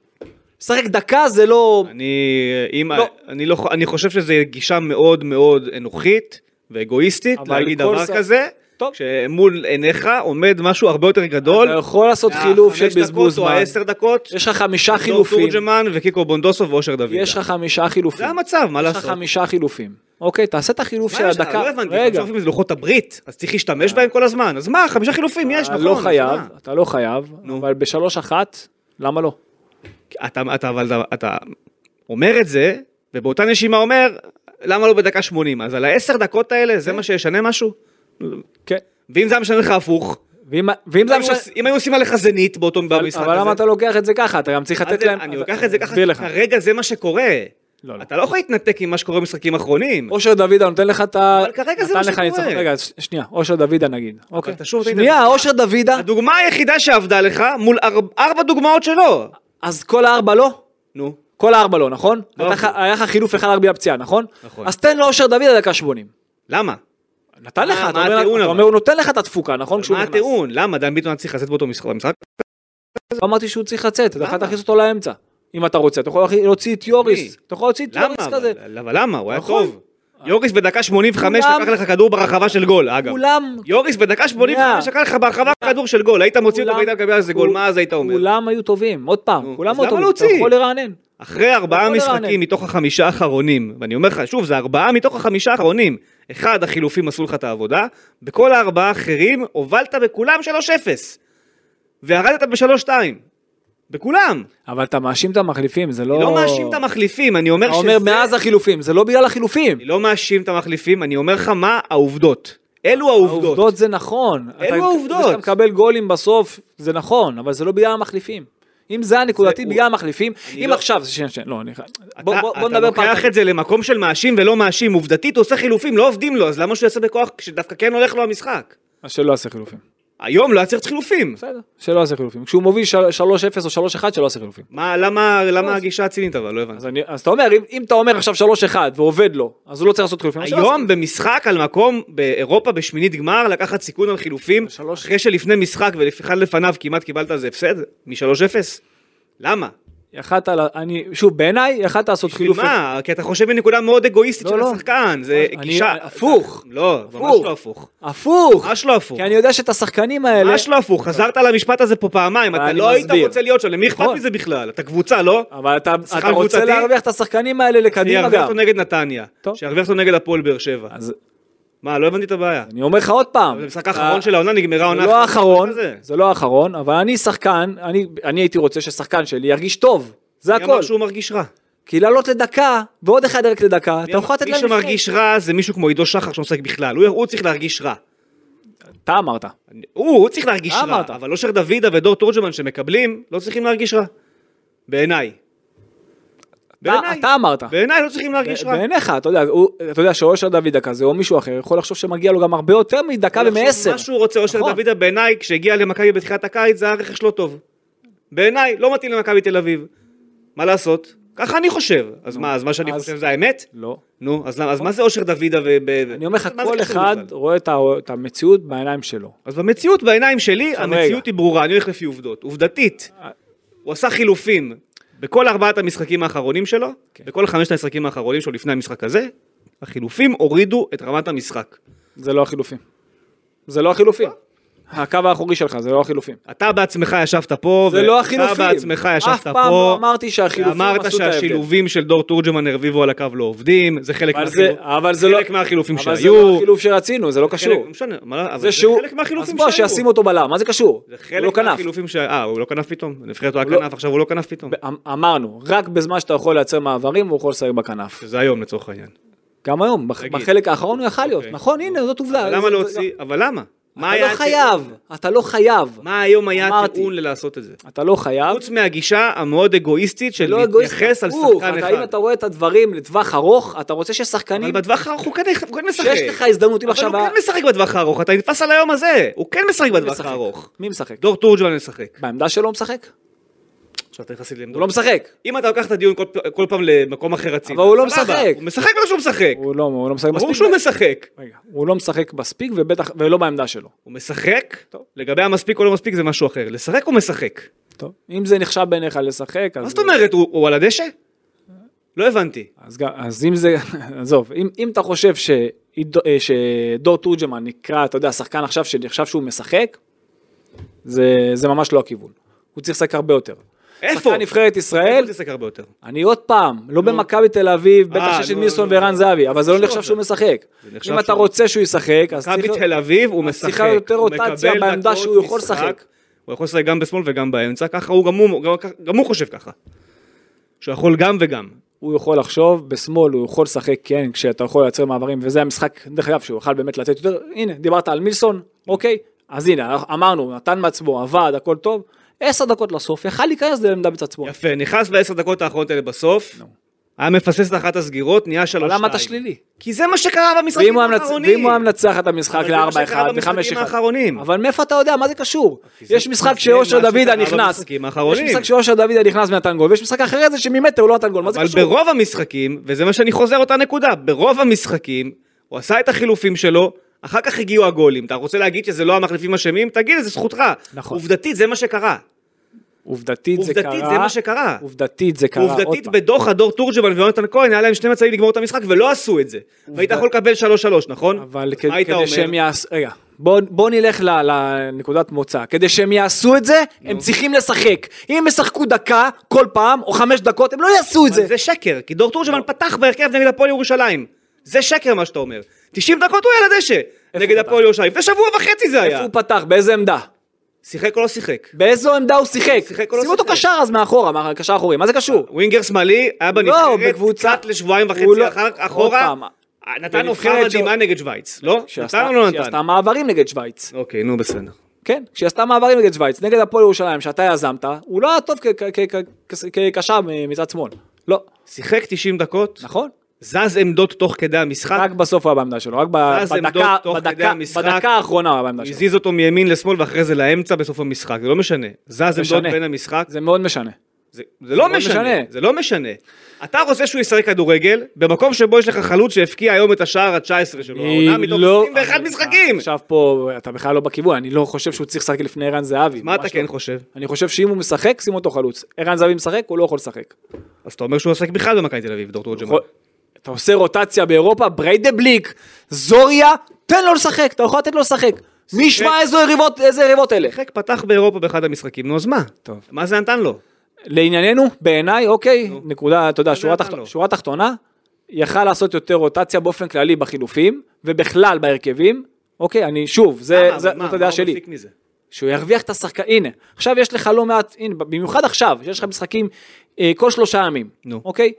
Speaker 3: לשחק דקה זה לא...
Speaker 2: אני, אם,
Speaker 3: לא.
Speaker 2: אני, לא, ח- אני חושב שזו גישה מאוד מאוד אנוכית ואגואיסטית
Speaker 3: אבל
Speaker 2: להגיד
Speaker 3: כל
Speaker 2: דבר
Speaker 3: ש-
Speaker 2: כזה,
Speaker 3: טוב.
Speaker 2: כשמול עיניך עומד משהו הרבה יותר גדול.
Speaker 3: אתה יכול לעשות חילוף של
Speaker 2: החמש
Speaker 3: בזבוז
Speaker 2: אה, דקות או
Speaker 3: זמן.
Speaker 2: עשר דקות.
Speaker 3: יש לך חמישה
Speaker 2: דור
Speaker 3: חילופים.
Speaker 2: תורג'מן וקיקו בונדוסוב ואושר דוד.
Speaker 3: יש לך חמישה חילופים.
Speaker 2: זה המצב, מה
Speaker 3: יש לך
Speaker 2: לעשות?
Speaker 3: חמישה חילופים. אוקיי, תעשה את החילוף
Speaker 2: מה
Speaker 3: של
Speaker 2: יש לך?
Speaker 3: הדקה.
Speaker 2: לא הבנתי,
Speaker 3: רגע,
Speaker 2: חמישה חילופים זה לוחות הברית, אז צריך להשתמש בהם כל הזמן. אז מה, חמישה חילופים יש,
Speaker 3: אתה
Speaker 2: נכון.
Speaker 3: לא
Speaker 2: אז
Speaker 3: חייב,
Speaker 2: מה?
Speaker 3: אתה לא חייב,
Speaker 2: נו.
Speaker 3: אבל בשלוש אחת, למה לא?
Speaker 2: אתה, אתה, אבל אתה, אתה אומר את זה, ובאותה נשימה אומר, למה לא בדקה 80? אז על העשר דקות האלה, זה מה שישנה משהו?
Speaker 3: כן.
Speaker 2: ואם זה היה משנה לך הפוך,
Speaker 3: ואם ואם זה...
Speaker 2: אם היו
Speaker 3: המש-
Speaker 2: עושים- אם היו עושים עליך זנית באותו לא, במשחק
Speaker 3: אבל למה
Speaker 2: הזה,
Speaker 3: אתה לוקח את זה ככה? אתה גם צריך
Speaker 2: אז
Speaker 3: לתת
Speaker 2: זה-
Speaker 3: להם...
Speaker 2: אני
Speaker 3: אז-
Speaker 2: לוקח את זה ככה,
Speaker 3: אסביר לך.
Speaker 2: כרגע זה מה שקורה.
Speaker 3: לא, לא.
Speaker 2: אתה לא יכול להתנתק עם מה שקורה במשחקים האחרונים.
Speaker 3: אושר דוידה נותן לך את ה...
Speaker 2: אבל כרגע זה
Speaker 3: נתן
Speaker 2: מה
Speaker 3: לך
Speaker 2: שקורה.
Speaker 3: ניצחון. רגע, ש- שנייה, אושר דוידה נגיד. אוקיי.
Speaker 2: אתה שוב נותן את
Speaker 3: שנייה,
Speaker 2: הדוגמה.
Speaker 3: אושר דוידה,
Speaker 2: הדוגמה היחידה שעבדה לך מול ארבע, ארבע דוגמאות שלו.
Speaker 3: אז כל הארבע לא?
Speaker 2: נו.
Speaker 3: כל הארבע לא, נכון?
Speaker 2: לא
Speaker 3: הייתה לך- היה לך חילוף אחד רק בלי הפציעה, נכון?
Speaker 2: נכון.
Speaker 3: אז תן לאושר דוידה דקה 80.
Speaker 2: למה?
Speaker 3: נתן
Speaker 2: מה-
Speaker 3: לך, אתה
Speaker 2: מה
Speaker 3: אומר-
Speaker 2: הטיעון
Speaker 3: אתה
Speaker 2: אבל?
Speaker 3: אומר, הוא נותן לך את התפוקה, נכון? כשהוא
Speaker 2: מה
Speaker 3: נכנס.
Speaker 2: הטיעון? למה דן ביטון היה צריך לצאת באותו משחק? במשחק?
Speaker 3: לא אמרתי שהוא צריך לצאת, אתה יכול
Speaker 2: למה?
Speaker 3: להכניס אותו לאמצע. אם אתה רוצה, אתה יכול להכי- להוציא את יוריס.
Speaker 2: מי?
Speaker 3: אתה יכול להוציא את
Speaker 2: למה?
Speaker 3: יוריס כזה.
Speaker 2: אבל אבל למה? הוא היה
Speaker 3: נכון.
Speaker 2: טוב. יוריס בדקה 85
Speaker 3: כולם-
Speaker 2: לקח לך כדור ברחבה של גול, אגב.
Speaker 3: כולם,
Speaker 2: יוריס בדקה 85 לקח לך ברחבה כדור של גול, היית מוציא אותו
Speaker 3: כולם-
Speaker 2: והיית מקבל על זה גול,
Speaker 3: כול-
Speaker 2: מה אז היית אומר?
Speaker 3: כולם היו טובים, עוד פעם,
Speaker 2: נו,
Speaker 3: כולם
Speaker 2: אז
Speaker 3: היו
Speaker 2: למה
Speaker 3: טובים. אתה
Speaker 2: להוציא?
Speaker 3: יכול לרענן.
Speaker 2: אחרי ארבעה
Speaker 3: יכול לרענן.
Speaker 2: משחקים מתוך החמישה האחרונים, ואני אומר לך, שוב, זה ארבעה מתוך החמישה האחרונים. אחד, החילופים עשו לך את העבודה, בכל הארבעה האחרים הובלת בכולם 3-0. וירדת ב-3-2. בכולם.
Speaker 3: אבל אתה מאשים את המחליפים, זה לא...
Speaker 2: אני לא מאשים את המחליפים, אני אומר
Speaker 3: אתה
Speaker 2: שזה...
Speaker 3: אומר מאז החילופים, זה לא בגלל החילופים.
Speaker 2: אני לא מאשים את המחליפים, אני אומר לך מה העובדות. אלו העובדות.
Speaker 3: העובדות זה נכון.
Speaker 2: לא אלו
Speaker 3: אתה-
Speaker 2: העובדות.
Speaker 3: זה שאתה מקבל גולים בסוף, זה נכון, אבל זה לא בגלל המחליפים. אם זה הנקודתי
Speaker 2: זה-
Speaker 3: בגלל המחליפים, אם
Speaker 2: לא-
Speaker 3: עכשיו, שנייה, שנייה, לא, אני... חי-
Speaker 2: אתה,
Speaker 3: בוא- בוא
Speaker 2: אתה
Speaker 3: בוא נדבר פעם.
Speaker 2: לוקח את זה למקום של מאשים ולא מאשים, עובדתית הוא עושה חילופים, לא עובדים לו, אז למה שהוא יעשה בכוח כשדווקא כן הולך לו המשחק?
Speaker 3: אז שלא יעשה חילופים.
Speaker 2: היום לא היה צריך חילופים.
Speaker 3: בסדר, שלא יעשה חילופים. כשהוא מוביל של- 3-0 או 3-1, שלא יעשה חילופים.
Speaker 2: מה, למה, למה הגישה הצינית אבל? לא הבנתי.
Speaker 3: אז אני- אז אתה אומר, אם- אם אתה אומר עכשיו 3-1 ועובד לו, אז הוא לא צריך לעשות חילופים. אז שלא יעשה
Speaker 2: היום במשחק על מקום באירופה בשמינית גמר לקחת סיכון על חילופים
Speaker 3: שלוש-
Speaker 2: אחרי שלפני משחק ולפיכן לפניו כמעט קיבלת על זה הפסד מ-3-0? למה?
Speaker 3: יכלת, לה- אני, שוב, בעיניי, יכלת לעשות
Speaker 2: כאילו
Speaker 3: חילופים.
Speaker 2: מה? כי אתה חושב מנקודה מאוד אגואיסטית
Speaker 3: לא,
Speaker 2: של
Speaker 3: לא.
Speaker 2: השחקן, זה
Speaker 3: אני-
Speaker 2: גישה...
Speaker 3: הפוך.
Speaker 2: לא, ממש
Speaker 3: הפוך.
Speaker 2: לא הפוך.
Speaker 3: הפוך!
Speaker 2: ממש לא הפוך.
Speaker 3: כי אני יודע שאת השחקנים האלה...
Speaker 2: ממש לא הפוך, חזרת על המשפט הזה פה פעמיים, אתה
Speaker 3: אני
Speaker 2: לא היית
Speaker 3: מסביר.
Speaker 2: רוצה להיות שם, למי אכפת
Speaker 3: נכון.
Speaker 2: מזה בכלל? אתה קבוצה, לא?
Speaker 3: אבל אתה אתה
Speaker 2: שחקן
Speaker 3: רוצה
Speaker 2: קבוצתי?
Speaker 3: להרוויח את השחקנים האלה לקדימה
Speaker 2: שירוויח
Speaker 3: גם.
Speaker 2: אותו נגד נתניה,
Speaker 3: טוב.
Speaker 2: שירוויח אותו נגד הפועל באר שבע.
Speaker 3: אז
Speaker 2: מה, לא הבנתי את הבעיה.
Speaker 3: אני אומר לך עוד פעם.
Speaker 2: זה המשחק
Speaker 3: אתה-
Speaker 2: האחרון של העונה, נגמרה
Speaker 3: זה
Speaker 2: העונה.
Speaker 3: לא
Speaker 2: אחרי
Speaker 3: האחרון,
Speaker 2: המשחק הזה.
Speaker 3: זה לא האחרון, אבל אני שחקן, אני- אני הייתי רוצה ששחקן שלי ירגיש טוב. זה
Speaker 2: מי אמר
Speaker 3: הכל.
Speaker 2: שהוא מרגיש רע?
Speaker 3: כי לעלות לדקה, ועוד אחד ירק לדקה, אתה יכול לתת להם
Speaker 2: מי שמרגיש רע זה מישהו כמו עידו שחר שעוסק בכלל, הוא- הוא צריך להרגיש רע.
Speaker 3: אתה אמרת.
Speaker 2: אני- הוא הוא צריך להרגיש
Speaker 3: אתה
Speaker 2: רע,
Speaker 3: אה, אמרת.
Speaker 2: אבל אושר דוידה ודור תורג'מן שמקבלים, לא צריכים להרגיש רע. בעיניי.
Speaker 3: אתה
Speaker 2: בעיניי.
Speaker 3: אתה אמרת.
Speaker 2: בעיניי לא צריכים להרגיש רע.
Speaker 3: בעיניך, אתה יודע, הוא- אתה יודע שאושר דוד דקה זה, או מישהו אחר, יכול לחשוב שמגיע לו גם הרבה יותר מדקה
Speaker 2: הוא יחשוב
Speaker 3: ומעשר.
Speaker 2: מה שהוא לא רוצה, אושר
Speaker 3: נכון.
Speaker 2: דוידה בעיניי, כשהגיע למכבי בתחילת הקיץ, זה היה רכש לא טוב. בעיניי, לא מתאים למכבי תל אביב. מה לעשות? ככה אני חושב. אז מה, אז מה שאני
Speaker 3: אז-
Speaker 2: חושב זה האמת?
Speaker 3: לא.
Speaker 2: נו, אז למה- אז מה זה אושר דוידה ו... ב-
Speaker 3: אני אומר לך,
Speaker 2: מה זה
Speaker 3: כל
Speaker 2: קשור
Speaker 3: אחד
Speaker 2: בכלל?
Speaker 3: רואה את ה- את המציאות בעיניים שלו.
Speaker 2: אז במציאות, בעיניים שלי,
Speaker 3: עכשיו,
Speaker 2: המציאות
Speaker 3: רגע.
Speaker 2: היא ברורה, אני הולך לפי עובדות. עובדתית,
Speaker 3: אה.
Speaker 2: הוא עשה חילופים בכל ארבעת המשחקים האחרונים שלו,
Speaker 3: כן.
Speaker 2: בכל חמשת המשחקים האחרונים שלו לפני המשחק הזה, החילופים הורידו את רמת המשחק.
Speaker 3: זה לא החילופים. זה לא החילופים. הקו האחורי שלך, זה לא החילופים.
Speaker 2: אתה בעצמך ישבת פה,
Speaker 3: זה לא החילופים.
Speaker 2: אתה בעצמך ישבת פה,
Speaker 3: אף פעם לא אמרתי שהחילופים
Speaker 2: אמרת
Speaker 3: עשו את ההבדל.
Speaker 2: שהשילובים של דור תורג'מן הרביבו על הקו לא עובדים, זה חלק
Speaker 3: אבל זה-
Speaker 2: מהחילופ-
Speaker 3: אבל זה לא...
Speaker 2: חלק מהחילופים
Speaker 3: אבל זה לא
Speaker 2: שהיו.
Speaker 3: החילוף שרצינו, זה לא
Speaker 2: חלק-
Speaker 3: קשור.
Speaker 2: לא משנה, מה- אבל
Speaker 3: זה
Speaker 2: זה
Speaker 3: שהוא...
Speaker 2: חלק מהחילופים
Speaker 3: אז בוא,
Speaker 2: שהיו.
Speaker 3: שישים אותו בלם, מה זה קשור?
Speaker 2: זה
Speaker 3: הוא לא
Speaker 2: חלק
Speaker 3: כנף.
Speaker 2: מהחילופים ש... אה, הוא לא כנף פתאום? נבחרת הוא
Speaker 3: הוא
Speaker 2: היה
Speaker 3: לא-
Speaker 2: כנף, עכשיו הוא לא כנף פתאום.
Speaker 3: אמ- אמרנו, רק בזמן שאתה יכול לייצר מעברים, הוא יכול לשחק בכנף.
Speaker 2: שזה היום לצורך העניין.
Speaker 3: אה, גם היום, בח-
Speaker 2: תגיד.
Speaker 3: בחלק האחרון הוא יכל להיות.
Speaker 2: אוקיי.
Speaker 3: נכון, הנה, זאת עובדה.
Speaker 2: אבל
Speaker 3: זה-
Speaker 2: למה
Speaker 3: זה-
Speaker 2: להוציא? אבל למה? מה
Speaker 3: אתה
Speaker 2: היה
Speaker 3: לא
Speaker 2: הטיעון?
Speaker 3: חייב, אתה לא חייב.
Speaker 2: מה היום היה
Speaker 3: אמרתי.
Speaker 2: הטיעון ללעשות את זה?
Speaker 3: אתה לא חייב.
Speaker 2: חוץ מהגישה המאוד אגואיסטית של
Speaker 3: לא אגואיסט,
Speaker 2: להתייחס על
Speaker 3: הפוך,
Speaker 2: שחקן
Speaker 3: אתה-
Speaker 2: אחד.
Speaker 3: אם אתה רואה את הדברים לטווח ארוך, אתה רוצה
Speaker 2: אבל
Speaker 3: ששחקנים,
Speaker 2: בטווח הארוך הוא כן הוא כן משחק.
Speaker 3: שיש לך הזדמנות, אם
Speaker 2: אבל
Speaker 3: עכשיו...
Speaker 2: הוא
Speaker 3: ה-
Speaker 2: כן משחק בטווח הארוך, אתה נתפס על היום הזה. הוא כן משחק
Speaker 3: מי
Speaker 2: בטווח
Speaker 3: משחק?
Speaker 2: הארוך.
Speaker 3: מי משחק?
Speaker 2: דור תורג'מן משחק.
Speaker 3: בעמדה שלו הוא משחק?
Speaker 2: עכשיו אתה נכנס לי
Speaker 3: הוא
Speaker 2: לעמדות.
Speaker 3: לא משחק.
Speaker 2: אם אתה לוקח את הדיון כל פ- כל פעם למקום אחר הצידה.
Speaker 3: אבל הוא לא
Speaker 2: סבבה.
Speaker 3: משחק.
Speaker 2: הוא משחק או שהוא משחק?
Speaker 3: הוא לא, הוא לא משחק מספיק.
Speaker 2: ברור שהוא משחק.
Speaker 3: רגע, הוא לא משחק מספיק ובטח, ולא בעמדה שלו.
Speaker 2: הוא משחק,
Speaker 3: טוב.
Speaker 2: לגבי המספיק או לא מספיק זה משהו אחר. לשחק הוא משחק.
Speaker 3: טוב. אם זה נחשב בעיניך לשחק, אז...
Speaker 2: מה זאת אומרת, הוא הוא על הדשא? לא הבנתי.
Speaker 3: אז, גם, אז אם זה, עזוב, אם, אם אתה חושב שעידו- אה, שדור תורג'מן נקרא, אתה יודע, שחקן עכשיו שנחשב שהוא משחק, זה, זה ממש לא הכיוון. הוא צריך לשחק הרבה יותר.
Speaker 2: איפה?
Speaker 3: שחקן נבחרת
Speaker 2: איפה
Speaker 3: ישראל,
Speaker 2: תשחק הרבה יותר?
Speaker 3: אני עוד פעם, לא במכבי תל אביב, בטח
Speaker 2: אה,
Speaker 3: שיש את
Speaker 2: נו,
Speaker 3: מילסון
Speaker 2: נו,
Speaker 3: וערן זהבי, אבל זה לא
Speaker 2: נחשוב
Speaker 3: נחשב
Speaker 2: על זה.
Speaker 3: שהוא משחק.
Speaker 2: זה נחשב
Speaker 3: אם אתה
Speaker 2: שהוא-
Speaker 3: רוצה שהוא ישחק, אז
Speaker 2: מכבי
Speaker 3: צריך...
Speaker 2: תל אביב הוא
Speaker 3: אז
Speaker 2: משחק.
Speaker 3: צריכה יותר
Speaker 2: הוא
Speaker 3: רוטציה
Speaker 2: מקבל
Speaker 3: בעמדה
Speaker 2: דקות
Speaker 3: שהוא יכול
Speaker 2: משחק.
Speaker 3: לשחק.
Speaker 2: הוא יכול לשחק גם בשמאל וגם באמצע, ככה הוא גם הוא, גם, גם הוא חושב ככה. שהוא יכול גם וגם.
Speaker 3: הוא יכול לחשוב, בשמאל הוא יכול לשחק כן, כשאתה יכול לייצר מעברים, וזה המשחק, דרך אגב, שהוא יוכל באמת לתת יותר, הנה, דיברת על מילסון, אוקיי, אז הנה, אמרנו, נתן מעצמו, עבד, הכל טוב, עשר דקות לסוף, יכל להיכנס לעמדה בצד שמאל,
Speaker 2: יפה, נכנס בעשר דקות האחרונות האלה בסוף, היה מפסס את אחת הסגירות, נהיה שלוש
Speaker 3: אבל
Speaker 2: שתיים.
Speaker 3: למה אתה שלילי?
Speaker 2: כי זה מה שקרה
Speaker 3: ואם
Speaker 2: במשחקים
Speaker 3: הוא היה מנצ-
Speaker 2: האחרונים.
Speaker 3: ואם הוא היה מנצח את המשחק
Speaker 2: אבל זה מה
Speaker 3: ל-4-1,
Speaker 2: שקרה במשחקים
Speaker 3: ל-5-1,
Speaker 2: האחרונים.
Speaker 3: אבל מאיפה אתה יודע, מה זה קשור?
Speaker 2: זה-
Speaker 3: יש משחק
Speaker 2: זה
Speaker 3: שאושר
Speaker 2: מה
Speaker 3: דוידה
Speaker 2: שקרה
Speaker 3: נכנס,
Speaker 2: במשחקים
Speaker 3: יש
Speaker 2: האחרונים.
Speaker 3: משחק שאושר דוידה נכנס ונתן גול, ויש משחק אחרי זה שממטר הוא לא נתן גול, מה זה
Speaker 2: אבל
Speaker 3: קשור?
Speaker 2: ברוב המשחקים, וזה מה שאני חוזר אותה נקודה, ברוב המשחקים, הוא עשה את החילופים שלו, אחר כך הגיעו הגולים. אתה רוצה להגיד שזה לא המחליפים אשמים? תגיד, זה זכותך.
Speaker 3: נכון.
Speaker 2: עובדתית, זה מה שקרה.
Speaker 3: עובדתית זה
Speaker 2: עובדתית, זה
Speaker 3: קרה,
Speaker 2: מה שקרה.
Speaker 3: עובדתית זה קרה, עוד
Speaker 2: עובדתית
Speaker 3: פעם.
Speaker 2: בדוחה דור תורג'מן ויונתן כהן היה להם שני מצבים לגמור את המשחק ולא עשו את זה. והיית יכול לקבל 3-3 נכון?
Speaker 3: אבל
Speaker 2: אז
Speaker 3: כ-
Speaker 2: מה היית
Speaker 3: כדי
Speaker 2: אומר?
Speaker 3: שהם יעשו, רגע, בוא, בוא נלך ל- לנקודת מוצא, כדי שהם יעשו את זה, הם צריכים לשחק. אם הם ישחקו דקה כל פעם, או חמש דקות, הם לא יעשו את
Speaker 2: אבל
Speaker 3: זה.
Speaker 2: זה שקר, כי דור
Speaker 3: לא.
Speaker 2: תורג'מן פתח בהרכב נגד הפועל ירושלים. זה שקר מה שאתה אומר. 90 דקות הוא היה על הדשא נגד
Speaker 3: הוא
Speaker 2: הפועל ירושלים. לפני שבוע וחצי זה
Speaker 3: איפה
Speaker 2: היה.
Speaker 3: הוא פתח, באיזה עמדה?
Speaker 2: שיחק או לא שיחק?
Speaker 3: באיזו עמדה הוא שיחק?
Speaker 2: שיחק או לא
Speaker 3: שים אותו
Speaker 2: שיחק? אה,
Speaker 3: קשר אז מאחורה, מה- קשר אחורי, מה זה קשור?
Speaker 2: ווינגר שמאלי היה בנבחרת,
Speaker 3: לא, בקבוצה-
Speaker 2: קצת לשבועיים
Speaker 3: הוא
Speaker 2: וחצי
Speaker 3: לא-
Speaker 2: אחר-
Speaker 3: עוד
Speaker 2: אחורה.
Speaker 3: פעם,
Speaker 2: נתן הופעה
Speaker 3: בנבחרת
Speaker 2: מדהימה נגד שווייץ, לא? נתן
Speaker 3: כשעשתה
Speaker 2: או לא נתן?
Speaker 3: כשעשתה מעברים נגד שווייץ.
Speaker 2: אוקיי, נו בסדר.
Speaker 3: כן, כשהיא עשתה מעברים נגד שווייץ, נגד הפועל ירושלים שאתה יזמת, הוא לא היה טוב כ- כ- כ- כ- כקשר מ- מצד שמאל. לא,
Speaker 2: שיחק 90 דקות,
Speaker 3: נכון?
Speaker 2: זז עמדות תוך כדי המשחק,
Speaker 3: רק בסוף הוא היה בעמדה שלו, רק ב-
Speaker 2: ואז עמדות
Speaker 3: בדקה,
Speaker 2: תוך כדי
Speaker 3: בדקה,
Speaker 2: המשחק.
Speaker 3: בדקה האחרונה הוא היה בעמדה שלו.
Speaker 2: הזיז אותו מימין לשמאל ואחרי זה לאמצע בסוף המשחק, זה לא משנה. זז עמדות
Speaker 3: משנה.
Speaker 2: בין המשחק,
Speaker 3: זה מאוד משנה.
Speaker 2: זה זה לא
Speaker 3: מאוד
Speaker 2: משנה,
Speaker 3: משנה.
Speaker 2: זה לא משנה. אתה רוצה שהוא ישחק כדורגל, במקום שבו יש לך חלוץ שהפקיע היום את השער ה-19 שלו, העונה
Speaker 3: אני
Speaker 2: מתוך
Speaker 3: לא-
Speaker 2: 21
Speaker 3: אני-
Speaker 2: משחקים.
Speaker 3: עכשיו פה, אתה בכלל לא בכיוון, אני לא חושב שהוא צריך לשחק לפני ערן זהבי.
Speaker 2: מה
Speaker 3: ממש
Speaker 2: אתה
Speaker 3: לא.
Speaker 2: כן חושב?
Speaker 3: אני חושב שאם הוא משחק, שים אותו חלוץ. ערן זהבי משחק, הוא לא יכול לשחק.
Speaker 2: אז אתה אומר שהוא עוסק בכלל במכבי תל אביב, דור תורג'מן.
Speaker 3: יכול- אתה עושה רוטציה באירופה, בריידבליק, זוריה, תן לו לשחק, אתה יכול לתת לו לשחק. מי ישמע איזה יריבות, איזה יריבות אלה.
Speaker 2: שיחק פתח באירופה באחד המשחקים, נו אז מה?
Speaker 3: טוב.
Speaker 2: מה זה נתן לו?
Speaker 3: לענייננו, בעיניי, אוקיי,
Speaker 2: נו.
Speaker 3: נקודה, אתה יודע, לא.
Speaker 2: זה
Speaker 3: שורה
Speaker 2: נתן
Speaker 3: תחת-
Speaker 2: לו.
Speaker 3: שורה תחתונה, יכל לעשות יותר רוטציה באופן כללי בחילופים, ובכלל בהרכבים, אוקיי, אני שוב, זה-
Speaker 2: למה?
Speaker 3: זה-
Speaker 2: אבל מה?
Speaker 3: זאת
Speaker 2: מה
Speaker 3: הדעה
Speaker 2: הוא
Speaker 3: שלי,
Speaker 2: מפיק מזה?
Speaker 3: שהוא ירוויח את השחקן, הנה, עכשיו יש לך לא מעט, הנה, במיוחד עכשיו, שיש לך משחקים אה, כל שלושה ימים,
Speaker 2: נו.
Speaker 3: אוקיי?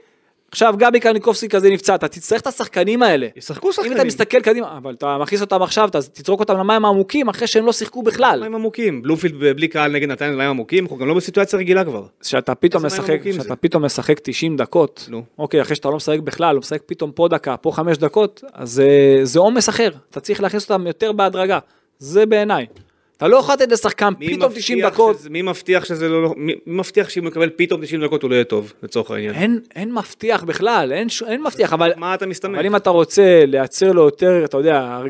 Speaker 3: עכשיו גבי קניקובסקי כזה נפצע, אתה תצטרך את השחקנים האלה.
Speaker 2: ישחקו
Speaker 3: אם
Speaker 2: שחקנים.
Speaker 3: אתה מסתכל קדימה, אבל אתה מכניס אותם עכשיו, אתה תזרוק אותם למים העמוקים אחרי שהם לא שיחקו בכלל.
Speaker 2: מים עמוקים. בלומפילד ב- בלי קהל נגד נתניה מים עמוקים, אנחנו גם לא בסיטואציה רגילה כבר.
Speaker 3: שאתה פתאום
Speaker 2: איזה מים
Speaker 3: משחק,
Speaker 2: עמוקים
Speaker 3: שאתה
Speaker 2: זה?
Speaker 3: פתאום משחק 90 דקות,
Speaker 2: נו.
Speaker 3: אוקיי, אחרי שאתה לא משחק בכלל, לא משחק פתאום פה דקה, פה חמש דקות, אז אה, זה עומס אחר, אתה צריך להכניס אותם יותר בהדרגה, זה בעיניי. אתה לא יכול לתת לשחקן
Speaker 2: מי
Speaker 3: פתאום
Speaker 2: מבטיח
Speaker 3: 90 דקות,
Speaker 2: שזה- מי מבטיח שזה לא... לא- מי מי מבטיח שאם הוא יקבל פתאום 90 דקות הוא לא יהיה טוב, לצורך העניין.
Speaker 3: אין, אין מבטיח בכלל, אין, ש- אין מבטיח, אבל,
Speaker 2: מה אתה מסתמך?
Speaker 3: אבל אם אתה רוצה לייצר לו יותר, אתה יודע, הר-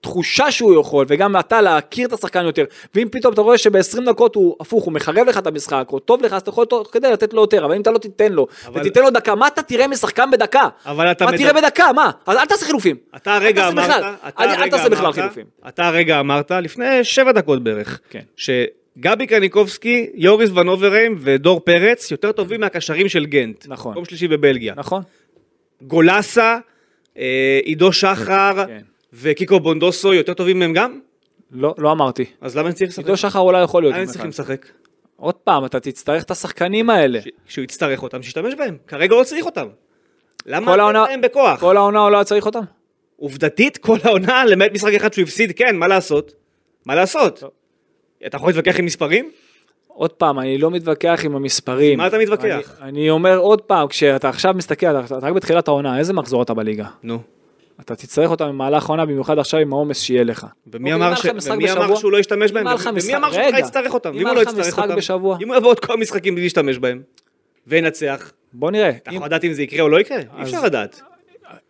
Speaker 3: תחושה שהוא יכול, וגם אתה להכיר את השחקן יותר, ואם פתאום אתה רואה שב-20 דקות הוא הפוך, הוא מחרב לך את המשחק, או טוב לך, אז אתה יכול תוך כדי לתת לו יותר, אבל אם אתה לא תיתן לו,
Speaker 2: אבל-
Speaker 3: ותיתן לו דקה, מה אתה תראה משחקן בדקה?
Speaker 2: אבל אתה
Speaker 3: מה
Speaker 2: מדבר-
Speaker 3: תראה בדקה, מה? אז אל תעשה חילופים.
Speaker 2: אתה הרגע
Speaker 3: אל תעשה
Speaker 2: אמרת,
Speaker 3: בכלל-
Speaker 2: אתה
Speaker 3: אל- אל
Speaker 2: הרגע
Speaker 3: תעשה בכלל
Speaker 2: אמרת-
Speaker 3: חילופים.
Speaker 2: אתה הרגע אמרת, לפני שבע דקות בערך,
Speaker 3: כן.
Speaker 2: שגבי קניקובסקי, יוריס ון אוברהיים ודור פרץ יותר טובים מהקשרים של גנט.
Speaker 3: Mm-hmm. נכון.
Speaker 2: מקום שלישי בבלגיה.
Speaker 3: נכון.
Speaker 2: גולסה, אה, עידו שחר
Speaker 3: כן.
Speaker 2: וקיקו בונדוסו יותר טובים מהם גם?
Speaker 3: לא, לא אמרתי.
Speaker 2: אז למה הם צריכים לשחק?
Speaker 3: עידו שחר אולי יכול להיות.
Speaker 2: למה הם
Speaker 3: עם
Speaker 2: צריכים
Speaker 3: אחד.
Speaker 2: לשחק?
Speaker 3: עוד פעם, אתה תצטרך את השחקנים האלה.
Speaker 2: ש- כשהוא יצטרך אותם, שישתמש בהם. כרגע הוא לא צריך אותם. למה
Speaker 3: כל
Speaker 2: אתה
Speaker 3: העונה,
Speaker 2: להם בכוח?
Speaker 3: כל העונה הוא לא היה צריך אותם?
Speaker 2: עובדתית, כל העונה, למעט משחק אחד שהוא הפסיד, כן, מה לעשות? מה לעשות?
Speaker 3: טוב.
Speaker 2: אתה יכול להתווכח עם מספרים?
Speaker 3: עוד פעם, אני לא מתווכח עם המספרים.
Speaker 2: מה אתה מתווכח?
Speaker 3: אני, אני אומר עוד פעם, כשאתה עכשיו מסתכל, אתה, אתה רק בתחילת העונה, איזה מחזור אתה בליגה?
Speaker 2: נו.
Speaker 3: אתה תצטרך אותם במהלך העונה, במיוחד עכשיו עם העומס שיהיה לך.
Speaker 2: ומי אמר, ש...
Speaker 3: אוקיי, אם היה לך משחק
Speaker 2: ומי אמר
Speaker 3: בשבוע-
Speaker 2: שהוא לא ישתמש בהם?
Speaker 3: אם היה לך
Speaker 2: ומי
Speaker 3: משחק-
Speaker 2: אמר שהוא
Speaker 3: רגע,
Speaker 2: בכלל יצטרך אותם?
Speaker 3: אם
Speaker 2: ואם הוא
Speaker 3: היה
Speaker 2: לא
Speaker 3: לך
Speaker 2: יצטרך
Speaker 3: משחק
Speaker 2: אותם?
Speaker 3: בשבוע.
Speaker 2: אם הוא יבוא עוד כמה משחקים בלי להשתמש בהם, וינצח,
Speaker 3: בוא נראה.
Speaker 2: אתה
Speaker 3: אם-
Speaker 2: יכול לדעת אם זה יקרה או לא יקרה? אי
Speaker 3: אז-
Speaker 2: אפשר לדעת.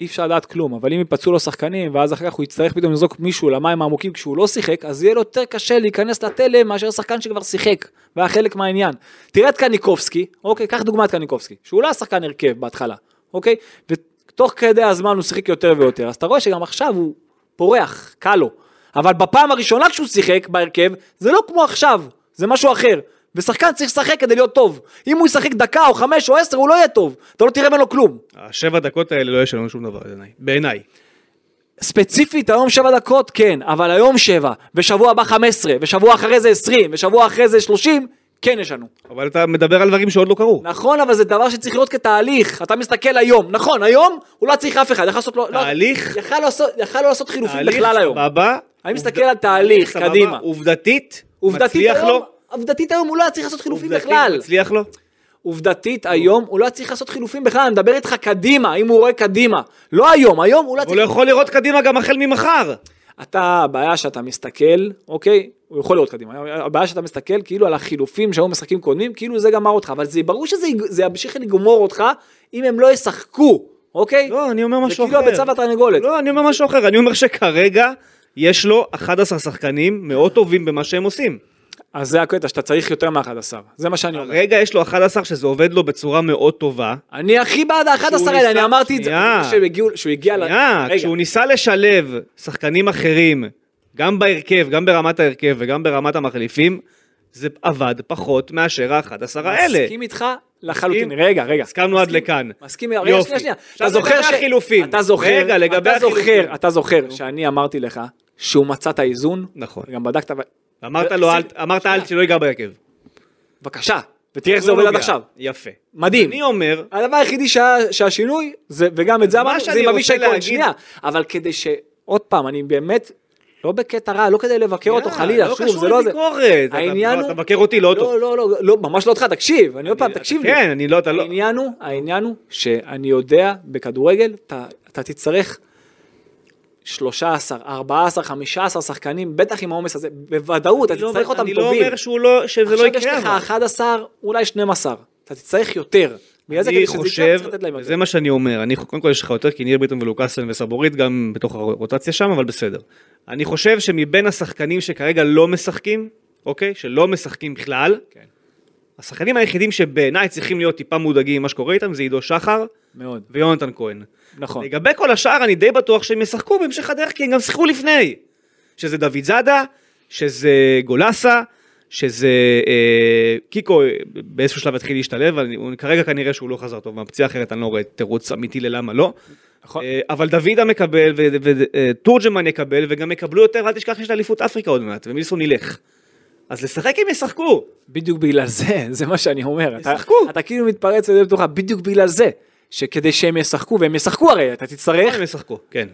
Speaker 3: אי אפשר לדעת כלום, אבל אם ייפצעו לו שחקנים, ואז אחר כך הוא יצטרך פתאום לזרוק מישהו למים העמוקים כשהוא לא שיחק, אז יהיה לו יותר קשה להיכנס לתלם מאשר שחקן שכבר שיחק, והיה חלק מהעניין. תראה את קניקובסקי, אוקיי, קח דוגמא את קניקובסקי, שהוא לא היה שחקן הרכב בהתחלה, אוקיי? ותוך כדי הזמן הוא שיחק יותר ויותר, אז אתה רואה שגם עכשיו הוא פורח, קל לו. אבל בפעם הראשונה כשהוא שיחק בהרכב, זה לא כמו עכשיו, זה משהו אחר. ושחקן צריך לשחק כדי להיות טוב. אם הוא ישחק דקה או חמש או עשר, הוא לא יהיה טוב. אתה לא תראה ממנו כלום.
Speaker 2: השבע דקות האלה לא ישנו שום דבר בעיניי. בעיניי.
Speaker 3: ספציפית היום שבע דקות כן, אבל היום שבע, ושבוע הבא חמש עשרה, ושבוע אחרי זה עשרים, ושבוע אחרי זה שלושים, כן ישנו.
Speaker 2: אבל אתה מדבר על דברים שעוד לא קרו.
Speaker 3: נכון, אבל זה דבר שצריך להיות כתהליך, אתה מסתכל היום, נכון, היום הוא לא צריך אף אחד, יכל לעשות לו, לא,
Speaker 2: תהליך?
Speaker 3: יכל לעשות- יכל לא לעשות חילופים
Speaker 2: תהליך
Speaker 3: בכלל היום.
Speaker 2: סבבה.
Speaker 3: אני מסתכל
Speaker 2: עובד-
Speaker 3: על תהליך,
Speaker 2: סבבה,
Speaker 3: קדימה.
Speaker 2: עובדתית,
Speaker 3: עובדתית
Speaker 2: מצליח
Speaker 3: היום,
Speaker 2: לו.
Speaker 3: עובדתית היום הוא לא היה צריך לעשות חילופים
Speaker 2: עובדתית,
Speaker 3: בכלל.
Speaker 2: מצליח לו.
Speaker 3: עובדתית היום הוא לא היה צריך לעשות חילופים בכלל, אני מדבר איתך קדימה, אם הוא רואה קדימה. לא היום, היום הוא לא היה
Speaker 2: הוא
Speaker 3: צריך...
Speaker 2: לא יכול לראות קדימה גם החל ממחר.
Speaker 3: אתה, הבעיה שאתה מסתכל, אוקיי, הוא יכול לראות קדימה, הבעיה שאתה מסתכל כאילו על החילופים שהיו משחקים קודמים, כאילו זה גמר אותך, אבל זה ברור שזה יג- זה ימשיך לגמור אותך אם הם לא ישחקו, אוקיי?
Speaker 2: לא, אני אומר משהו אחר.
Speaker 3: זה כאילו הביצה והתרנגולת.
Speaker 2: לא, אני אומר משהו אחר. אני אומר שכרגע יש לו 11 שחקנים מאוד טובים במה שהם עושים.
Speaker 3: אז זה הקטע, שאתה צריך יותר מ-11, זה מה שאני אומר.
Speaker 2: כרגע יש לו 11 שזה עובד לו בצורה מאוד טובה.
Speaker 3: אני הכי בעד ה-11 האלה,
Speaker 2: ניסה-
Speaker 3: אני אמרתי את זה,
Speaker 2: שנייה.
Speaker 3: כשהם הגיעו- שהוא הגיע ל...
Speaker 2: שנייה,
Speaker 3: רגע,
Speaker 2: כשהוא ניסה לשלב שחקנים אחרים, גם בהרכב, גם ברמת ההרכב וגם ברמת המחליפים, זה עבד פחות מאשר ה-11 האלה.
Speaker 3: מסכים איתך לחלוטין,
Speaker 2: מסכים?
Speaker 3: רגע, רגע.
Speaker 2: הסכמנו עד
Speaker 3: מסכים-
Speaker 2: לכאן.
Speaker 3: מסכים, רגע,
Speaker 2: יופי.
Speaker 3: שנייה, שנייה.
Speaker 2: עכשיו
Speaker 3: אתה זוכר
Speaker 2: לגבי החילופים.
Speaker 3: אתה זוכר,
Speaker 2: רגע, לגבי
Speaker 3: אתה
Speaker 2: החילופים.
Speaker 3: זוכר, אתה זוכר שאני אמרתי לך שהוא מצא את האיזון,
Speaker 2: נכון.
Speaker 3: גם בדקת, אבל-
Speaker 2: אמרת לו,
Speaker 3: שים-
Speaker 2: אל- אמרת אל שלא ייגע בהרכב.
Speaker 3: בבקשה, ותראה איך זה עובד עד
Speaker 2: נוגע.
Speaker 3: עכשיו.
Speaker 2: יפה.
Speaker 3: מדהים.
Speaker 2: אני אומר,
Speaker 3: הדבר היחידי שה- שהשינוי, זה- וגם את זה
Speaker 2: מה
Speaker 3: אמרנו, זה
Speaker 2: שאני
Speaker 3: עם
Speaker 2: רוצה
Speaker 3: אבישי כהן,
Speaker 2: להגיד-
Speaker 3: שנייה, אבל כדי ש... עוד פעם, אני באמת, לא בקטע רע, לא כדי לבקר אותו
Speaker 2: יאללה,
Speaker 3: חלילה,
Speaker 2: לא
Speaker 3: שוב,
Speaker 2: קשור
Speaker 3: זה לא זה.
Speaker 2: לביקורת. אתה-
Speaker 3: העניין
Speaker 2: לא,
Speaker 3: הוא...
Speaker 2: אתה מבקר אותי, לא אותו.
Speaker 3: לא, לא, לא, לא, ממש לא אותך, תקשיב, אני עוד פעם,
Speaker 2: אתה-
Speaker 3: תקשיב לי.
Speaker 2: כן, אני לא, אתה לא...
Speaker 3: העניין הוא, העניין הוא שאני יודע בכדורגל, אתה, אתה תצטרך 13, 14, 15 שחקנים, בטח עם העומס הזה, בוודאות, אתה
Speaker 2: אני לא
Speaker 3: תצטרך
Speaker 2: אומר-
Speaker 3: אותם
Speaker 2: אני לא
Speaker 3: טובים.
Speaker 2: אומר שהוא לא- שזה לא
Speaker 3: עכשיו יש
Speaker 2: יקרה.
Speaker 3: לך
Speaker 2: אבל.
Speaker 3: 11, אולי 12, אתה תצטרך יותר. בגלל זה
Speaker 2: אני
Speaker 3: כדי שזה יקרה,
Speaker 2: חושב,
Speaker 3: צריך לתת להם יותר.
Speaker 2: זה מה שאני אומר, אני קודם כל יש לך יותר כי ניר ביטון ולוקאסן וסבורית גם בתוך הרוטציה שם, אבל בסדר. אני חושב שמבין השחקנים שכרגע לא משחקים, אוקיי? שלא משחקים בכלל,
Speaker 3: כן.
Speaker 2: השחקנים היחידים שבעיניי צריכים להיות טיפה מודאגים ממה שקורה איתם זה עידו שחר
Speaker 3: מאוד,
Speaker 2: ויונתן כהן.
Speaker 3: נכון.
Speaker 2: לגבי כל השאר אני די בטוח שהם ישחקו בהמשך הדרך כי הם גם שיחקו לפני. שזה דוד זאדה, שזה גולסה, שזה אה, קיקו אה, באיזשהו שלב התחיל להשתלב, אבל אני- הוא- כרגע כנראה שהוא לא חזר טוב מהפציעה אחרת אני לא רואה תירוץ אמיתי ללמה לא.
Speaker 3: נכון.
Speaker 2: אה, אבל דוידה מקבל ותורג'מן אה, יקבל וגם יקבלו יותר, אל תשכח שיש לאליפות אפריקה עוד מעט ומילסון ילך. אז לשחק הם ישחקו.
Speaker 3: בדיוק בגלל זה, זה מה שאני אומר. אתה-
Speaker 2: ישחקו.
Speaker 3: אתה כאילו מתפרץ לדלת פתוחה, בדיוק בגלל זה. שכדי שהם ישחקו, והם ישחקו הרי, אתה תצטרך
Speaker 2: הם ישחקו, כן.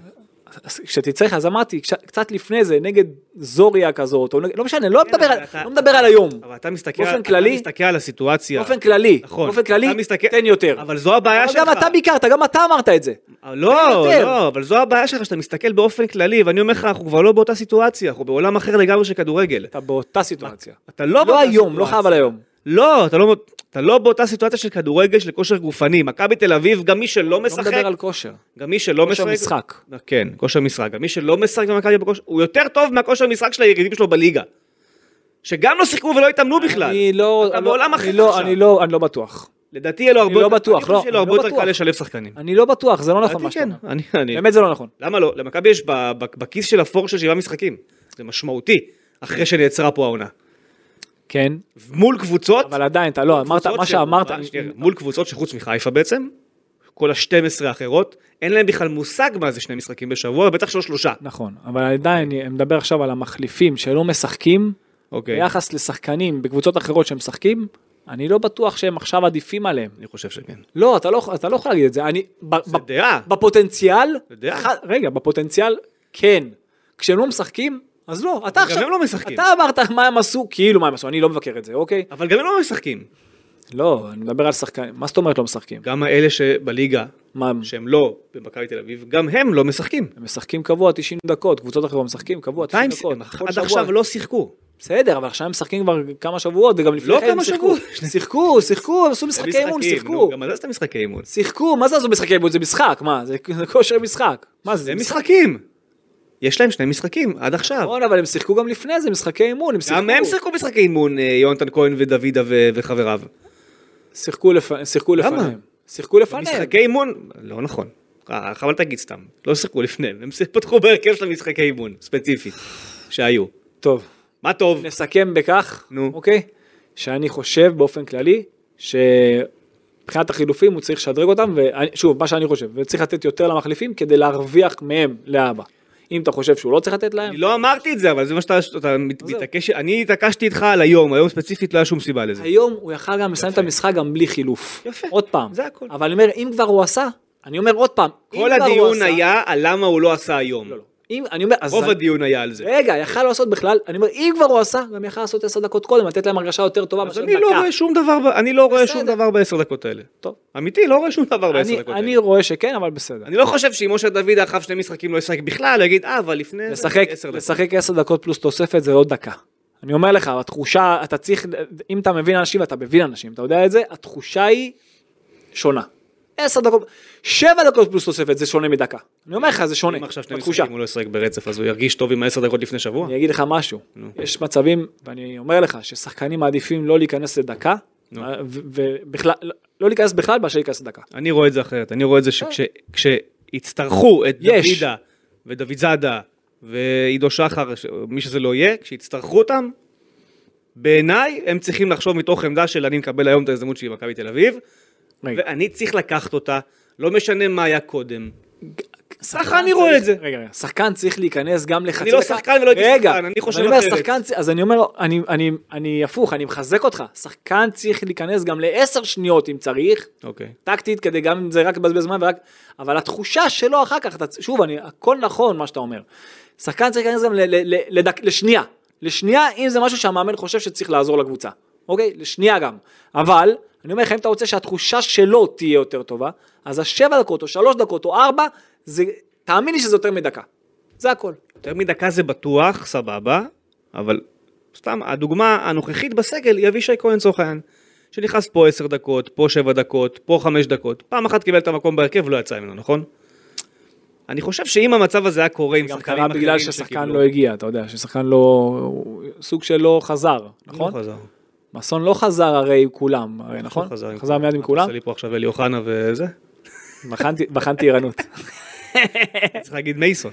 Speaker 3: אז כשתצטרך, אז אמרתי, כש- קצת לפני זה, נגד זוריה כזאת, או נגד, לא משנה, לא מדבר על-
Speaker 2: כן, אתה-
Speaker 3: לא מדבר על היום.
Speaker 2: אבל אתה מסתכל,
Speaker 3: באופן
Speaker 2: אתה
Speaker 3: כללי-
Speaker 2: מסתכל על הסיטואציה.
Speaker 3: באופן כללי,
Speaker 2: נכון.
Speaker 3: באופן כללי,
Speaker 2: אתה מסתכל-
Speaker 3: תן יותר.
Speaker 2: אבל זו הבעיה
Speaker 3: אבל
Speaker 2: שלך.
Speaker 3: גם אתה ביקרת, גם אתה אמרת את זה.
Speaker 2: לא,
Speaker 3: יותר.
Speaker 2: לא, אבל זו הבעיה שלך, שאתה מסתכל באופן כללי, ואני אומר לך, אנחנו כבר לא באותה סיטואציה, אנחנו בעולם אחר לגמרי של כדורגל.
Speaker 3: אתה באותה סיטואציה.
Speaker 2: אתה לא באותה
Speaker 3: לא היום, לא
Speaker 2: סיטואציה.
Speaker 3: חייב על היום.
Speaker 2: לא, אתה לא, אתה לא באותה סיטואציה של כדורגל, של כושר גופני. מכבי תל אביב, גם מי שלא
Speaker 3: לא
Speaker 2: משחק,
Speaker 3: מדבר על כושר.
Speaker 2: גם מי שלא משחק...
Speaker 3: כושר משחק.
Speaker 2: כן, כושר משחק. גם מי שלא משחק במכבי בכושר, הוא יותר טוב מהכושר משחק של היריבים שלו בליגה. שגם לא שיחקו ולא התאמנו בכלל.
Speaker 3: אני לא,
Speaker 2: אתה
Speaker 3: אני
Speaker 2: בעולם
Speaker 3: לא-
Speaker 2: אחר
Speaker 3: אני לא-
Speaker 2: עכשיו.
Speaker 3: אני לא, אני לא בטוח.
Speaker 2: לדעתי יהיה לו הרבה
Speaker 3: לא
Speaker 2: יותר-
Speaker 3: בטוח,
Speaker 2: אני
Speaker 3: לא,
Speaker 2: חושב שיהיה לו
Speaker 3: אני
Speaker 2: הרבה
Speaker 3: לא
Speaker 2: יותר
Speaker 3: בטוח.
Speaker 2: קל לשלב שחקנים.
Speaker 3: אני לא בטוח, זה לא נכון מה
Speaker 2: לדעתי
Speaker 3: שאתה
Speaker 2: כן,
Speaker 3: אומר.
Speaker 2: אני... אני-
Speaker 3: באמת זה לא נכון.
Speaker 2: למה לא? למכבי יש ב- ב- בכיס של הפור של שבעה משחקים. זה משמעותי, אחרי שנעצרה פה העונה.
Speaker 3: כן,
Speaker 2: מול קבוצות...
Speaker 3: אבל עדיין, אתה לא, אמרת,
Speaker 2: קבוצות
Speaker 3: מה
Speaker 2: ש- אה,
Speaker 3: שאמרת,
Speaker 2: שנייה, מול קבוצות שחוץ מחיפה בעצם, כל ה-12 האחרות, אין להם בכלל מושג מה זה שני משחקים בשבוע, ובטח שלא שלושה.
Speaker 3: נכון, אבל עדיין, אני מדבר עכשיו על המחליפים שלא משחקים,
Speaker 2: אוקיי.
Speaker 3: ביחס לשחקנים בקבוצות אחרות שמשחקים, אני לא בטוח שהם עכשיו עדיפים עליהם.
Speaker 2: אני חושב שכן.
Speaker 3: לא, אתה לא, אתה לא יכול להגיד את זה. אני, ב,
Speaker 2: זה
Speaker 3: ב,
Speaker 2: דעה.
Speaker 3: בפוטנציאל,
Speaker 2: אתה יודע.
Speaker 3: אחד- רגע, בפוטנציאל, כן. כשהם לא משחקים, אז לא, אתה
Speaker 2: גם
Speaker 3: עכשיו,
Speaker 2: הם לא משחקים.
Speaker 3: אתה אמרת מה הם עשו, כאילו מה הם עשו, אני לא מבקר את זה, אוקיי?
Speaker 2: אבל גם הם לא משחקים.
Speaker 3: לא, אני מדבר על שחקנים. מה זאת אומרת לא משחקים?
Speaker 2: גם האלה שבליגה,
Speaker 3: מה, הם-
Speaker 2: שהם לא במכבי תל אביב, גם הם לא משחקים.
Speaker 3: הם משחקים קבוע 90 דקות, קבוצות אחרות משחקים קבוע 90
Speaker 2: טיימס,
Speaker 3: דקות.
Speaker 2: הם
Speaker 3: כל
Speaker 2: עד
Speaker 3: שבוע.
Speaker 2: עכשיו לא שיחקו.
Speaker 3: בסדר, אבל עכשיו הם משחקים כבר כמה שבועות, וגם לפני
Speaker 2: לא
Speaker 3: כן הם
Speaker 2: כמה
Speaker 3: שיחקו.
Speaker 2: שבועות.
Speaker 3: שיחקו, שיחקו, הם עשו משחקי אימון,
Speaker 2: משחקים,
Speaker 3: שיחקו.
Speaker 2: נו, גם על זה עשית משחקי אימון.
Speaker 3: שיחקו, מה זה עשו משחקי אימון? זה משחק, מה? זה זה כושר משחק. מה זה? זה
Speaker 2: הם
Speaker 3: משחק.
Speaker 2: משחקים. יש להם שני משחקים, עד עכשיו.
Speaker 3: נכון, אבל הם שיחקו גם לפני זה משחקי אימון, הם שיחקו.
Speaker 2: גם הם שיחקו משחקי אימון, אה, יונתן כהן ודוידה ו- וחבריו.
Speaker 3: שיחקו לפ- שיחקו
Speaker 2: למה?
Speaker 3: לפניהם. שיחקו לפניהם.
Speaker 2: משחקי אימון, לא נכון. אה, חבל תגיד סתם, לא שיחקו לפניהם, הם פתחו בהרכב של המשחקי אימון, ספציפית, שהיו.
Speaker 3: טוב,
Speaker 2: מה טוב,
Speaker 3: נסכם בכך,
Speaker 2: נו.
Speaker 3: אוקיי? שאני חושב באופן כללי, שמבחינת החילופים הוא צריך לשדרג אותם, ושוב, מה שאני חושב, וצריך לתת יותר למחליפים כדי להרוויח מהם להבא. אם אתה חושב שהוא לא צריך לתת להם,
Speaker 2: אני לא אמרתי את זה, אבל זה מה שאתה אתה מת-
Speaker 3: עזוב.
Speaker 2: מתעקש, אני התעקשתי איתך על היום, היום ספציפית לא היה שום סיבה לזה.
Speaker 3: היום הוא יכל גם לסיים את המשחק גם בלי חילוף.
Speaker 2: יפה.
Speaker 3: עוד פעם.
Speaker 2: זה הכל.
Speaker 3: אבל אני אומר, אם כבר הוא עשה, אני אומר עוד פעם, אם
Speaker 2: כל
Speaker 3: כבר הוא
Speaker 2: הדיון
Speaker 3: עשה-
Speaker 2: היה על למה הוא לא עשה היום.
Speaker 3: לא, לא. אם, אני אומר, אז...
Speaker 2: רוב
Speaker 3: אני-
Speaker 2: הדיון היה על זה.
Speaker 3: רגע, יכל לעשות בכלל, אני אומר, אם כבר הוא עשה, גם יכל לעשות עשר דקות קודם, לתת להם הרגשה יותר טובה
Speaker 2: אז
Speaker 3: מאשר
Speaker 2: אני לא
Speaker 3: דקה.
Speaker 2: רואה שום דבר, ב- אני לא רואה שום
Speaker 3: בסדר.
Speaker 2: דבר בעשר דקות האלה.
Speaker 3: טוב.
Speaker 2: אמיתי, לא רואה שום דבר בעשר
Speaker 3: אני,
Speaker 2: דקות
Speaker 3: אני
Speaker 2: האלה.
Speaker 3: רואה שכן, אבל בסדר.
Speaker 2: אני לא חושב שאם משה דוד אחריו שני משחקים לא ישחק בכלל, הוא יגיד, אה, אבל לפני זה
Speaker 3: לשחק,
Speaker 2: עשר דקות."
Speaker 3: לשחק עשר דקות פלוס תוספת זה לא דקה. אני אומר לך, התחושה, אתה צריך, אם אתה מבין אנשים, ואתה מבין אנשים, אתה יודע את זה, התחושה היא שונה. עשר דקות, שבע דקות פלוס תוספת זה שונה מדקה. אני אומר לך, זה שונה,
Speaker 2: אם עכשיו שני
Speaker 3: בתחושה.
Speaker 2: משחקים הוא לא ישחק ברצף, אז הוא ירגיש טוב עם העשר דקות לפני שבוע?
Speaker 3: אני אגיד לך משהו,
Speaker 2: נו.
Speaker 3: יש מצבים, ואני אומר לך, ששחקנים מעדיפים לא להיכנס לדקה,
Speaker 2: נו.
Speaker 3: ובכלל, לא להיכנס בכלל, מאשר להיכנס לדקה.
Speaker 2: אני רואה את זה אחרת, אני רואה את זה שכשיצטרכו את
Speaker 3: אה. יש.
Speaker 2: דוידה ודוד זאדה ועידו שחר, ש- מי שזה לא יהיה, כשיצטרכו אותם, בעיניי הם צריכים לחשוב מתוך עמדה של אני מקבל היום את ההזדמנות שלי במכבי תל אביב,
Speaker 3: רגע,
Speaker 2: ואני צריך לקחת אותה, לא משנה מה היה קודם.
Speaker 3: שחקן
Speaker 2: ככה אני רואה
Speaker 3: צריך-
Speaker 2: את זה.
Speaker 3: רגע, רגע, שחקן צריך להיכנס גם לחצי דקה.
Speaker 2: אני לא שחקן ולא הייתי
Speaker 3: רגע,
Speaker 2: שחקן, אני חושב
Speaker 3: ואני אומר,
Speaker 2: אחרת.
Speaker 3: שחקן צ- אז אני אומר, אני- אני- אני הפוך, אני מחזק אותך. שחקן צריך להיכנס גם לעשר שניות אם צריך,
Speaker 2: אוקיי.
Speaker 3: טקטית, כדי גם אם זה רק לבזבז זמן, ורק... אבל התחושה שלו אחר כך, אתה- שוב, אני, הכל נכון מה שאתה אומר. שחקן צריך להיכנס גם ל- ל- ל- לדק- לשנייה. לשנייה, אם זה משהו שהמאמן חושב שצריך לעזור לקבוצה. אוקיי? לשנייה גם. אבל, אני אומר לך, אם אתה רוצה שהתחושה שלו תהיה יותר טובה, אז השבע דקות, או שלוש דקות, או ארבע, זה, תאמין לי שזה יותר מדקה. זה הכל.
Speaker 2: יותר מדקה זה בטוח, סבבה, אבל סתם, הדוגמה הנוכחית בסגל היא אבישי כהן לצורך העניין, שנכנס פה עשר דקות, פה שבע דקות, פה חמש דקות, פעם אחת קיבל את המקום בהרכב ולא יצא ממנו, נכון? אני חושב שאם המצב הזה היה קורה עם
Speaker 3: גם
Speaker 2: שחקנים
Speaker 3: קרה
Speaker 2: אחרים
Speaker 3: בגלל ששחקן לא הגיע, אתה יודע, ששחקן לא... הוא- סוג של לא חזר, נכון?
Speaker 2: לא חזר.
Speaker 3: מסון לא חזר הרי עם כולם, הרי, נכון?
Speaker 2: לא עם
Speaker 3: חזר מיד עם
Speaker 2: אתה
Speaker 3: כולם?
Speaker 2: עושה לי פה עכשיו אלי אוחנה וזה,
Speaker 3: בחנתי- בחנתי ערנות. אה.
Speaker 2: צריך להגיד מייסון.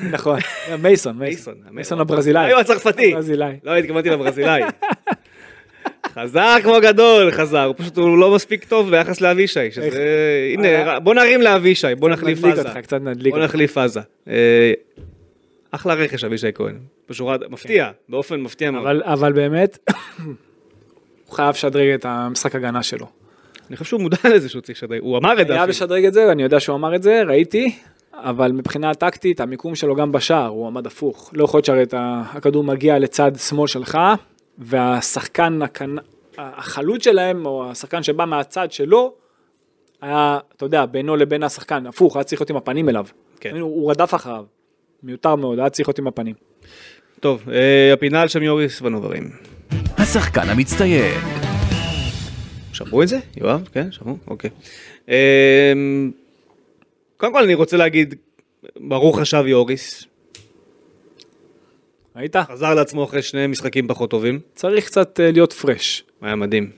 Speaker 3: נכון, מייסון,
Speaker 2: מייסון.
Speaker 3: מייסון, מייסון הברזילאי.
Speaker 2: הוא הצרפתי.
Speaker 3: הברזילאי.
Speaker 2: לא, התכוונתי לברזילאי. חזר כמו גדול, חזר, הוא פשוט הוא לא מספיק טוב ביחס לאבישי,
Speaker 3: איך?
Speaker 2: שזה...
Speaker 3: אה.
Speaker 2: הנה, בוא נרים לאבישי, בוא
Speaker 3: קצת
Speaker 2: נחליף
Speaker 3: נדליק
Speaker 2: עזה.
Speaker 3: אותך, קצת נדליק
Speaker 2: בוא
Speaker 3: אותך.
Speaker 2: נחליף עזה. אה, אחלה רכש אבישי כהן. בשורה, מפתיע, באופן מפתיע מאוד.
Speaker 3: כן. אבל- אבל באמת, הוא חייב לשדרג את המשחק הגנה שלו.
Speaker 2: אני חושב שהוא מודע לזה שהוא צריך לשדר, הוא אמר את זה
Speaker 3: חייב
Speaker 2: אפילו.
Speaker 3: לשדרג את זה, אני יודע שהוא אמר את זה, ראיתי, אבל מבחינה טקטית, המיקום שלו גם בשער, הוא עמד הפוך. לא יכול להיות שהרי את ה- הכדור מגיע לצד שמאל שלך, והשחקן, הכנ- החלוץ שלהם, או השחקן שבא מהצד שלו, היה, אתה יודע, בינו לבין השחקן, הפוך, היה צריך להיות עם הפנים אליו.
Speaker 2: כן.
Speaker 3: הוא- הוא רדף אחריו. מיותר מאוד, היה צריך להיות עם הפנים.
Speaker 2: טוב, אה, הפינה על שם יוריס ונוברים.
Speaker 1: השחקן המצטיין,
Speaker 2: שמעו את זה? יואב? כן, שמעו? אוקיי. אמ, קודם כל אני רוצה להגיד, ברוך השב יוריס,
Speaker 3: ראית?
Speaker 2: חזר לעצמו אחרי שני משחקים פחות טובים,
Speaker 3: צריך קצת אה, להיות פרש.
Speaker 2: היה מדהים.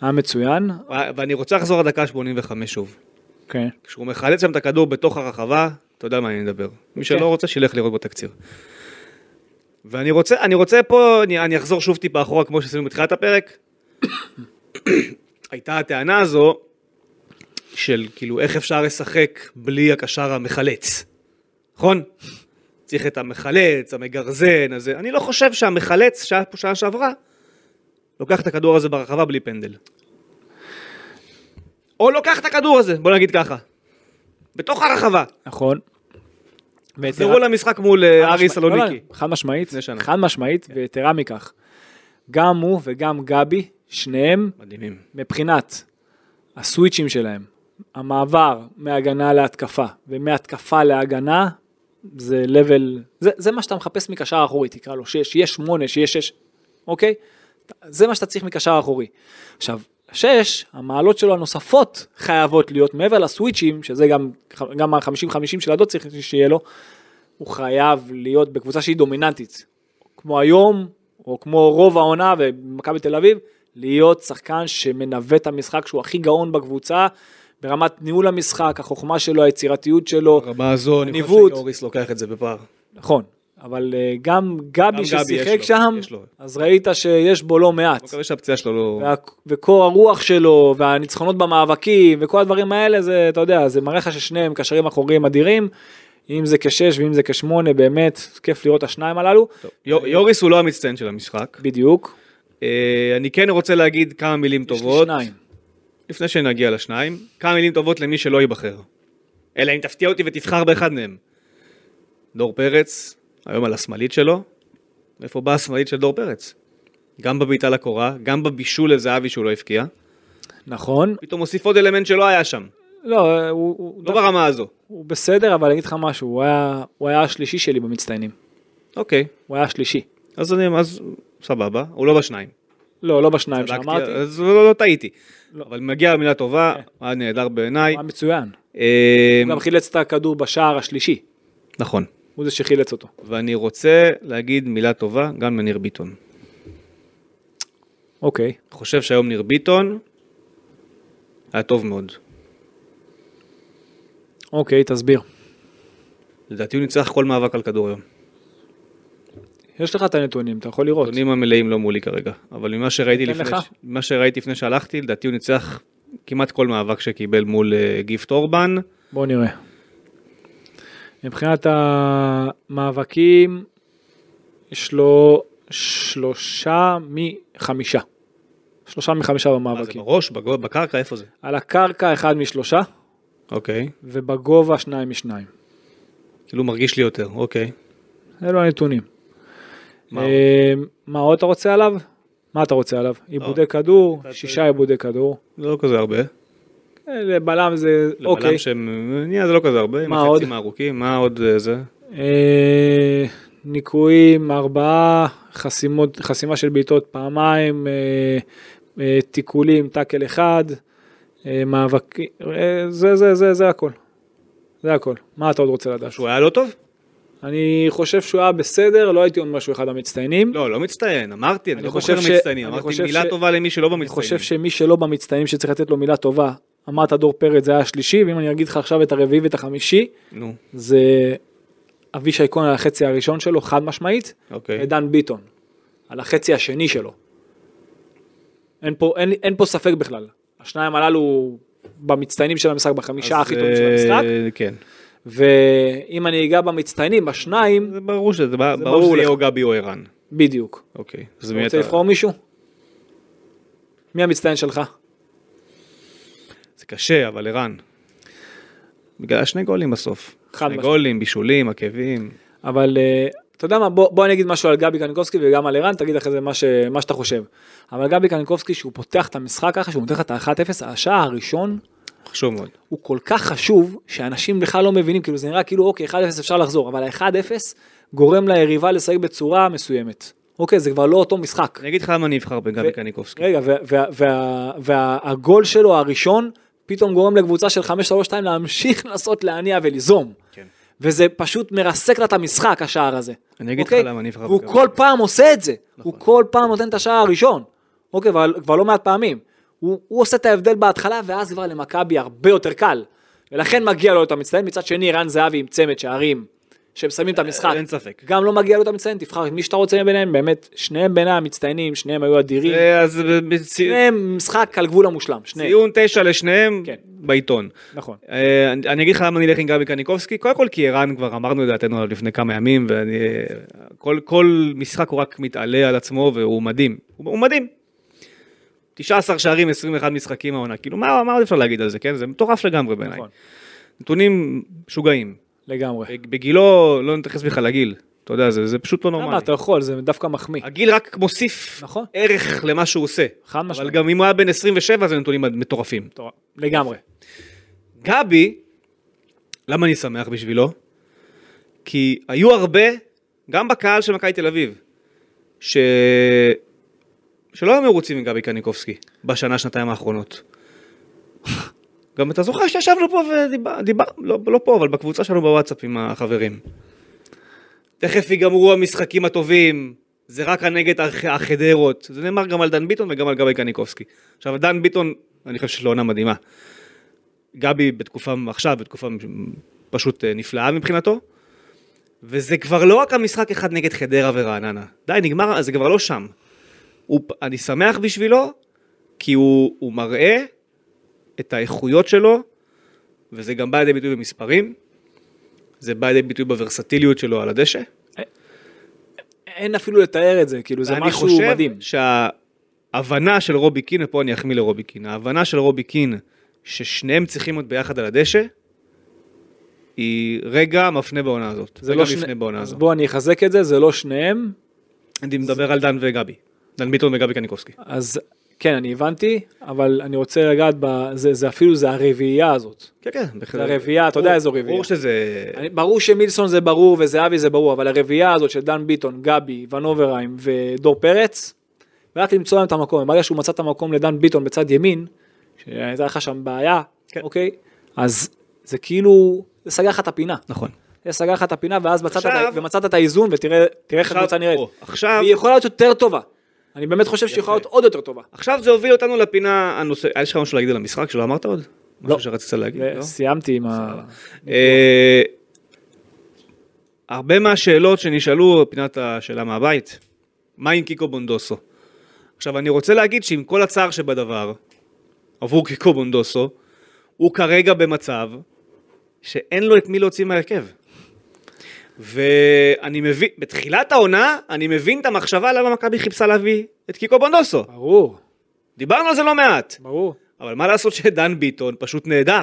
Speaker 3: היה מצוין.
Speaker 2: ו- ואני רוצה לחזור לדקה 85 שוב.
Speaker 3: כן.
Speaker 2: כשהוא מחלץ שם את הכדור בתוך הרחבה, אתה יודע מה אני מדבר. מי
Speaker 3: כן.
Speaker 2: שלא רוצה, שילך לראות בתקציר. ואני רוצה, אני רוצה פה, אני, אני אחזור שוב טיפה אחורה כמו שעשינו בתחילת הפרק. הייתה הטענה הזו של כאילו איך אפשר לשחק בלי הקשר המחלץ, נכון? צריך את המחלץ, המגרזן הזה. אני לא חושב שהמחלץ שהיה פה שנה שעברה, לוקח את הכדור הזה ברחבה בלי פנדל. או לוקח את הכדור הזה, בוא נגיד ככה. בתוך הרחבה.
Speaker 3: נכון.
Speaker 2: תחזרו למשחק מול אה, ארי
Speaker 3: משמע- לא,
Speaker 2: סלוניקי.
Speaker 3: לא, חד משמעית,
Speaker 2: לפני שנה.
Speaker 3: חד משמעית, ויתרה מכך. גם הוא וגם גבי שניהם
Speaker 2: מדהימים.
Speaker 3: מבחינת הסוויצ'ים שלהם, המעבר מהגנה להתקפה ומהתקפה להגנה, זה level, זה, זה מה שאתה מחפש מקשר אחורי, תקרא לו 6, יש 8, שיש 6, אוקיי? זה מה שאתה צריך מקשר אחורי. עכשיו, 6, המעלות שלו הנוספות חייבות להיות מעבר לסוויצ'ים, שזה גם, גם ה-50-50 של הדוד צריך שיהיה לו, הוא חייב להיות בקבוצה שהיא דומיננטית. כמו היום, או כמו רוב העונה במכבי תל אביב, להיות שחקן שמנווט את המשחק, שהוא הכי גאון בקבוצה, ברמת ניהול המשחק, החוכמה שלו, היצירתיות שלו,
Speaker 2: ברמה הזו, אני חושב
Speaker 3: ניווט.
Speaker 2: שאוריס לוקח את זה בפער.
Speaker 3: נכון. אבל אה, גם גבי
Speaker 2: גבי יש
Speaker 3: ששיחק
Speaker 2: לו,
Speaker 3: שם,
Speaker 2: יש לו.
Speaker 3: אז ראית שיש בו לא מעט.
Speaker 2: אני מקווה שהפציעה שלו לא...
Speaker 3: וה- וקור הרוח שלו, והניצחונות במאבקים, וכל הדברים האלה, זה, אתה יודע, זה מראה לך ששניהם קשרים אחוריים אדירים, אם זה כשש ואם זה כשמונה, באמת, כיף לראות את השניים הללו,
Speaker 2: טוב, יו- יוריס הוא לא המצטיין של המשחק.
Speaker 3: בדיוק.
Speaker 2: אה, אני כן רוצה להגיד כמה מילים
Speaker 3: יש לי
Speaker 2: טובות.
Speaker 3: שניים.
Speaker 2: לפני שנגיע לשניים, כמה מילים טובות למי שלא ייבחר. אלא אם תפתיע אותי ותבחר באחד מהם. דור פרץ, היום על השמאלית שלו. מאיפה באה השמאלית של דור פרץ? גם בבעיטה לקורה, גם בבישול לזהבי שהוא לא הבקיע.
Speaker 3: נכון.
Speaker 2: פתאום הוסיף עוד אלמנט שלא היה שם.
Speaker 3: לא, אה, הוא, הוא,
Speaker 2: לא ברמה הזו.
Speaker 3: הוא בסדר, אבל אני אגיד לך משהו, הוא היה, הוא היה השלישי שלי במצטיינים.
Speaker 2: אוקיי,
Speaker 3: הוא היה השלישי.
Speaker 2: אז אני, אז סבבה, הוא לא בשניים.
Speaker 3: לא, לא בשניים
Speaker 2: צדקתי,
Speaker 3: שאמרתי. הוא
Speaker 2: אז לא, לא, לא טעיתי. אבל מגיע מילה טובה, היה נהדר בעיניי.
Speaker 3: היה מצוין.
Speaker 2: אה,
Speaker 3: כן. הוא גם חילץ את הכדור בשער השלישי.
Speaker 2: נכון.
Speaker 3: הוא זה שחילץ אותו.
Speaker 2: ואני רוצה להגיד מילה טובה גם לניר ביטון.
Speaker 3: אוקיי.
Speaker 2: חושב שהיום ניר ביטון היה טוב מאוד.
Speaker 3: אוקיי, תסביר.
Speaker 2: לדעתי הוא ניצח כל מאבק על כדור היום.
Speaker 3: נכון. יש לך את הנתונים, אתה יכול לראות.
Speaker 2: הנתונים המלאים לא מולי כרגע, אבל ממה שראיתי,
Speaker 3: ניתן
Speaker 2: לפני,
Speaker 3: לך.
Speaker 2: מה שראיתי לפני שהלכתי, לדעתי הוא ניצח כמעט כל מאבק שקיבל מול אה, גיפט אורבן.
Speaker 3: בואו נראה. מבחינת המאבקים, יש לו שלושה מחמישה. שלושה מחמישה
Speaker 2: מה אה, זה
Speaker 3: במאבקים.
Speaker 2: בראש, בגו- בקרקע, איפה זה?
Speaker 3: על הקרקע אחד משלושה,
Speaker 2: אוקיי.
Speaker 3: ובגובה שניים משניים.
Speaker 2: כאילו מרגיש לי יותר, אוקיי.
Speaker 3: אלו הנתונים.
Speaker 2: מה
Speaker 3: אה, מה עוד לא. אתה רוצה עליו? מה אתה רוצה עליו? עיבודי כדור, שישה עיבודי כדור.
Speaker 2: זה לא כזה הרבה.
Speaker 3: אה, לבלם זה,
Speaker 2: לבלם
Speaker 3: אוקיי.
Speaker 2: שהם, נהיה זה לא כזה הרבה, עם
Speaker 3: מה
Speaker 2: החצים
Speaker 3: עוד?
Speaker 2: הארוכים, מה עוד אה, זה?
Speaker 3: אה, ניקויים, ארבעה, חסימות, חסימה של בעיטות פעמיים, אה, אה, תיקולים, טאקל אחד, אה, מאבקים, אה, זה, זה, זה, זה הכל. זה הכל. מה אתה עוד רוצה לדעת?
Speaker 2: שהוא היה לא טוב?
Speaker 3: אני חושב שהוא היה בסדר, לא הייתי אומר שהוא אחד המצטיינים.
Speaker 2: לא, לא מצטיין, אמרתי, אני
Speaker 3: אני
Speaker 2: לא
Speaker 3: חושב
Speaker 2: בוחר
Speaker 3: ש-
Speaker 2: מצטיינים,
Speaker 3: אני
Speaker 2: אמרתי
Speaker 3: חושב
Speaker 2: מילה
Speaker 3: ש-
Speaker 2: טובה למי שלא
Speaker 3: אני
Speaker 2: במצטיינים.
Speaker 3: חושב שמי שלא במצטיינים שצריך לתת לו מילה טובה, אמרת דור פרץ זה היה השלישי, ואם אני אגיד לך עכשיו את הרביעי ואת החמישי,
Speaker 2: נו,
Speaker 3: זה אבישי כהן על החצי הראשון שלו, חד משמעית,
Speaker 2: אוקיי.
Speaker 3: עידן ביטון, על החצי השני שלו. אין פה, אין, אין פה ספק בכלל. השניים הללו במצטיינים של המשחק, בחמישה
Speaker 2: אז,
Speaker 3: הכי טובים של
Speaker 2: אה,
Speaker 3: המשחק,
Speaker 2: כן.
Speaker 3: ואם אני אגע במצטיינים, בשניים,
Speaker 2: זה ברור שזה ברור
Speaker 3: ברור
Speaker 2: שזה יהיה
Speaker 3: לך.
Speaker 2: או גבי או ערן.
Speaker 3: בדיוק.
Speaker 2: אוקיי. אז
Speaker 3: אתה
Speaker 2: מי
Speaker 3: רוצה
Speaker 2: אתה?
Speaker 3: לבחור מישהו? מי המצטיין שלך?
Speaker 2: זה קשה, אבל ערן. בגלל השני גולים בסוף.
Speaker 3: חד
Speaker 2: שני
Speaker 3: משמעית.
Speaker 2: גולים, בישולים, עקבים.
Speaker 3: אבל אה, אתה יודע מה, בוא, בוא אני אגיד משהו על גבי קניקובסקי וגם על ערן, תגיד אחרי זה מה, ש, מה שאתה חושב. אבל גבי קניקובסקי, שהוא פותח את המשחק ככה, שהוא נותן לך את ה-1-0, השער הראשון,
Speaker 2: חשוב מאוד.
Speaker 3: הוא כל כך חשוב, שאנשים בכלל לא מבינים, כאילו זה נראה כאילו אוקיי, 1-0 אפשר לחזור, אבל ה-1-0 גורם ליריבה לשחק בצורה מסוימת. אוקיי, זה כבר לא אותו משחק.
Speaker 2: אני אגיד לך למה אני אבחר בגבי
Speaker 3: ו-
Speaker 2: קניקובסקי.
Speaker 3: רגע, והגול וה, וה, וה, והגול שלו הראשון, פתאום גורם לקבוצה של 5-3-2 להמשיך לנסות להניע וליזום.
Speaker 2: כן.
Speaker 3: וזה פשוט מרסק לה את המשחק, השער הזה.
Speaker 2: אני אגיד לך
Speaker 3: אוקיי?
Speaker 2: למה אני אבחר נכון.
Speaker 3: והוא
Speaker 2: בקו.
Speaker 3: כל פעם עושה את זה. הוא כל פעם נותן את השער הראשון. אוקיי, אבל כבר לא מעט פעמים. הוא, הוא עושה את ההבדל בהתחלה, ואז כבר למכבי הרבה יותר קל. ולכן מגיע לו את המצטיין. מצד שני, ערן זהבי עם צמד שערים, שהם שמים את המשחק.
Speaker 2: אין ספק.
Speaker 3: גם לא מגיע לו את המצטיין, תבחר את מי שאתה רוצה מביניהם, באמת, שניהם בין המצטיינים, שניהם היו אדירים.
Speaker 2: אה, אז ב- בצי-
Speaker 3: שניהם משחק על גבול המושלם, שניהם.
Speaker 2: ציון תשע לשניהם
Speaker 3: כן.
Speaker 2: בעיתון.
Speaker 3: נכון.
Speaker 2: אה, אני אני אגיד לך למה אני אלך עם גבי קניקובסקי, קודם כל כי ערן כבר אמרנו את דעתנו עליו לפני כמה ימים, ואני... כל, כל משחק הוא רק מתעלה על עצמו והוא מדהים. הוא, הוא מדהים. 19 שערים, 21 משחקים העונה, כאילו מה, מה עוד אפשר להגיד על זה, כן? זה מטורף לגמרי בעיניי.
Speaker 3: נכון.
Speaker 2: נתונים משוגעים.
Speaker 3: לגמרי.
Speaker 2: אה, בגילו, לא נתייחס בכלל לגיל, אתה יודע, זה, זה פשוט לא
Speaker 3: למה
Speaker 2: נורמלי.
Speaker 3: אתה יכול, זה דווקא מחמיא.
Speaker 2: הגיל רק מוסיף
Speaker 3: נכון.
Speaker 2: ערך למה שהוא עושה.
Speaker 3: חד
Speaker 2: אבל
Speaker 3: משמעית.
Speaker 2: גם אם הוא היה בן 27 זה נתונים מטורפים.
Speaker 3: טוב, לגמרי.
Speaker 2: גבי, למה אני שמח בשבילו? כי היו הרבה, גם בקהל של מכבי תל אביב, ש... שלא היו מרוצים מגבי קניקובסקי בשנה, שנתיים האחרונות. גם אתה זוכר שישבנו פה ודיברנו, ודיבר, לא, לא פה, אבל בקבוצה שלנו בוואטסאפ עם החברים. תכף ייגמרו המשחקים הטובים, זה רק הנגד הח- החדרות. זה נאמר גם על דן ביטון וגם על גבי קניקובסקי. עכשיו, דן ביטון, אני חושב שיש לו עונה מדהימה. גבי בתקופה, עכשיו בתקופה פשוט אה, נפלאה מבחינתו. וזה כבר לא רק המשחק אחד נגד חדרה ורעננה. די, נגמר, זה כבר לא שם. הוא, אני שמח בשבילו, כי הוא, הוא מראה את האיכויות שלו, וזה גם בא לידי ביטוי במספרים, זה בא לידי ביטוי בוורסטיליות שלו על הדשא.
Speaker 3: אין אפילו לתאר את זה, כאילו זה משהו מדהים.
Speaker 2: ואני חושב שההבנה של רובי קין, ופה אני אחמיא לרובי קין, ההבנה של רובי קין, ששניהם צריכים להיות ביחד על הדשא, היא רגע מפנה בעונה הזאת.
Speaker 3: זה
Speaker 2: רגע
Speaker 3: לא שני...
Speaker 2: מפנה בעונה
Speaker 3: אז
Speaker 2: הזאת.
Speaker 3: בוא אני אחזק את זה, זה לא שניהם.
Speaker 2: אני מדבר על דן וגבי. דן ביטון וגבי קניקובסקי.
Speaker 3: אז כן, אני הבנתי, אבל אני רוצה לגעת ב... זה, זה אפילו, זה הרביעייה הזאת.
Speaker 2: כן, כן. בהחלט.
Speaker 3: זה הרביעייה, אתה יודע
Speaker 2: ברור-
Speaker 3: איזו רביעייה.
Speaker 2: ברור שזה...
Speaker 3: אני, ברור שמילסון זה ברור וזהבי זה ברור, אבל הרביעייה הזאת של דן ביטון, גבי, ונוברהיים ודור פרץ, רק למצוא להם את המקום. ברגע שהוא מצא את המקום לדן ביטון בצד ימין, שהייתה לך שם בעיה,
Speaker 2: כן.
Speaker 3: אוקיי? אז זה כאילו, זה סגר לך את הפינה.
Speaker 2: נכון.
Speaker 3: זה סגר לך את הפינה, ואז מצאת,
Speaker 2: עכשיו-
Speaker 3: את, ה- ומצאת את האיזון, ותראה תראה איך
Speaker 2: עכשיו-
Speaker 3: הקבוצה נראית.
Speaker 2: או, עכשיו...
Speaker 3: והיא יכולה להיות יותר טובה. אני באמת חושב שהיא יכולה להיות עוד יותר טובה.
Speaker 2: עכשיו זה הוביל אותנו לפינה הנושא... יש לך משהו להגיד על המשחק שלא אמרת עוד? משהו שרצית להגיד? לא?
Speaker 3: סיימתי עם ה...
Speaker 2: אה, הרבה מהשאלות שנשאלו, פינת השאלה מהבית, מה עם קיקו בונדוסו? עכשיו, אני רוצה להגיד שעם כל הצער שבדבר, עבור קיקו בונדוסו, הוא כרגע במצב שאין לו את מי להוציא מהרכב. ואני מבין, בתחילת העונה, אני מבין את המחשבה למה מכבי חיפשה להביא את קיקו בונדוסו.
Speaker 3: ברור,
Speaker 2: דיברנו על זה לא מעט.
Speaker 3: ברור.
Speaker 2: אבל מה לעשות שדן ביטון פשוט נהדר.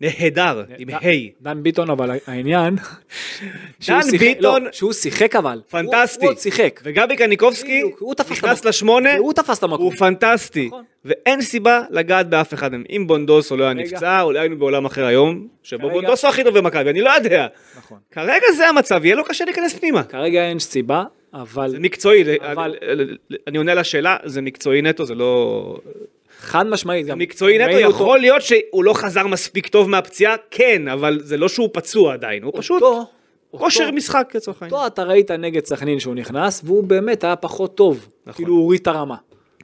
Speaker 2: נהדר, עם ה'.
Speaker 3: דן ביטון אבל העניין, שהוא
Speaker 2: דן
Speaker 3: שיחק-
Speaker 2: ביטון-
Speaker 3: לא, שהוא שיחק אבל,
Speaker 2: פנטסטי.
Speaker 3: הוא הוא עוד שיחק,
Speaker 2: וגבי קניקובסקי
Speaker 3: בדיוק, הוא תפס את
Speaker 2: נכנס
Speaker 3: המקום.
Speaker 2: לשמונה,
Speaker 3: הוא תפס את המקום,
Speaker 2: הוא פנטסטי.
Speaker 3: נכון.
Speaker 2: ואין סיבה לגעת באף אחד מהם. אם בונדוסו לא היה
Speaker 3: רגע.
Speaker 2: נפצע, אולי היינו בעולם אחר היום, שבו
Speaker 3: כרגע-
Speaker 2: בונדוסו הכי טוב במכבי, אני לא יודע.
Speaker 3: נכון,
Speaker 2: כרגע זה המצב, יהיה לו קשה להיכנס פנימה.
Speaker 3: כרגע אין סיבה, אבל
Speaker 2: זה מקצועי, זה-
Speaker 3: אבל-
Speaker 2: אני- אני עונה לשאלה, זה מקצועי נטו, זה לא...
Speaker 3: חד משמעית, גם
Speaker 2: מקצועי נטו,
Speaker 3: ראינו אותו-
Speaker 2: יכול להיות שהוא לא חזר מספיק טוב מהפציעה, כן, אבל זה לא שהוא פצוע עדיין, הוא פשוט...
Speaker 3: אותו-
Speaker 2: כושר
Speaker 3: אותו-
Speaker 2: משחק לצורך העניין.
Speaker 3: אותו אתה ראית נגד סכנין שהוא נכנס, והוא באמת היה פחות טוב,
Speaker 2: נכון.
Speaker 3: כאילו הוא הוריד את הרמה,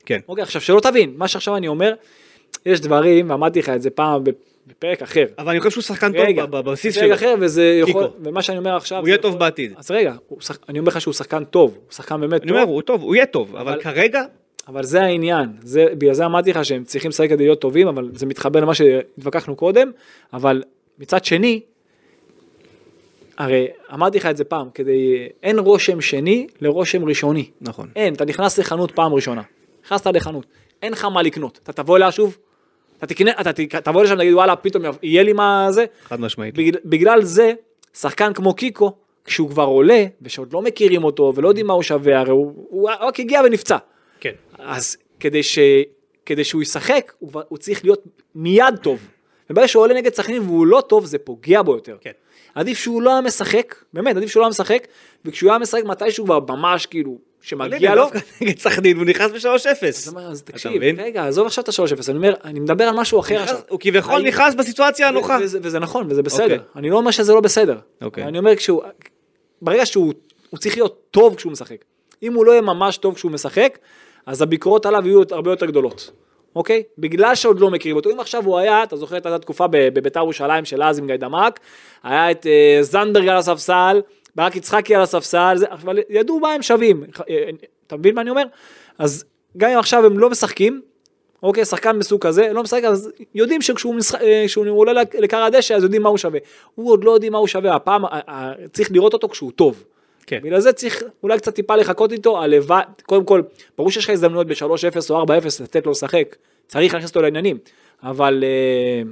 Speaker 2: כן.
Speaker 3: אוקיי עכשיו שלא תבין, מה שעכשיו אני אומר, יש דברים, ואמרתי לך את זה פעם בפרק אחר,
Speaker 2: אבל אני חושב שהוא שחקן
Speaker 3: רגע,
Speaker 2: טוב בבסיס
Speaker 3: רגע
Speaker 2: שלו.
Speaker 3: אחר וזה
Speaker 2: קיקו.
Speaker 3: יכול, ומה שאני אומר עכשיו,
Speaker 2: הוא יהיה
Speaker 3: זה-
Speaker 2: טוב בעתיד.
Speaker 3: אז רגע, הוא שח- אני אומר לך שהוא שחקן טוב, הוא שחקן באמת
Speaker 2: אני
Speaker 3: טוב,
Speaker 2: אומר, הוא טוב, הוא יהיה טוב, אבל
Speaker 3: לא. אבל-
Speaker 2: כרגע,
Speaker 3: אבל זה העניין, זה, בגלל זה אמרתי לך שהם צריכים לשחק כדי להיות טובים, אבל זה מתחבר למה שהתווכחנו קודם, אבל מצד שני, הרי אמרתי לך את זה פעם, כדי, אין רושם שני לרושם ראשוני.
Speaker 2: נכון.
Speaker 3: אין, אתה נכנס לחנות פעם ראשונה, נכנסת לחנות, אין לך מה לקנות, אתה תבוא אליה שוב, אתה תקנה, אתה ת- תבוא לשם ותגיד וואלה פתאום יהיה לי מה זה,
Speaker 2: חד משמעית.
Speaker 3: בגלל, בגלל זה, שחקן כמו קיקו, כשהוא כבר עולה, ושעוד לא מכירים אותו, ולא יודעים מה הוא שווה, הרי הוא, הוא רק הגיע ונפצע.
Speaker 2: כן.
Speaker 3: אז כדי, ש, כדי שהוא ישחק, הוא, כבר- הוא צריך להיות מיד טוב. וברגע שהוא עולה נגד סכנין והוא לא טוב, זה פוגע בו יותר.
Speaker 2: כן.
Speaker 3: עדיף שהוא לא היה משחק, באמת, עדיף שהוא לא היה משחק, וכשהוא היה משחק מתישהו כבר ממש כאילו,
Speaker 2: מגיע
Speaker 3: שמגיע
Speaker 2: לו
Speaker 3: לו,
Speaker 2: נגד סכנין, הוא נכנס
Speaker 3: אז,
Speaker 2: ב-3-0.
Speaker 3: אמר, אז
Speaker 2: אתה
Speaker 3: תקשיב,
Speaker 2: מבין?
Speaker 3: רגע, עזוב עכשיו את ה-3-0, אני אומר, אני מדבר על משהו אחר עכשיו.
Speaker 2: הוא כביכול
Speaker 3: האם-
Speaker 2: נכנס בסיטואציה הנוחה.
Speaker 3: ו- וזה, וזה נכון, וזה בסדר.
Speaker 2: אוקיי.
Speaker 3: אני לא אומר שזה לא בסדר.
Speaker 2: אוקיי.
Speaker 3: אני אומר כשהוא... ברגע שהוא הוא צריך להיות טוב כשהוא משחק. אם הוא לא יהיה ממש טוב כשהוא משחק, אז הביקורות עליו יהיו הרבה יותר גדולות. אוקיי? בגלל שעוד לא מכירים אותו. אם עכשיו הוא היה, אתה זוכר את אותה תקופה ב- בביתר ירושלים של אז עם גיא דמק, היה את אה, זנדברג על הספסל, ברק יצחקי על הספסל, זה, אבל ידעו מה הם שווים. אה, אה, אתה מבין מה אני אומר? אז גם אם עכשיו הם לא משחקים, אוקיי, שחקן מסוג כזה, לא משחק, אז יודעים שכשהוא משחק, אה, כשהוא עולה לק- לקר הדשא, אז יודעים מה הוא שווה. הוא עוד לא יודעים מה הוא שווה, הפעם ה- ה- צריך לראות אותו כשהוא טוב.
Speaker 2: כן.
Speaker 3: בגלל זה צריך אולי קצת טיפה לחכות איתו, הלוואי, קודם כל, ברור שיש לך הזדמנויות ב-3-0 או 4-0 לתת לו לשחק, צריך להכניס אותו לעניינים, אבל אה,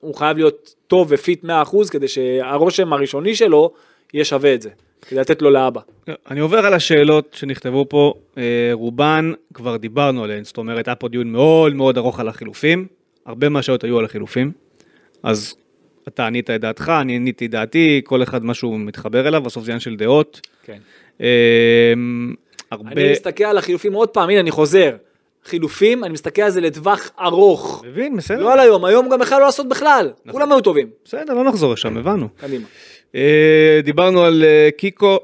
Speaker 3: הוא חייב להיות טוב ופיט 100% כדי שהרושם הראשוני שלו יהיה שווה את זה, כדי לתת לו לאבא.
Speaker 2: לא, אני עובר על השאלות שנכתבו פה, אה, רובן כבר דיברנו עליהן, זאת אומרת, היה פה דיון מאוד מאוד ארוך על החילופים, הרבה מהשאלות היו על החילופים, אז אתה ענית את דעתך, אני עניתי את דעתי, כל אחד משהו מתחבר אליו, בסוף זה עניין של דעות.
Speaker 3: כן.
Speaker 2: אה, הרבה...
Speaker 3: אני מסתכל על החילופים עוד פעם, הנה אני חוזר. חילופים, אני מסתכל על זה לטווח ארוך.
Speaker 2: מבין, בסדר,
Speaker 3: לא על היום, היום גם בכלל לא לעשות בכלל.
Speaker 2: נכון.
Speaker 3: כולם היו טובים.
Speaker 2: בסדר, לא נחזור לשם, הבנו.
Speaker 3: קדימה.
Speaker 2: אה, דיברנו על אה, קיקו,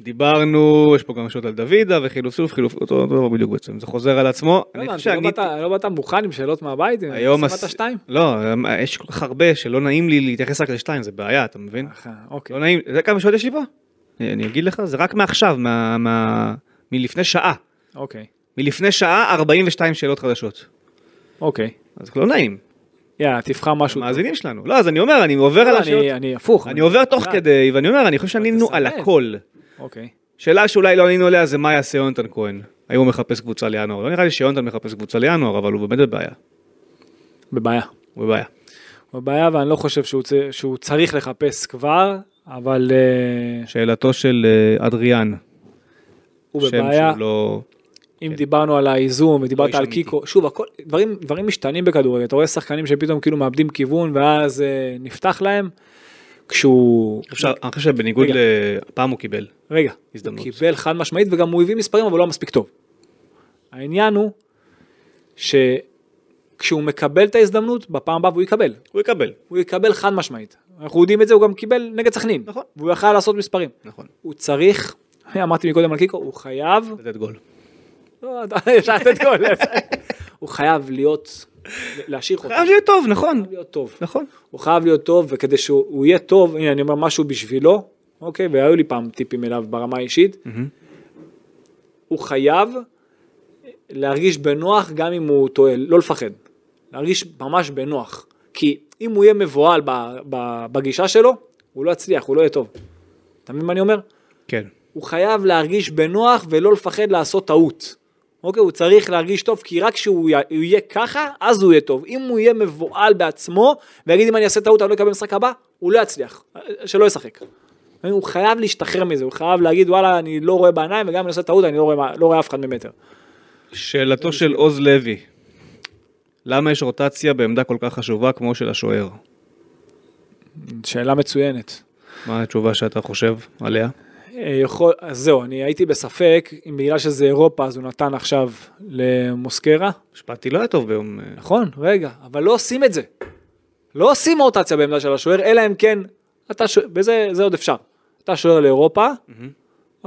Speaker 2: דיברנו, יש פה גם שאלות על דוידה וחילופסוף, חילופ, אותו דבר בדיוק בעצם, זה חוזר על עצמו.
Speaker 3: לא
Speaker 2: אני
Speaker 3: הבנתי,
Speaker 2: חושב שאני...
Speaker 3: לא באת- לא באת מוכן עם שאלות מהבית? הנה,
Speaker 2: היום...
Speaker 3: סימנת
Speaker 2: הס-
Speaker 3: שתיים?
Speaker 2: לא, אה, יש כל כך הרבה שלא נעים לי להתייחס רק לשתיים, זה בעיה, אתה מבין?
Speaker 3: אה, אוקיי.
Speaker 2: לא נעים, אתה יודע כמה שעות יש לי פה? אני אני אגיד לך, זה רק מעכשיו, מה- מה- מלפני שעה.
Speaker 3: אוקיי.
Speaker 2: מלפני שעה 42 שאלות חדשות.
Speaker 3: אוקיי.
Speaker 2: אז לא נעים,
Speaker 3: יאללה, תבחר משהו.
Speaker 2: מאזינים שלנו. לא, אז אני אומר, אני עובר
Speaker 3: טוב.
Speaker 2: על
Speaker 3: לא,
Speaker 2: השאלות.
Speaker 3: אני- אני הפוך.
Speaker 2: אני עובר תוך
Speaker 3: אה,
Speaker 2: כדי, ואני אומר, אני חושב
Speaker 3: אבל
Speaker 2: שענינו על
Speaker 3: תסמן.
Speaker 2: הכל.
Speaker 3: אוקיי.
Speaker 2: שאלה שאולי לא ענינו עליה זה מה יעשה יונתן כהן. האם הוא מחפש קבוצה לינואר? לא נראה לי שיונתן מחפש קבוצה לינואר, אבל הוא באמת בבעיה.
Speaker 3: בבעיה.
Speaker 2: הוא בבעיה.
Speaker 3: הוא בבעיה, ואני לא חושב שהוא צ- שהוא צריך לחפש כבר, אבל אה,
Speaker 2: שאלתו של אה, אדריאן,
Speaker 3: הוא
Speaker 2: שם
Speaker 3: בבעיה.
Speaker 2: שהוא לא...
Speaker 3: אם דיברנו על האיזום ודיברת
Speaker 2: איש
Speaker 3: על
Speaker 2: לא, אמיתי.
Speaker 3: קיקו, שוב, הכל, דברים, דברים משתנים בכדורגל, אתה רואה שחקנים שפתאום כאילו מאבדים כיוון ואז אה, נפתח להם, כשהוא,
Speaker 2: אני חושב- אני חושב שבניגוד
Speaker 3: רגע.
Speaker 2: ל... הפעם הוא קיבל.
Speaker 3: רגע,
Speaker 2: הזדמנות.
Speaker 3: הוא קיבל חד משמעית וגם הוא הביא מספרים אבל לא מספיק טוב. העניין הוא שכשהוא מקבל את ההזדמנות, בפעם הבאה והוא יקבל,
Speaker 2: הוא יקבל.
Speaker 3: הוא יקבל חד משמעית, אנחנו יודעים את זה, הוא גם קיבל נגד סכנין,
Speaker 2: נכון.
Speaker 3: והוא יכל לעשות מספרים,
Speaker 2: נכון.
Speaker 3: הוא צריך, אמרתי מקודם על קיקו, הוא חייב
Speaker 2: לתת גול.
Speaker 3: לא, אתה- אפשר לתת גול. הוא חייב להיות, להשאיר אותו,
Speaker 2: חייב שיהיה טוב, נכון.
Speaker 3: להיות טוב.
Speaker 2: נכון.
Speaker 3: הוא חייב להיות טוב, וכדי שהוא הוא יהיה טוב, הנה אני אומר משהו בשבילו, אוקיי, והיו לי פעם טיפים אליו ברמה האישית, הוא חייב להרגיש בנוח גם אם הוא טועה, לא לפחד. להרגיש ממש בנוח. כי אם הוא יהיה מבוהל ב- ב- בגישה שלו, הוא לא יצליח, הוא לא יהיה טוב. אתה מבין מה אני אומר?
Speaker 2: כן.
Speaker 3: הוא חייב להרגיש בנוח ולא לפחד לעשות טעות. אוקיי, הוא צריך להרגיש טוב, כי רק כשהוא י- הוא יהיה ככה, אז הוא יהיה טוב. אם הוא יהיה מבוהל בעצמו, ויגיד אם אני אעשה טעות אני לא אקבל משחק הבא, הוא לא יצליח, אה, שלא ישחק. הוא חייב להשתחרר מזה, הוא חייב להגיד וואלה, אני לא רואה בעיניים, וגם אם אני עושה טעות אני לא רואה, מה- לא רואה אף אחד ממטר.
Speaker 2: שאלתו של עוז לוי. למה יש רוטציה בעמדה כל כך חשובה כמו של השוער?
Speaker 3: שאלה מצוינת.
Speaker 2: מה התשובה שאתה חושב עליה?
Speaker 3: אה, יכול, אז זהו, אני הייתי בספק, אם בגלל שזה אירופה, אז הוא נתן עכשיו למוסקרה.
Speaker 2: משפטי לא היה טוב ביום... אה,
Speaker 3: נכון, רגע, אבל לא עושים את זה. לא עושים רוטציה בעמדה של השוער, אלא אם כן, אתה שוער, וזה זה עוד אפשר. אתה שוער לאירופה,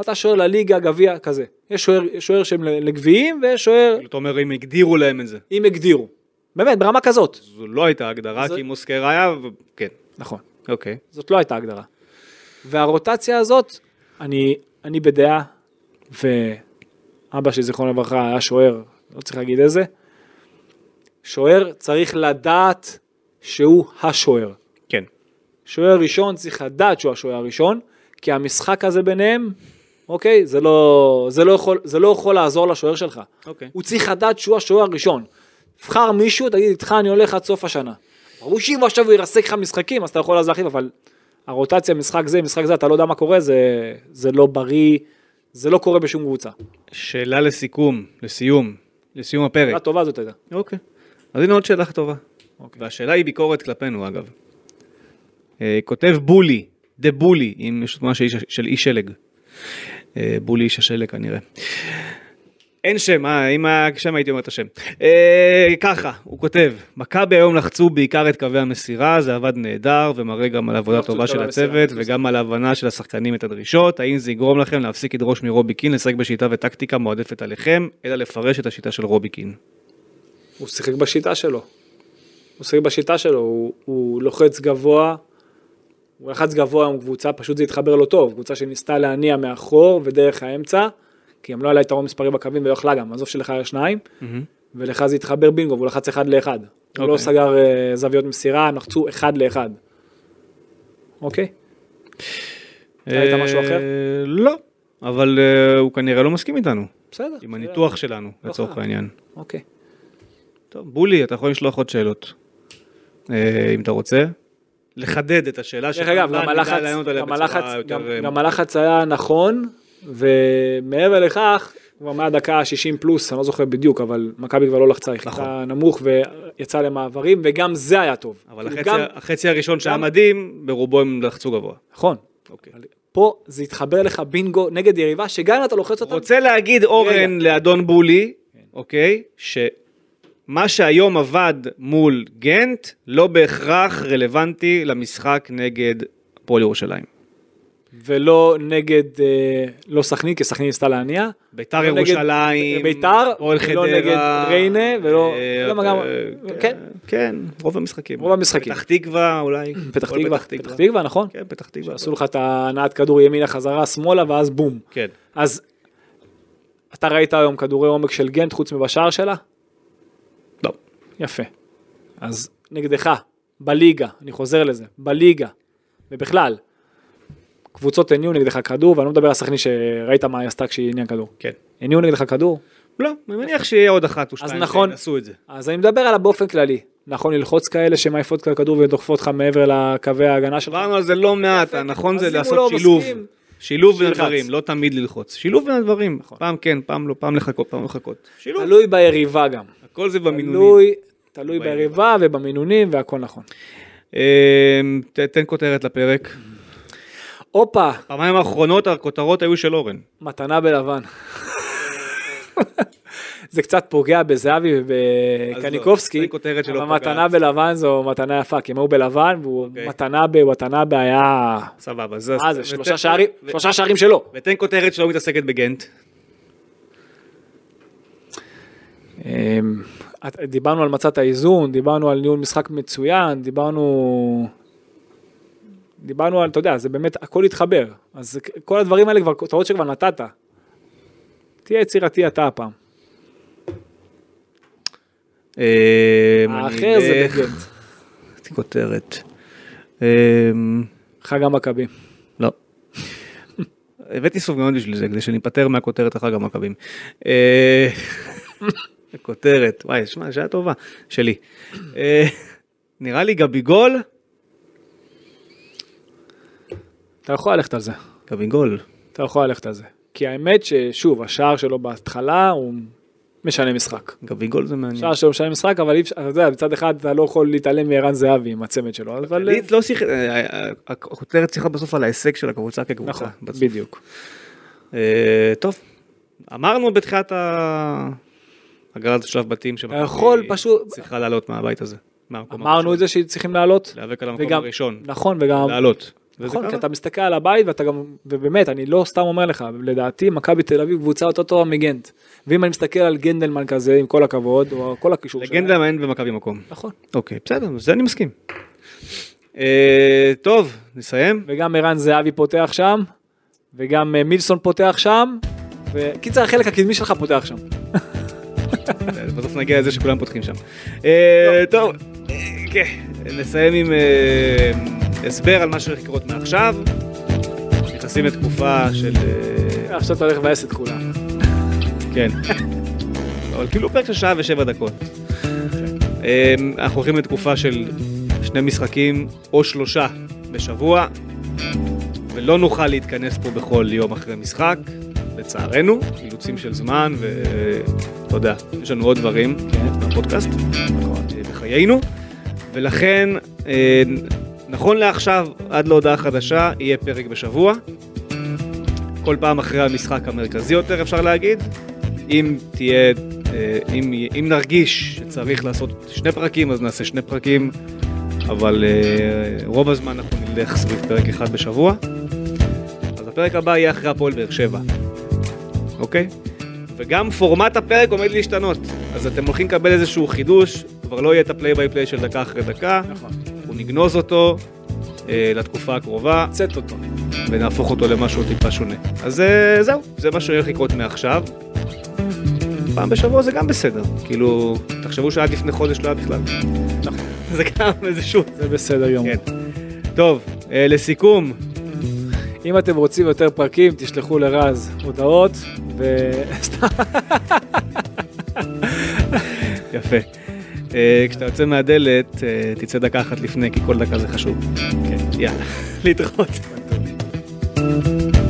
Speaker 3: אתה שוער לליגה, גביע, כזה. יש שוער, יש שוער שהם לגביעים, ויש שוער,
Speaker 2: אתה אומר אם הגדירו להם את זה.
Speaker 3: אם הגדירו. באמת, ברמה כזאת.
Speaker 2: זו לא הייתה הגדרה,
Speaker 3: זה-
Speaker 2: כי מוסקר היה, ו- כן,
Speaker 3: נכון.
Speaker 2: אוקיי.
Speaker 3: זאת לא הייתה הגדרה. והרוטציה הזאת, אני, אני בדעה, ואבא שלי זיכרונו לברכה היה שוער, לא צריך להגיד איזה, שוער צריך לדעת שהוא השוער.
Speaker 2: כן.
Speaker 3: שוער ראשון צריך לדעת שהוא השוער הראשון, כי המשחק הזה ביניהם, אוקיי, זה לא, זה לא, יכול, זה לא יכול לעזור לשוער שלך.
Speaker 2: אוקיי.
Speaker 3: הוא צריך לדעת שהוא השוער הראשון. תבחר מישהו, תגיד, איתך אני הולך עד סוף השנה. ברור שאם עכשיו הוא ירסק לך משחקים, אז אתה יכול אז להחליף, אבל הרוטציה, משחק זה, משחק זה, אתה לא יודע מה קורה, זה, זה לא בריא, זה לא קורה בשום קבוצה.
Speaker 2: שאלה לסיכום, לסיום, לסיום
Speaker 3: שאלה
Speaker 2: הפרק.
Speaker 3: טובה זאת הייתה.
Speaker 2: אוקיי. אז הנה עוד שאלה טובה.
Speaker 3: אוקיי.
Speaker 2: והשאלה היא ביקורת כלפינו, אגב. אה, כותב בולי, דה בולי, עם תמונה של איש- של איש שלג. אה, בולי איש השלג כנראה. אין שם, אה, אם היה שם הייתי אומר את השם. אה, ככה, הוא כותב, מכבי היום לחצו בעיקר את קווי המסירה, זה עבד נהדר ומראה גם על עבודה
Speaker 3: לא לחצו את
Speaker 2: טובה של
Speaker 3: קווי המסירה,
Speaker 2: הצוות
Speaker 3: זה
Speaker 2: וגם על ההבנה של השחקנים את הדרישות. האם זה יגרום לכם להפסיק לדרוש מרובי קין לשחק בשיטה וטקטיקה מועדפת עליכם, אלא לפרש את השיטה של רובי קין?
Speaker 3: הוא שיחק בשיטה שלו. הוא שיחק בשיטה שלו, הוא, הוא לוחץ גבוה, הוא לחץ גבוה עם קבוצה, פשוט זה התחבר לו טוב, קבוצה שניסתה להניע מאחור ודרך האמצע, כי גם לא היה לה יתרון מספרי בקווים ולא יכלה גם, עזוב שלך היה שניים, ולך זה התחבר בינגו, והוא לחץ אחד לאחד. הוא לא
Speaker 2: אוקיי.
Speaker 3: סגר אה, זוויות מסירה, הם לחצו אחד לאחד. אוקיי? היה איתה משהו אחר?
Speaker 2: אה, לא, אבל אה, הוא כנראה לא מסכים איתנו,
Speaker 3: בסדר.
Speaker 2: עם הניתוח שלנו, לצורך
Speaker 3: חייב.
Speaker 2: העניין.
Speaker 3: אוקיי.
Speaker 2: טוב, בולי, אתה יכול לשלוח עוד שאלות, אה, אם אתה רוצה. לחדד את השאלה
Speaker 3: דרך אגב, גם הלחץ, גם הלחץ, גם-
Speaker 2: אה,
Speaker 3: גם הלחץ היה נכון, ומעבר לכך, כבר מהדקה ה-60 פלוס, אני לא זוכר בדיוק, אבל מכבי כבר לא לחצה,
Speaker 2: נכון.
Speaker 3: היא חיכתה נמוך ויצאה למעברים, וגם זה היה טוב.
Speaker 2: אבל
Speaker 3: כאילו
Speaker 2: החצי,
Speaker 3: גם-
Speaker 2: החצי הראשון שהיה
Speaker 3: גם-
Speaker 2: מדהים, ברובו הם לחצו גבוה.
Speaker 3: נכון.
Speaker 2: אוקיי.
Speaker 3: אבל פה זה התחבר לך בינגו נגד יריבה, שגם אם אתה לוחץ אותה,
Speaker 2: רוצה להגיד אורן לאדון בולי, אוקיי, שמה שהיום עבד מול גנט, לא בהכרח רלוונטי למשחק נגד הפועל ירושלים.
Speaker 3: ולא נגד, אה, לא סכנין, כי סכנין ניסתה להניע.
Speaker 2: ביתר
Speaker 3: לא נגד
Speaker 2: ירושלים,
Speaker 3: ביתר,
Speaker 2: הפועל
Speaker 3: ולא
Speaker 2: חדרה,
Speaker 3: נגד ריינה, ולא-
Speaker 2: אה,
Speaker 3: למה גם-
Speaker 2: אה,
Speaker 3: כן.
Speaker 2: כן, רוב המשחקים.
Speaker 3: רוב המשחקים.
Speaker 2: פתח תקווה אולי.
Speaker 3: פתח
Speaker 2: הפועל
Speaker 3: תקווה, פתח תקווה, נכון?
Speaker 2: כן, פתח תקווה.
Speaker 3: עשו לך את ההנעת כדור ימינה חזרה שמאלה, ואז בום.
Speaker 2: כן.
Speaker 3: אז אתה ראית היום כדורי עומק של גנט חוץ מבשער שלה?
Speaker 2: לא.
Speaker 3: יפה. אז נגדך, בליגה, אני חוזר לזה, בליגה, ובכלל, קבוצות הניעו נגדך כדור, ואני לא מדבר על סכנין שראית מה היא עשתה כשהיא הניעה כדור.
Speaker 2: כן.
Speaker 3: הניעו נגדך כדור,
Speaker 2: לא, אני מניח שיהיה עוד אחת או
Speaker 3: אז
Speaker 2: שתיים
Speaker 3: נכון.
Speaker 2: שינסו את זה.
Speaker 3: אז אני מדבר עליו באופן כללי. נכון ללחוץ כאלה שמעיפות כאלה כדור ודוחפות לך מעבר לקווי ההגנה שלך?
Speaker 2: דיברנו על זה לא מעט, הנכון
Speaker 3: אז
Speaker 2: זה
Speaker 3: אם הוא לא
Speaker 2: לעשות שילוב.
Speaker 3: מסכים,
Speaker 2: שילוב בין
Speaker 3: שילחץ.
Speaker 2: הדברים, לא תמיד ללחוץ. שילוב בין הדברים, פעם כן, פעם לא, פעם לחכות, פעם לחכות. שילוב,
Speaker 3: נכון. תלוי ביריבה גם.
Speaker 2: הכל זה כאילו- במינונים.
Speaker 3: תלוי, תלוי ביריבה ובמינונים והכל נכון.
Speaker 2: אה, ת- תן כותרת לפרק.
Speaker 3: Mm-hmm. הופה,
Speaker 2: פעמיים האחרונות הכותרות היו של אורן.
Speaker 3: מתנה בלבן. זה קצת פוגע בזהבי
Speaker 2: אז
Speaker 3: ובקניקובסקי,
Speaker 2: לא, זו כותרת שלא
Speaker 3: אבל
Speaker 2: פוגעת.
Speaker 3: מתנה בלבן זו מתנה יפה, כי הם היו בלבן, והוא
Speaker 2: אוקיי.
Speaker 3: מתנה ב... מתנה בעיה...
Speaker 2: סבבה, זה...
Speaker 3: מה זה, שלושה
Speaker 2: ותן-
Speaker 3: שערים?
Speaker 2: ו-
Speaker 3: שלושה שערים שלו.
Speaker 2: ותן כותרת שלא מתעסקת בגנט.
Speaker 3: אמ, את- דיברנו על מצת האיזון, דיברנו על ניהול משחק מצוין, דיברנו... דיברנו על, אתה יודע, זה באמת, הכל התחבר. אז זה- כל הדברים האלה כבר, כותרות שכבר נתת. תהיה יצירתי אתה הפעם.
Speaker 2: אמ, אה,
Speaker 3: האחר
Speaker 2: אני
Speaker 3: זה
Speaker 2: אלך-
Speaker 3: בגנט.
Speaker 2: כותרת. אה,
Speaker 3: חג המכבים.
Speaker 2: לא. הבאתי סופגנות בשביל זה, כדי שניפטר מהכותרת אחר גם מכבים. אה, כותרת, וואי, שמע, שעה טובה, שלי. אה, נראה לי גביגול,
Speaker 3: אתה יכול ללכת על זה.
Speaker 2: גביגול.
Speaker 3: אתה יכול ללכת על זה. כי האמת ששוב, השער שלו בהתחלה הוא משנה משחק.
Speaker 2: גביגול זה מעניין.
Speaker 3: השער שלו משנה משחק, אבל אי אפשר, אתה יודע, מצד אחד אתה לא יכול להתעלם מערן זהבי עם הצמד שלו, אבל...
Speaker 2: לי לא שיח... אה, אה, הכותרת צריכה בסוף על ההישג של הקבוצה כקבוצה.
Speaker 3: נכון,
Speaker 2: בסוף.
Speaker 3: בדיוק.
Speaker 2: אה, טוב, אמרנו בתחילת ה... הגרלת שלב בתים
Speaker 3: אתה יכול
Speaker 2: שמכבי
Speaker 3: פשוט-
Speaker 2: צריכה לעלות מהבית הזה. מהמקום
Speaker 3: אמרנו
Speaker 2: הראשון.
Speaker 3: את זה שצריכים לעלות.
Speaker 2: להיאבק על המקום
Speaker 3: וגם-
Speaker 2: הראשון.
Speaker 3: נכון, וגם...
Speaker 2: לעלות. וזה
Speaker 3: נכון,
Speaker 2: קרה.
Speaker 3: כי אתה מסתכל על הבית ואתה גם, ובאמת, אני לא סתם אומר לך, לדעתי מכבי תל אביב קבוצה יותר טובה מגנט. ואם אני מסתכל על גנדלמן כזה, עם כל הכבוד, או כל הקישור שלהם-
Speaker 2: לגנדלמן אין במכבי מקום.
Speaker 3: נכון.
Speaker 2: אוקיי, בסדר, זה אני מסכים. אה, טוב, נסיים.
Speaker 3: וגם ערן זהבי פותח שם, וגם אה, מילסון פותח שם, וקיצר החלק הקדמי שלך פותח שם.
Speaker 2: כן, בסוף נגיע לזה שכולם פותחים שם. אה, טוב, אה, כן, נסיים עם אה, הסבר על מה שהולך לקרות מעכשיו. נכנסים לתקופה של... אה,
Speaker 3: עכשיו אתה הולך לבאס את כולם.
Speaker 2: כן. אבל כאילו פרק של שעה ושבע דקות. אה, אנחנו הולכים לתקופה של שני משחקים או שלושה בשבוע, ולא נוכל להתכנס פה בכל יום אחרי משחק, לצערנו, אילוצים של זמן, ואתה יודע, יש לנו עוד דברים בפודקאסט, אה, בחיינו, ולכן, אה, נכון לעכשיו, עד להודעה חדשה, יהיה פרק בשבוע. כל פעם אחרי המשחק המרכזי יותר אפשר להגיד. אם תהיה, אה, אם, אם נרגיש שצריך לעשות שני פרקים אז נעשה שני פרקים, אבל אה, רוב הזמן אנחנו נלך סביב פרק אחד בשבוע. אז הפרק הבא יהיה אחרי הפועל באר שבע, אוקיי? וגם פורמט הפרק עומד להשתנות, אז אתם הולכים לקבל איזשהו חידוש, כבר לא יהיה את הפליי ביי פליי של דקה אחרי דקה,
Speaker 3: נכון.
Speaker 2: אנחנו נגנוז אותו אה, לתקופה הקרובה,
Speaker 3: צאת אותו.
Speaker 2: ונהפוך אותו למשהו טיפה שונה. אז אה, זהו, זה מה שהולך לקרות מעכשיו. פעם בשבוע זה גם בסדר, כאילו, תחשבו שעד לפני חודש לא היה בכלל. נכון, זה גם איזשהו...
Speaker 3: זה בסדר גמור.
Speaker 2: כן. טוב, אה, לסיכום,
Speaker 3: אם אתם רוצים יותר פרקים, תשלחו לרז הודעות, ו... סתם,
Speaker 2: יפה. אה, כשאתה יוצא מהדלת, אה, תצא דקה כן, אחת לפני, כי כל דקה זה חשוב. יאללה, להתראות.